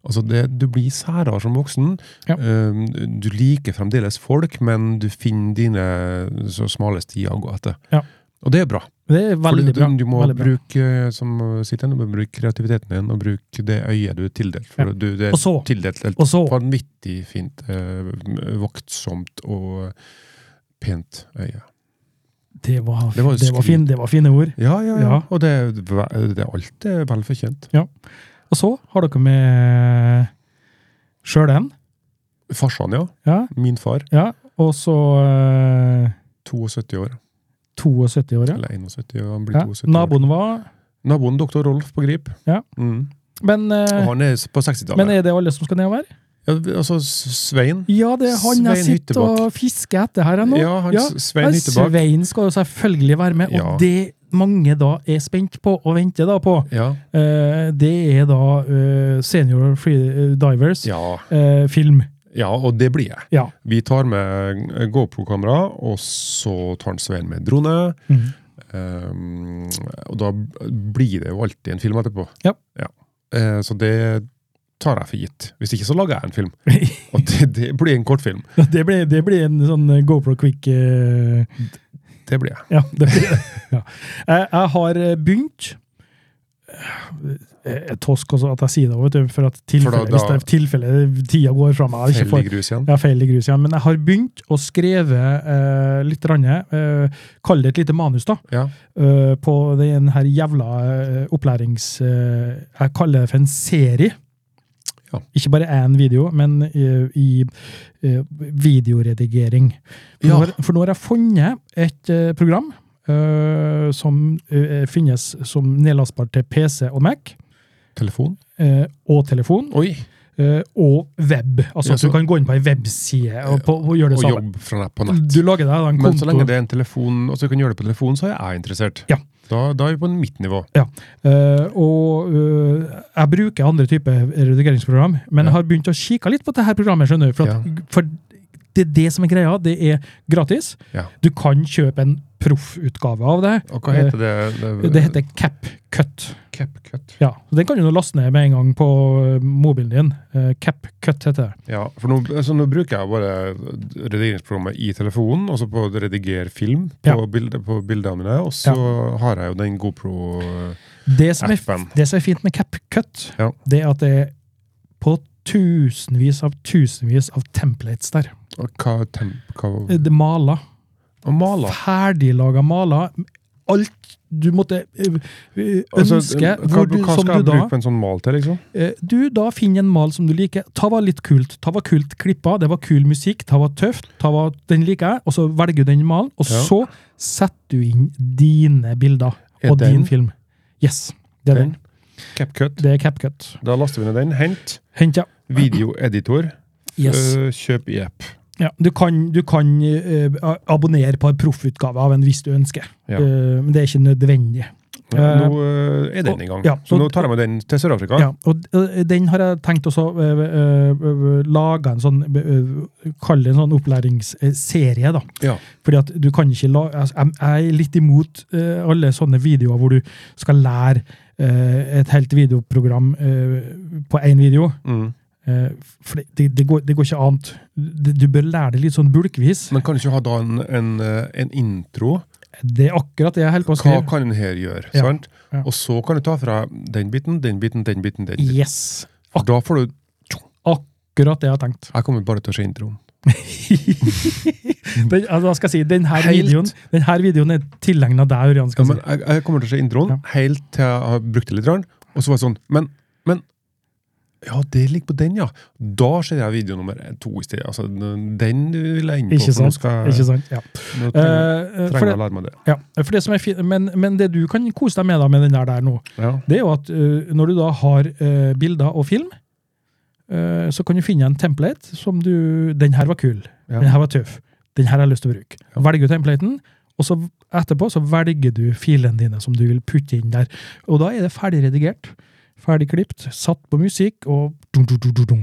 S1: Altså det, du blir særere som voksen.
S2: Ja.
S1: Um, Du liker fremdeles folk, men du finner dine så smale stier å gå etter.
S2: Ja.
S1: Og det er bra.
S2: Det er
S1: For
S2: veldig
S1: du,
S2: bra.
S1: du må
S2: veldig bra.
S1: bruke eh, som sitter, du må bruke kreativiteten din, og bruke det øyet du er tildelt. For
S2: Ja.
S1: du, det er
S2: Og så-
S1: tildelt helt
S2: Og så
S1: vanvittig fint, eh, voktsomt og pent øye.
S2: Det var,
S1: Det var jo
S2: det var,
S1: skryt.
S2: fin, det var fine ord.
S1: Ja, ja, ja.
S2: Ja.
S1: Og det, er ve- det er alt er vel fortjent.
S2: Og så har dere med eh, sjøl en.
S1: Farsan, ja.
S2: Ja.
S1: Min far.
S2: ja. Og så eh,
S1: 72 år.
S2: 72 år, ja.
S1: Eller 71, ja, han blir
S2: ja.
S1: 72 år.
S2: Naboen var
S1: Naboen doktor Rolf på Grip.
S2: Ja.
S1: Mm.
S2: men, eh,
S1: Og han er på
S2: men eh,
S1: 60-tallet.
S2: er det alle som skal nedover?
S1: Ja, altså Svein.
S2: Ja, det er han jeg
S1: Svein
S2: sitter og fisker etter her ennå.
S1: Ja, han,
S2: Ja,
S1: Svein
S2: Men
S1: Hyttebakk.
S2: Svein skal jo selvfølgelig være med, og
S1: Ja.
S2: det mange da er spent på og venter da på,
S1: Ja.
S2: eh, det er da eh, Senior Free Divers
S1: Ja.
S2: eh, film.
S1: ja, og det blir jeg.
S2: Ja.
S1: Vi tar med eh, GoPro-kamera, og så tar han Svein med drone.
S2: Mhm.
S1: Um, og da blir det jo alltid en film etterpå.
S2: Ja.
S1: Eh, så det tar jeg for gitt. Hvis ikke så lager jeg en film. Og det, det blir en kortfilm.
S2: Det blir, det blir en sånn GoPro Quick eh,
S1: Det blir jeg.
S2: Ja, det blir det. Ja. Jeg, jeg har eh, begynt Eh, eh, Tosk også at jeg sier det, vet du, for at tilfelle,
S1: da-
S2: hvis det er tilfelle tida går fra meg. Jeg, ikke
S1: Feil i
S2: får,
S1: grus igjen.
S2: jeg har feil i grus igjen, men jeg har begynt å skrive eh, litt, rann, eh, kall det et lite manus, da,
S1: Ja.
S2: eh, på den her jævla eh, opplærings... Eh, jeg kaller det for en serie.
S1: Ja.
S2: Ikke bare én video, men eh, i eh, videoredigering. For,
S1: Ja.
S2: nå, har- for nå har jeg funnet et eh, program eh, som eh, finnes som nedlastbar til PC og Mac
S1: Telefon.
S2: eh, og telefon.
S1: Oi!
S2: eh, og web. Altså
S1: Ja,
S2: at du
S1: så-
S2: kan gå inn på ei webside og, på, og gjøre det
S1: Og
S2: samme.
S1: jobb fra nett på nett.
S2: Du lager deg da en
S1: Men så
S2: konto.
S1: lenge det er en telefon, og så kan du gjøre det på telefon, så er jeg interessert.
S2: Ja.
S1: Da, da er vi på mitt nivå.
S2: Eh, og eh, jeg bruker andre typer redigeringsprogram, men
S1: Ja.
S2: jeg har begynt å kikke litt på dette programmet. skjønner du, For, at, for det er det som er greia. Det er gratis.
S1: Ja.
S2: Du kan kjøpe en proffutgave av det.
S1: Og hva heter det?
S2: Eh, Det heter CapCut.
S1: CapCut.
S2: Ja, og Den kan du nå laste ned med en gang på eh, mobilen din. Eh, CapCut heter det.
S1: Ja, for nå, så nå bruker jeg bare redigeringsprogrammet i telefonen, og så på å redigere film på,
S2: Ja.
S1: bilde, på bildene mine, og så har jeg jo den GoPro-appen.
S2: Det som, er, det som er fint med CapCut,
S1: Ja.
S2: det er at det er på tusenvis av tusenvis av templates der.
S1: Og hva temp... Hva,
S2: Eh, Det er maler.
S1: og maler.
S2: Ferdiglaga maler. Alt du måtte eh, eh, ønske.
S1: Altså, hva,
S2: hvor du,
S1: hva
S2: som
S1: skal jeg
S2: du da
S1: bruke på en sånn mal til, liksom?
S2: Eh, Du, da finn en mal som du liker. Ta var litt kult. Ta var kult klippa, det var kul musikk, ta var tøft, ta var den liker jeg, og så velger du den malen, og
S1: Ja.
S2: så setter du inn dine bilder
S1: Er
S2: og
S1: den-
S2: din film. Yes, det er den.
S1: Den? CapCut.
S2: Det er CapCut.
S1: Da laster vi ned den. Hent.
S2: Hent, ja.
S1: Videoeditor.
S2: Yes.
S1: Øh, kjøp i app.
S2: ja. Du kan, du kan eh, abonnere på en proffutgave av en hvis du ønsker,
S1: Ja.
S2: Eh, men det er ikke nødvendig.
S1: Ja,
S2: Eh,
S1: nå øh, er den i gang.
S2: ja,
S1: så nå
S2: og-
S1: tar jeg med den til Sør-Afrika.
S2: Ja, og ø, den har jeg tenkt også ø, ø, ø, lage en sånn ø, ø, Kall det en sånn opplæringsserie, da.
S1: Ja.
S2: Fordi at du kan ikke la altså, Jeg jeg er litt imot ø, alle sånne videoer hvor du skal lære ø, et helt videoprogram ø, på én video.
S1: Mm.
S2: Eh, For det, det, det, går, det går ikke annet. Du, du bør lære det litt sånn bulkvis.
S1: Men kan du ikke ha da en, en, øh, en intro?
S2: Det er akkurat det jeg holder på å
S1: Hva
S2: skrive.
S1: kan den her gjøre?
S2: Ja,
S1: Sant?
S2: ja.
S1: Og så kan du ta fra den biten, den biten, den biten. den biten.
S2: Yes!
S1: For Da får du
S2: Akkurat det jeg har tenkt.
S1: Jeg kommer bare til å se introen.
S2: Den, altså, hva skal jeg si, den her
S1: Helt.
S2: videoen, den her videoen er tilegna deg, Ørjan.
S1: Ja,
S2: Skal jeg si.
S1: men jeg, jeg kommer til å se introen
S2: Ja.
S1: helt til jeg har brukt det litt, grann, og så var det sånn Men, men Ja, det ligger på den, ja. Da ser jeg video nummer to i stedet. Altså, den vil jeg inn på.
S2: Ikke
S1: for nå
S2: sant,
S1: skal jeg-
S2: Ikke sant? Ja.
S1: Nå eh, trenger,
S2: Eh, for,
S1: trenger jeg å
S2: det,
S1: lære meg det.
S2: ja. for det som er fint, men, men det du kan kose deg med da, med den der, der nå,
S1: Ja.
S2: det er jo at eh, når du da har eh, bilder og film, eh, så kan du finne en template som du Den her var kul.
S1: Ja.
S2: Den her var tøff. Den her har jeg lyst til å bruke.
S1: Ja.
S2: Velger du templaten, og så etterpå så velger du filene dine som du vil putte inn der. Og da er det ferdig redigert. Ferdig klipt, satt på musikk og dung, dung, dung, dung, dung.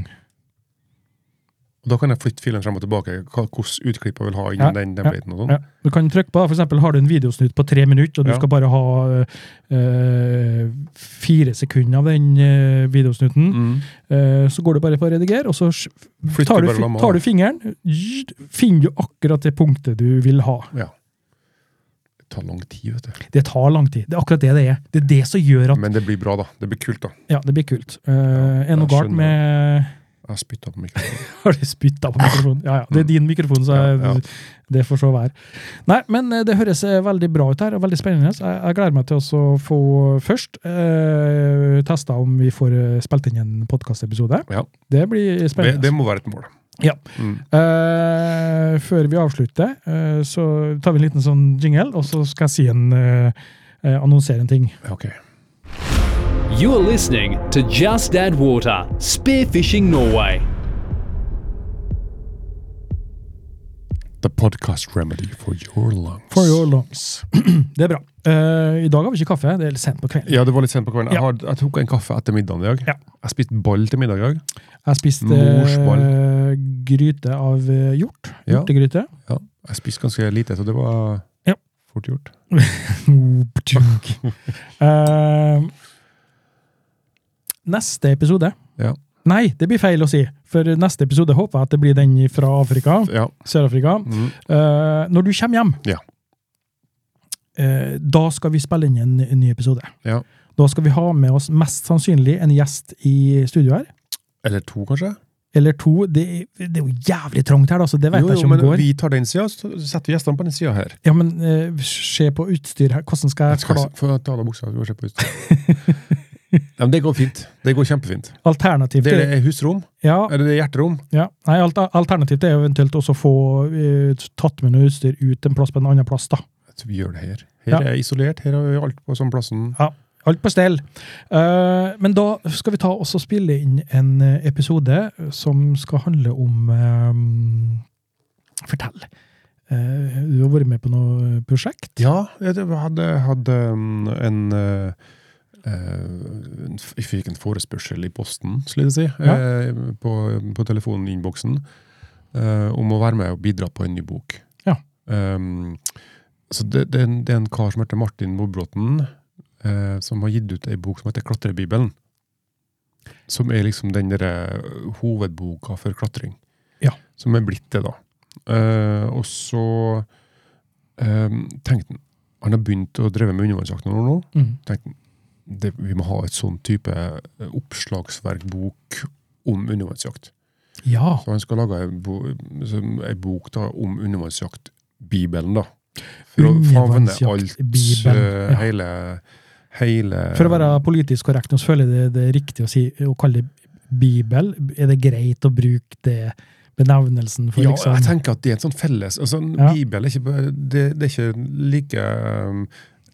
S1: Og da kan jeg flytte filen frem og tilbake, hva- hvordan utklipp jeg vil ha innen
S2: Ja,
S1: den, den
S2: ja,
S1: biten. og sånn.
S2: Ja. Du kan trykke på, for eksempel har du en videosnutt på tre minutter, og du
S1: Ja.
S2: skal bare ha eh, fire sekunder av den eh, videosnutten,
S1: Mm.
S2: eh, så går du bare på å redigere, og så sj-
S1: Flytter
S2: tar du,
S1: bare
S2: fi-
S1: lamma.
S2: tar du fingeren, zzzt, finner du akkurat det punktet du vil ha.
S1: Det tar lang tid, vet du.
S2: Det tar lang tid. Det er akkurat det det er. Det er det som gjør at
S1: Men det blir bra, da. Det blir kult, da.
S2: Ja, det blir kult. Eh, er noe
S1: jeg
S2: galt
S1: skjønner.
S2: med
S1: Jeg spytta på mikrofonen.
S2: Har du spytta på mikrofonen? Ja, ja. Det er din mikrofon, så
S1: Ja, ja.
S2: det får så være. Nei, men eh, det høres eh, veldig bra ut her, og veldig spennende. Så Jeg, jeg gleder meg til også å få først eh, testa om vi får eh, spilt inn en podkastepisode.
S1: Ja.
S2: Det blir
S1: Det,
S2: spennende.
S1: det må være et mål.
S2: Ja.
S1: Mm.
S2: Eh, før vi avslutter, eh, så tar vi en liten sånn jingle, og så skal jeg si en eh, eh, annonsere en ting.
S1: Ok.
S3: You are listening to Just Add Water, Spearfishing Norway.
S1: The podcast remedy for your lungs.
S2: For your lungs. det er bra. Eh, I dag har vi ikke kaffe, det er litt sent på kvelden.
S1: Ja, det var litt sent på kvelden. Jeg,
S2: Ja.
S1: har, jeg tok en kaffe etter middagen i dag.
S2: Ja.
S1: Jeg spiste ball til middag i dag.
S2: Jeg spiste
S1: Morsball.
S2: eh, gryte av eh, hjort.
S1: Ja.
S2: Hjortegryte.
S1: Ja. Jeg spiste ganske lite, så det var
S2: Ja.
S1: fort gjort.
S2: Eh, neste episode
S1: Ja.
S2: Nei, det blir feil å si. For neste episode håper jeg at det blir den fra Afrika.
S1: Ja.
S2: Sør-Afrika.
S1: Mm.
S2: Eh, når du kommer hjem,
S1: Ja.
S2: eh, da skal vi spille inn en, en ny episode.
S1: Ja.
S2: Da skal vi ha med oss mest sannsynlig en gjest i studio her.
S1: Eller to, kanskje?
S2: Eller to. Det, det er jo jævlig trangt her, da, så det vet
S1: Jo,
S2: jeg
S1: jo,
S2: ikke om
S1: men
S2: det går.
S1: vi tar den sida, så setter vi gjestene på den sida her.
S2: Ja, men eh, se på utstyr her. Hvordan skal jeg
S1: Skal
S2: kla-
S1: jeg få ta av deg buksa? Du må se på utstyret. ja, men det går fint. Det går kjempefint.
S2: Alternativt
S1: Det
S2: er
S1: er husrom.
S2: ja,
S1: Eller det er hjerterom.
S2: ja. Nei, alter- alternativt er jo eventuelt også å få eh, tatt med noe utstyr ut en plass på en annen plass, da.
S1: Jeg tror vi gjør det her.
S2: Ja.
S1: Her er isolert. Her har vi alt på sånn plassen.
S2: Ja. Alt på stell. Eh, men da skal vi ta oss og spille inn en eh, episode som skal handle om eh, Fortell. Eh, du har vært med på noe prosjekt?
S1: Ja, jeg det- hadde, hadde um, en eh, eh, en f- Jeg fikk en forespørsel i posten, skulle jeg si,
S2: Ja.
S1: eh, på, på telefonen i innboksen, eh, om å være med og bidra på en ny bok.
S2: Ja.
S1: Um, så det, det, er en, det er en kar som heter Martin Bobråten, eh, som har gitt ut ei bok som heter Klatrebibelen. Som er liksom den derre hovedboka for klatring.
S2: Ja.
S1: Som er blitt det, da. Eh, og så um, tenkte han Han har begynt å dreve med undervannsjakt noen år nå.
S2: Mm.
S1: Tenkte han, det, Vi må ha et sånn type eh, oppslagsverkbok om undervannsjakt.
S2: Ja.
S1: Så han skal lage ei bo, som ei bok da, om undervannsjaktbibelen, da. For å favne alt,
S2: Undervannsjaktbibelen,
S1: eh,
S2: ja.
S1: hele, hele
S2: For å være politisk korrekt, nå så føler jeg det, det er riktig å, si, å kalle det bibel. Er det greit å bruke det benevnelsen for
S1: ja,
S2: liksom
S1: jeg tenker at det er en sånn felles altså, en
S2: Ja.
S1: Bibel er ikke, bare- det, det er ikke like um,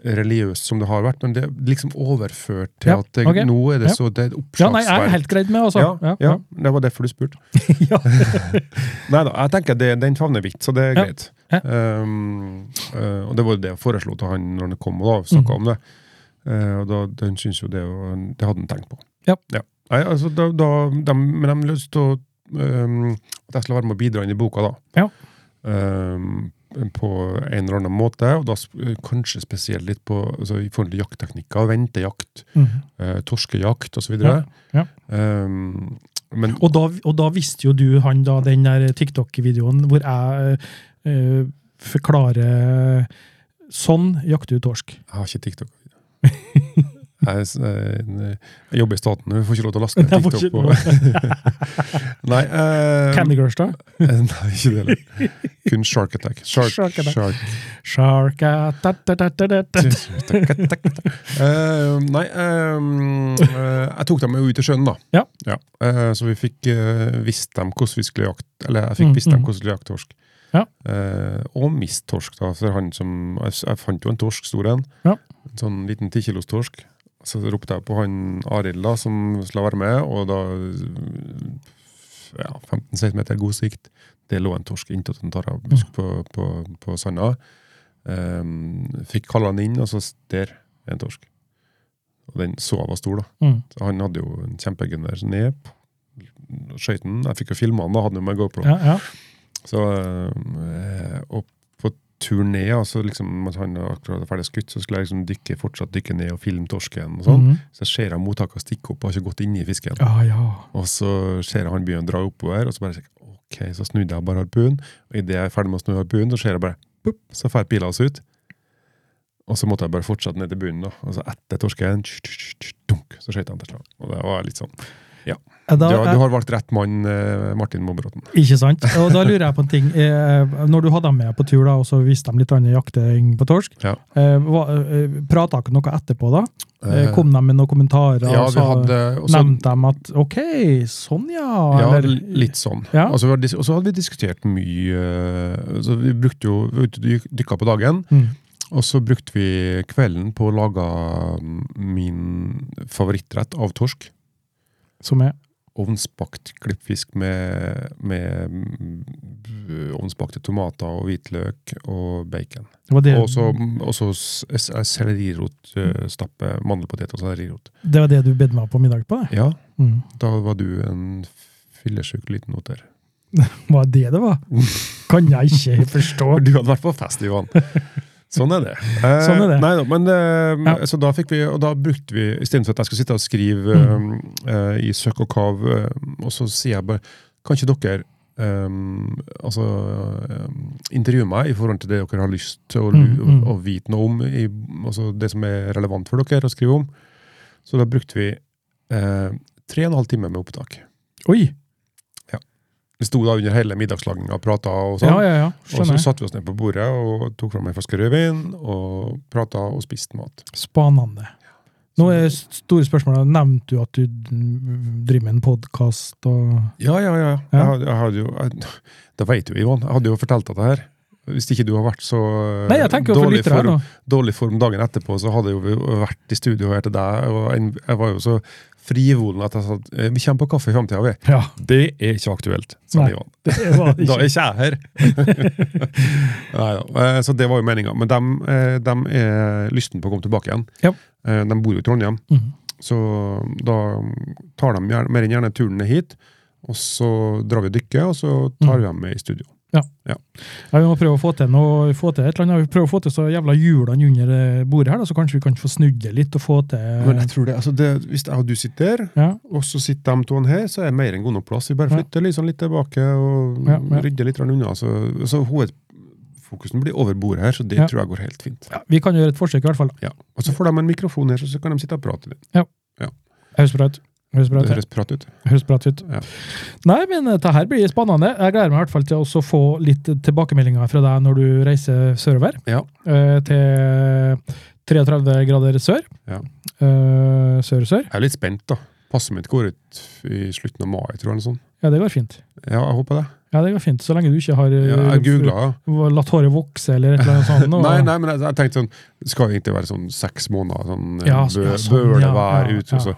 S1: religiøst som det har vært, men det er liksom overført til
S2: Ja,
S1: at det,
S2: ok.
S1: nå er det
S2: Ja.
S1: så det er et
S2: Ja, nei, jeg er
S1: oppslagsverk.
S2: helt greit med, altså.
S1: Ja, ja, det var derfor du spurte.
S2: Ja.
S1: Nei da, jeg tenker det, den favner vidt, så det er
S2: Ja.
S1: greit.
S2: Ja.
S1: Um, uh, og det var jo det jeg foreslo til han når han kom og da snakka om det. Uh, og da, den synes jo det, var- det hadde han tenkt på.
S2: Ja.
S1: Nei, altså, da, da, de, men de har lyst til å um, at jeg skulle være med og bidra inn i boka, da.
S2: Ja.
S1: Um, på en eller annen måte, og da sp- kanskje spesielt litt på altså, i forhold til jaktteknikker. Ventejakt,
S2: Mhm.
S1: uh, torskejakt osv.
S2: Ja, ja.
S1: Um, men
S2: Og, da, og da visste jo du han da, den der TikTok-videoen hvor jeg eh, forklarer Sånn jakter du torsk.
S1: Jeg har ikke TikTok. Jeg, s- eh, jeg jobber i staten, jeg får ikke lov til å laste ned
S2: Jeg får
S1: TikTok.
S2: ikke
S1: På. Nei, eh,
S2: Candy Crush, da?
S1: nei, ikke det heller. Kun Shark Attack. Shark,
S2: Shark
S1: shark
S2: Attack. Shark eh, ta, ta, ta, ta, ta, ta.
S1: Eh, nei, eh, eh, jeg tok dem jo ut i sjøen, da.
S2: Ja.
S1: Eh, så vi fikk eh, visst dem hvordan vi skulle jakte Eller jeg fikk
S2: Mm,
S1: visst dem
S2: mm.
S1: hvordan vi skulle jakte torsk.
S2: Ja.
S1: Eh, og mist torsk, da. For han som, jeg, jeg fant jo en torsk, stor en.
S2: Ja.
S1: En sånn liten tikilos torsk. Så ropte jeg på han Arild, da, som skulle være med, og da ja, 15 cm god sikt. Det lå en torsk inntil en tarabusk på, på, på sanda. Ehm, fikk kalla han inn, og så der er en torsk. Og den så jeg var stor, da.
S2: Mm.
S1: Så han hadde jo en kjempegunner ned. Skøyt den. Jeg fikk jo filma han, da. Hadde han med GoPro.
S2: Ja, ja.
S1: Så, øh, og på tur ned, altså liksom, mens han akkurat var ferdig skutt, så skulle jeg liksom dykke, fortsatt dykke ned og filme torsken. og sånn.
S2: Mhm.
S1: Så ser jeg mottaket stikke opp og har ikke gått inn i fisken.
S2: ja, ja.
S1: Og så ser jeg han begynner å dra oppover, og så bare tenker jeg, ok, så snudde jeg bare harpunen. Og idet jeg er ferdig med å snu harpunen, så ser jeg bare pop, så drar pila oss ut. Og så måtte jeg bare fortsette ned til bunnen, da. Og så etter torsken, tsk, tsk, tsk, dunk, så skjøt jeg den til slag. Og det var litt sånn.
S2: Ja,
S1: Du,
S2: Da,
S1: har- du har valgt rett mann, eh, Martin Mobberåten.
S2: Ikke sant? Og da lurer jeg på en ting. Eh, Når du hadde dem med på tur, da, og så viste dem litt annen jakting på torsk,
S1: Ja.
S2: eh, hva- eh, prata dere noe etterpå da? Eh, Kom de med noen kommentarer?
S1: ja,
S2: og
S1: vi
S2: så
S1: hadde, og så-
S2: Nevnte de at OK, sånn ja?
S1: Ja,
S2: eller-
S1: l- litt sånn.
S2: Ja.
S1: Og så var dis- og så hadde vi diskutert mye eh, altså Vi brukte jo, vi var ute og dyk- dykka på dagen,
S2: Mm.
S1: og så brukte vi kvelden på å lage mm, min favorittrett av torsk.
S2: Som er
S1: Ovnsbakt klippfisk med, med mm, ovnsbakte tomater og hvitløk og bacon.
S2: det var det,
S1: Og så og så s- s- sellerirot, eh, stappe, mandelpotet og sellerirot.
S2: det var det du bedde meg på middag på? Det.
S1: Ja,
S2: Mm.
S1: da var du en fyllesyk liten oter.
S2: Var det det var? Kan jeg ikke
S1: For
S2: forstå.
S1: du hadde vært på fest, Ivan. Sånn er det. Eh,
S2: Sånn er det.
S1: Nei, da, men, eh,
S2: Ja.
S1: Så da fikk vi, og da brukte vi, istedenfor at jeg skulle sitte og skrive
S2: Mm.
S1: eh, eh, i søkk og kav, eh, og så sier jeg bare Kan ikke dere eh, altså, eh, intervjue meg i forhold til det dere har lyst til å, lu-
S2: Mm, mm.
S1: å, å vite noe om, i, altså det som er relevant for dere å skrive om? Så da brukte vi eh, tre og en halv time med opptak.
S2: Oi!
S1: Vi sto da under hele middagslaginga og prata og sånn.
S2: Ja, ja, ja.
S1: Og så
S2: Skjønner. jeg.
S1: satte vi oss ned på bordet og tok fram en flaske rødvin og prata og spiste mat.
S2: Spanende. Nå
S1: Sånn.
S2: er s- store spørsmålet. Nevnte du at du mm, driver med en podkast og
S1: Ja, ja, ja.
S2: Ja.
S1: Jeg, had- jeg hadde jo, jeg, det vet jo Ivan. Jeg hadde jo fortalt deg det her. Hvis ikke du har vært så eh,
S2: Nei, jeg tenker jo for
S1: dårlig,
S2: lyttere her
S1: form,
S2: nå.
S1: dårlig form dagen etterpå, så hadde jo vi jo vært i studio her til deg, og en- jeg var jo så frivolen at jeg sa at eh, vi kommer på kaffe i framtida, vi.
S2: Ja,
S1: Det er ikke aktuelt, sa
S2: Nei.
S1: Ivan.
S2: det var det
S1: Da
S2: ikke.
S1: er ikke jeg her! Neida, eh, Så det var jo meninga. Men de, er lysten på å komme tilbake igjen.
S2: Ja.
S1: Eh, De bor jo i Trondheim,
S2: Mhm.
S1: så da tar de gjerne, mer enn gjerne turene hit. Og så drar vi og dykker, og så tar vi dem med i studio.
S2: Ja, vi må prøve å få til noe, få til et eller annet. Vi prøver å få til så jævla hjulene under eh, bordet her, da, så kanskje vi kan få snudd det litt og få til
S1: Men jeg tror det, altså det, Hvis jeg og du sitter der,
S2: ja,
S1: og så sitter de to her, så er det mer enn god nok plass. Vi bare
S2: Ja.
S1: flytter liksom litt tilbake og
S2: Ja, ja.
S1: rydder litt grann unna. Så, så hovedfokusen blir over bordet her, så det
S2: Ja.
S1: tror jeg går helt fint.
S2: ja, Vi kan gjøre et forsøk, i hvert fall.
S1: Ja. Og så får de en mikrofon her, så, så kan de sitte og prate. litt.
S2: Høres bra ut. Høres bra
S1: Det
S2: ut.
S1: høres prat ut.
S2: Høres bra ut.
S1: Ja.
S2: Nei, men dette her blir spennende. Jeg gleder meg i hvert fall til å også få litt tilbakemeldinger fra deg når du reiser sørover.
S1: Ja.
S2: eh, Til 33 grader sør.
S1: Ja.
S2: Eh, Sør-sør.
S1: Jeg er litt spent, da. Passet mitt går ut i slutten av mai, tror jeg. eller sånn.
S2: Ja, det går fint.
S1: Ja, jeg håper det.
S2: Ja, det går fint, Så lenge du ikke har eh,
S1: Ja, jeg googla. Ja.
S2: latt håret vokse eller et eller annet sånt. og-
S1: Nei, nei, men jeg, jeg tenkte sånn Det skal jo egentlig være sånn seks måneder. sånn
S2: Ja,
S1: eh,
S2: så-
S1: bø,
S2: ja, sånn,
S1: Bør det
S2: ja,
S1: være
S2: ja,
S1: ut, og så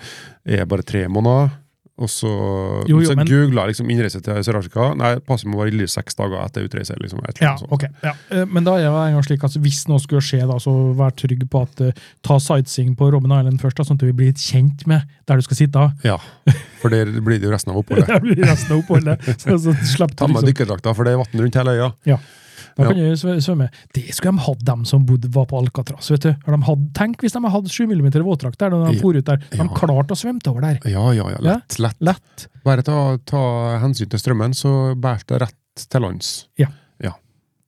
S1: er jeg bare tre måneder. Og så,
S2: Jo, jo,
S1: så
S2: men-
S1: googla jeg liksom innreise til Sør-Afrika. Nei, passet må være i liv seks dager etter utreise. liksom. et eller
S2: Ja,
S1: annet sånt.
S2: ok. Ja. Eh, Men da er jeg en gang slik at hvis noe skulle skje, da, så vær trygg på at eh, ta sightseeing på Robben Island først, da, sånn at du blir kjent med der du skal sitte. da.
S1: Ja, For der blir det jo resten av oppholdet.
S2: Der blir resten av oppholdet. Så, så slapp du
S1: Ta med
S2: liksom.
S1: dykkerdrakta, for det er vann rundt hele øya.
S2: Da kan du sv- svømme. Det skulle de hatt, dem som bodde var på Alcatraz. vet du. Har de hatt, tenk hvis de hadde hatt 7 mm våtdrakt der når de
S1: Ja.
S2: for ut der. De
S1: Ja.
S2: klarte å svømme over der.
S1: Ja, ja, ja. Lett. lett.
S2: Lett.
S1: Bare ta, ta hensyn til strømmen, så bærer det rett til lands.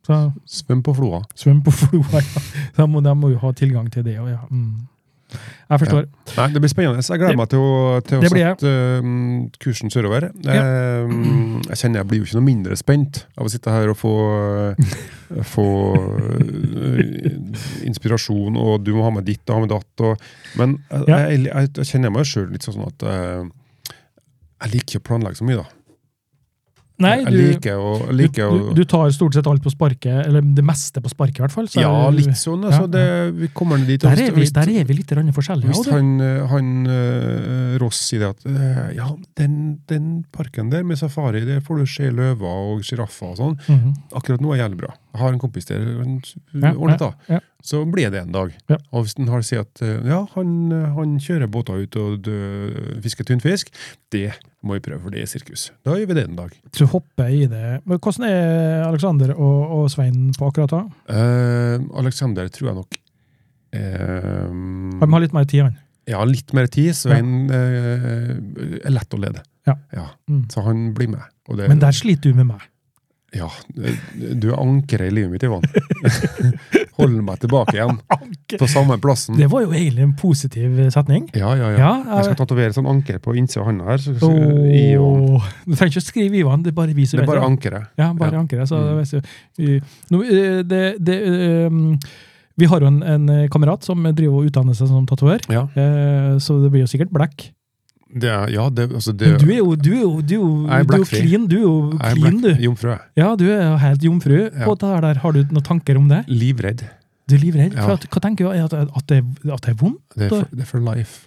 S2: Så
S1: Svøm på floa.
S2: svøm på floa, ja. De må, de må jo ha tilgang til det òg, ja. Mm. Jeg forstår.
S1: Nei, Det blir spennende. Jeg gleder
S2: Det-
S1: meg til å, til å
S2: det blir jeg.
S1: sette eh, kursen sørover. Eh, jeg kjenner jeg blir jo ikke noe mindre spent av å sitte her og få, eh, få eh, inspirasjon, og du må ha med ditt og ha med datt. Og, men jeg,
S2: Ja.
S1: jeg, jeg, jeg kjenner meg sjøl litt sånn at eh, jeg liker ikke å planlegge så mye, da.
S2: Nei,
S1: jeg,
S2: du,
S1: liker å, jeg
S2: du,
S1: liker
S2: du,
S1: å
S2: du tar stort sett alt på sparket, eller det meste på sparket i hvert fall. så
S1: Ja,
S2: er-
S1: litt sånn.
S2: ja.
S1: Altså, det, vi kommer dit. og
S2: Der er vi,
S1: hvis-
S2: der er vi litt grann forskjellige.
S1: Hvis
S2: og det-
S1: han, eh, han eh, Ross sier det at eh, ja, den, den parken der med safari, der får du se løver og sjiraffer og sånn.
S2: Mhm.
S1: Akkurat nå er jævlig bra. Jeg har en kompis der, han
S2: Ja,
S1: ordnet da.
S2: ja, ja.
S1: Så blir det en dag.
S2: Ja.
S1: Og hvis han har sier at eh, ja, han, eh, han kjører båter ut og dø- fisker tunfisk, det må vi prøve, for det er sirkus. Da gjør vi det en dag.
S2: Så hopper jeg i det. Men hvordan er Aleksander og, og Svein på akkurat da?
S1: Eh, Alexander tror jeg nok eh,
S2: De har litt mer tid, han.
S1: Ja, litt mer tid, Svein eh, er lett å lede.
S2: Ja. Mm.
S1: Så han blir med. Og det,
S2: Men der sliter du med meg.
S1: Ja, du er ankeret i livet mitt, Ivan. Hold meg tilbake igjen, på samme plassen.
S2: Det var jo egentlig en positiv eh, setning.
S1: Ja, ja, ja.
S2: Ja,
S1: Jeg skal
S2: jeg,
S1: tatovere sånn anker på innsida av handa her. Så, så, i og,
S2: Åh. Du trenger ikke å skrive Ivan, det er bare vi som
S1: det er
S2: vet
S1: bare
S2: det.
S1: ankeret.
S2: Ja, bare
S1: Ja.
S2: ankeret. Så
S1: Mm.
S2: vet du. Vi- Nå, eh, det, det, eh, vi har jo en, en eh, kamerat som driver og utdanner seg som tatover,
S1: Ja,
S2: eh, så det blir jo sikkert black.
S1: det er, ja, det, altså det
S2: Men du er jo, du er jo, du er jo,
S1: Jeg er
S2: du er jo
S1: blackfri.
S2: clean, du er jo
S1: Jeg er
S2: clean,
S1: black-
S2: du.
S1: Jomfru, jeg.
S2: Ja, du er jo helt jomfru
S1: Ja.
S2: på det her der. Har du noen tanker om det?
S1: Livredd.
S2: Du er livredd?
S1: Ja.
S2: For at, hva tenker du? Er At, at, det, at det er vondt?
S1: Det er, for, det er for life.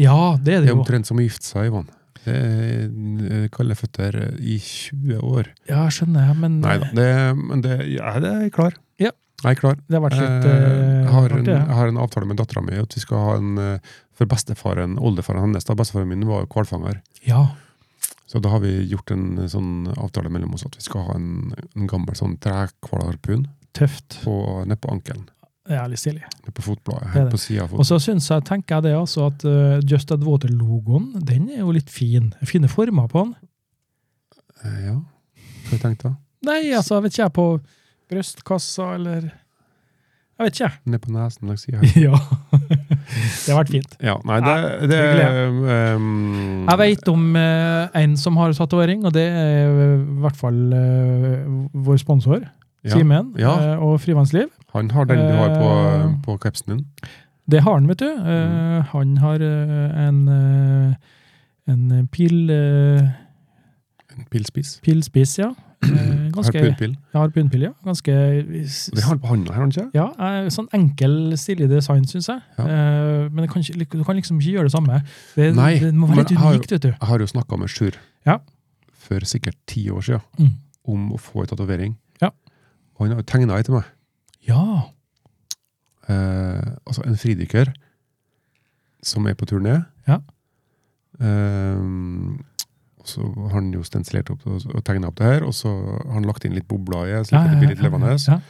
S2: Ja, det er
S1: Det
S2: det
S1: er
S2: jo.
S1: omtrent som å gifte seg, Ivan. Det er eh, kalde føtter eh, i 20 år.
S2: Ja, skjønner jeg, men
S1: Nei da, det, men det, ja, det er jeg klar.
S2: Ja.
S1: Jeg er klar.
S2: det har vært litt
S1: Eh,
S2: eh,
S1: jeg har en,
S2: artig, ja.
S1: jeg har en avtale med dattera mi at vi skal ha en eh, For bestefaren, oldefaren hennes, da bestefaren min var jo hvalfanger,
S2: ja.
S1: så da har vi gjort en eh, sånn avtale mellom oss at vi skal ha en, en gammel sånn trekvalerpun
S2: Tøft.
S1: nede på ankelen.
S2: Det er litt stilig.
S1: Nede på fotbladet.
S2: Det er
S1: Helt
S2: det.
S1: på sida av
S2: Og
S1: foten.
S2: så syns jeg, tenker jeg det altså, at eh, Just Ad Water-logoen, den er jo litt fin. Fine former på den.
S1: Eh, ja. Hva har jeg tenkt da?
S2: Nei, altså, vet ikke jeg, på brystkassa, eller Jeg vet ikke, jeg.
S1: Nede på nesen langs sida her.
S2: ja. det har vært fint.
S1: Ja, nei, det, det, ehm,
S2: Jeg vet om eh, en som har tatovering, og det er eh, i hvert fall eh, vår sponsor,
S1: ja,
S2: Simen,
S1: Ja.
S2: eh, og Frivannsliv.
S1: Han har den du har på,
S2: Eh,
S1: på kapsen din.
S2: Det har han, vet du.
S1: Mm.
S2: Eh, Han har eh, en, eh, en pil, eh,
S1: En pilspiss.
S2: pilspiss, ja. Eh, Ganske,
S1: Harpunpil.
S2: ja, harpunpil, ja. Ganske
S1: Og Det har han på handa, har han ikke?
S2: ja, eh, sånn enkel, stilig design, syns jeg.
S1: Ja.
S2: Eh, Men det kan, ikke- du kan liksom ikke gjøre det samme. Det,
S1: Nei,
S2: det må være
S1: men
S2: litt
S1: jeg har jo-
S2: unikt, vet du.
S1: Jeg har jo snakka med Sjur
S2: Ja.
S1: for sikkert ti år siden
S2: Mm.
S1: om å få ei tatovering.
S2: Ja.
S1: Og han har jo tegna ei til meg.
S2: Ja.
S1: Eh, altså en fridykker som er på turné.
S2: Ja.
S1: Eh, og så har han jo stensilert opp og, og tegna opp det her, og så har han lagt inn litt bobler i det, slik
S2: Ja,
S1: at
S2: ja,
S1: det
S2: ja,
S1: blir litt levende. altså.
S2: Ja.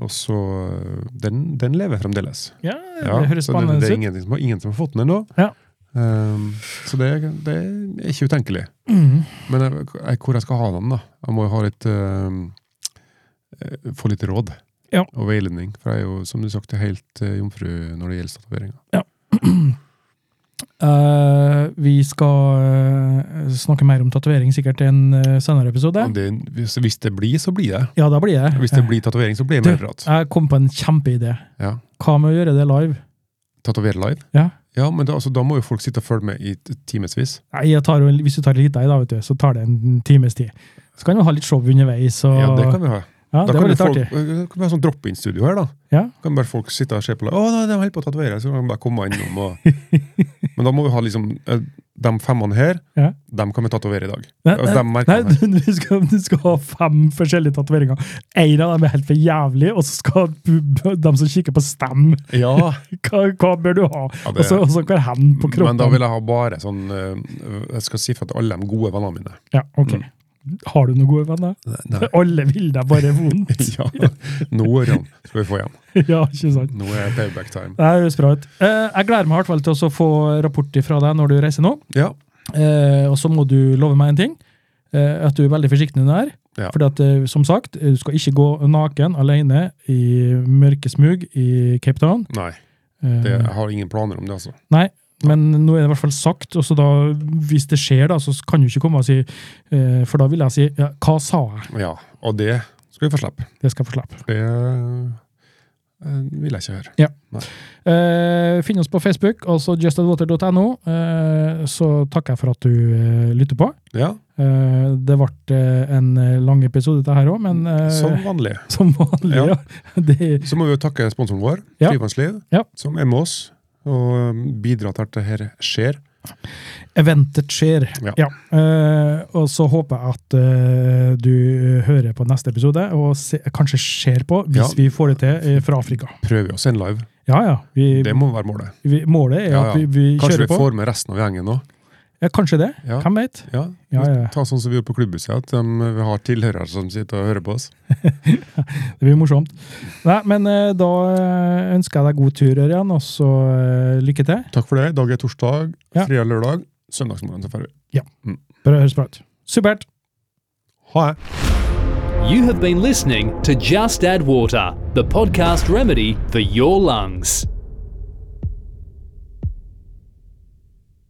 S1: Og så eh, Den, den lever fremdeles.
S2: Ja,
S1: Ja,
S2: det høres
S1: så det, det
S2: spennende
S1: er
S2: ut.
S1: ingenting som, har- ingen som har fått den ennå.
S2: Ja.
S1: Eh, så det, det er ikke utenkelig.
S2: Mm.
S1: Men jeg, jeg, hvor jeg skal ha den, da? Jeg må jo ha litt um, eh, eh, Få litt råd
S2: Ja.
S1: og veiledning. For jeg er jo, som du sagt, helt eh, jomfru når det gjelder tatoveringer.
S2: Eh, vi skal eh, snakke mer om tatovering sikkert i en eh, senere episode.
S1: Men det- Hvis, hvis det blir, så blir det.
S2: Ja, da blir det.
S1: Hvis det blir tatovering, så blir det mer prat.
S2: Jeg kom på en kjempeidé.
S1: Ja.
S2: Hva med å gjøre det live?
S1: Tatovere live.
S2: Ja.
S1: Ja, men da, altså, da må jo folk sitte og følge med i t- timevis.
S2: Nei, jeg tar, jo en- hvis du tar litt deg, da, vet du, så tar det en times tid. Så kan du ha litt show underveis. Og,
S1: Ja, det kan vi ha.
S2: Ja,
S1: Da
S2: det var
S1: kan, jo
S2: litt
S1: folk,
S2: artig.
S1: eh, kan vi ha sånn drop-in-studio her, da.
S2: Ja.
S1: Kan bare folk sitte og se på deg. 'Å, nei, de holder på å tatovere', så kan de bare komme innom. Og... men da må vi ha liksom eh, De femmene her,
S2: Ja.
S1: dem kan vi tatovere i dag.
S2: Nei,
S1: Altså, de merkene
S2: Nei,
S1: her.
S2: du, du, skal, du skal ha fem forskjellige tatoveringer. Én av dem er helt for jævlig, og så skal bu- bu- de som kikker på, stemme
S1: Ja,
S2: hva, hva bør du ha.
S1: Ja, det-
S2: Og så og så hver hen på kroppen.
S1: men da vil jeg ha bare sånn øh, Jeg skal si fra til alle de gode vennene mine.
S2: ja, ok. Har du noen gode venner?
S1: Mm. Nei.
S2: Alle vil deg bare vondt.
S1: ja, nå Ørjan, skal vi få igjen.
S2: ja, ikke sant?
S1: Nå er payback time.
S2: Det høres bra ut. Eh, jeg gleder meg i hvert fall til å få rapport fra deg når du reiser nå.
S1: Ja,
S2: Eh, og så må du love meg en ting. Eh, at du er veldig forsiktig med det her.
S1: Ja.
S2: Fordi at, eh, som sagt, eh, du skal ikke gå naken alene i mørke smug i Cape Town.
S1: Nei,
S2: Eh,
S1: det, jeg har ingen planer om det, altså.
S2: Nei, men nå er det i hvert fall sagt, og så da, hvis det skjer, da, så kan du ikke komme og si eh, For da vil jeg si ja, 'hva sa jeg?'
S1: Ja, Og det skal vi få slippe.
S2: Det skal jeg få slippe.
S1: Det øh, vil jeg ikke høre.
S2: Eh, finn oss på Facebook, altså justadwater.no. Eh, så takker jeg for at du eh, lytter på.
S1: Ja,
S2: Eh, det ble eh, en eh, lang episode, dette her òg, men eh,
S1: Som vanlig.
S2: Som vanlig, ja.
S1: Ja.
S2: Det,
S1: Så må vi jo takke sponsoren vår,
S2: Ja.
S1: Frivannsliv,
S2: Ja.
S1: som er med oss og øh, bidrar til at det her skjer.
S2: eventet skjer.
S1: Ja.
S2: Eh, og så håper jeg at eh, du hører på neste episode, og se, kanskje ser på, hvis
S1: Ja.
S2: vi får det til, eh, fra Afrika.
S1: Prøver vi å sende live.
S2: Ja, ja. Vi,
S1: Det må være målet.
S2: vi, målet er
S1: Ja,
S2: at
S1: ja.
S2: vi, vi
S1: Kanskje
S2: kjører
S1: vi
S2: på.
S1: får med resten av gjengen òg.
S2: Ja, kanskje det.
S1: Ja.
S2: Hvem vet?
S1: Ja.
S2: Ja, ja.
S1: Ta sånn som vi gjorde på klubbhuset, at de, vi har tilhørere som sitter og hører på oss.
S2: Det blir morsomt. Nei, men eh, da eh, ønsker jeg deg god tur, Ørjan, og så eh, lykke til.
S1: Takk for det. I dag er torsdag,
S2: Ja.
S1: fredag, lørdag. Søndagsmorgen så ferdig.
S2: Bra høres bra ut. Supert!
S1: Ha det!
S3: You have been listening to Just Add Water, the podcast remedy for your lungs.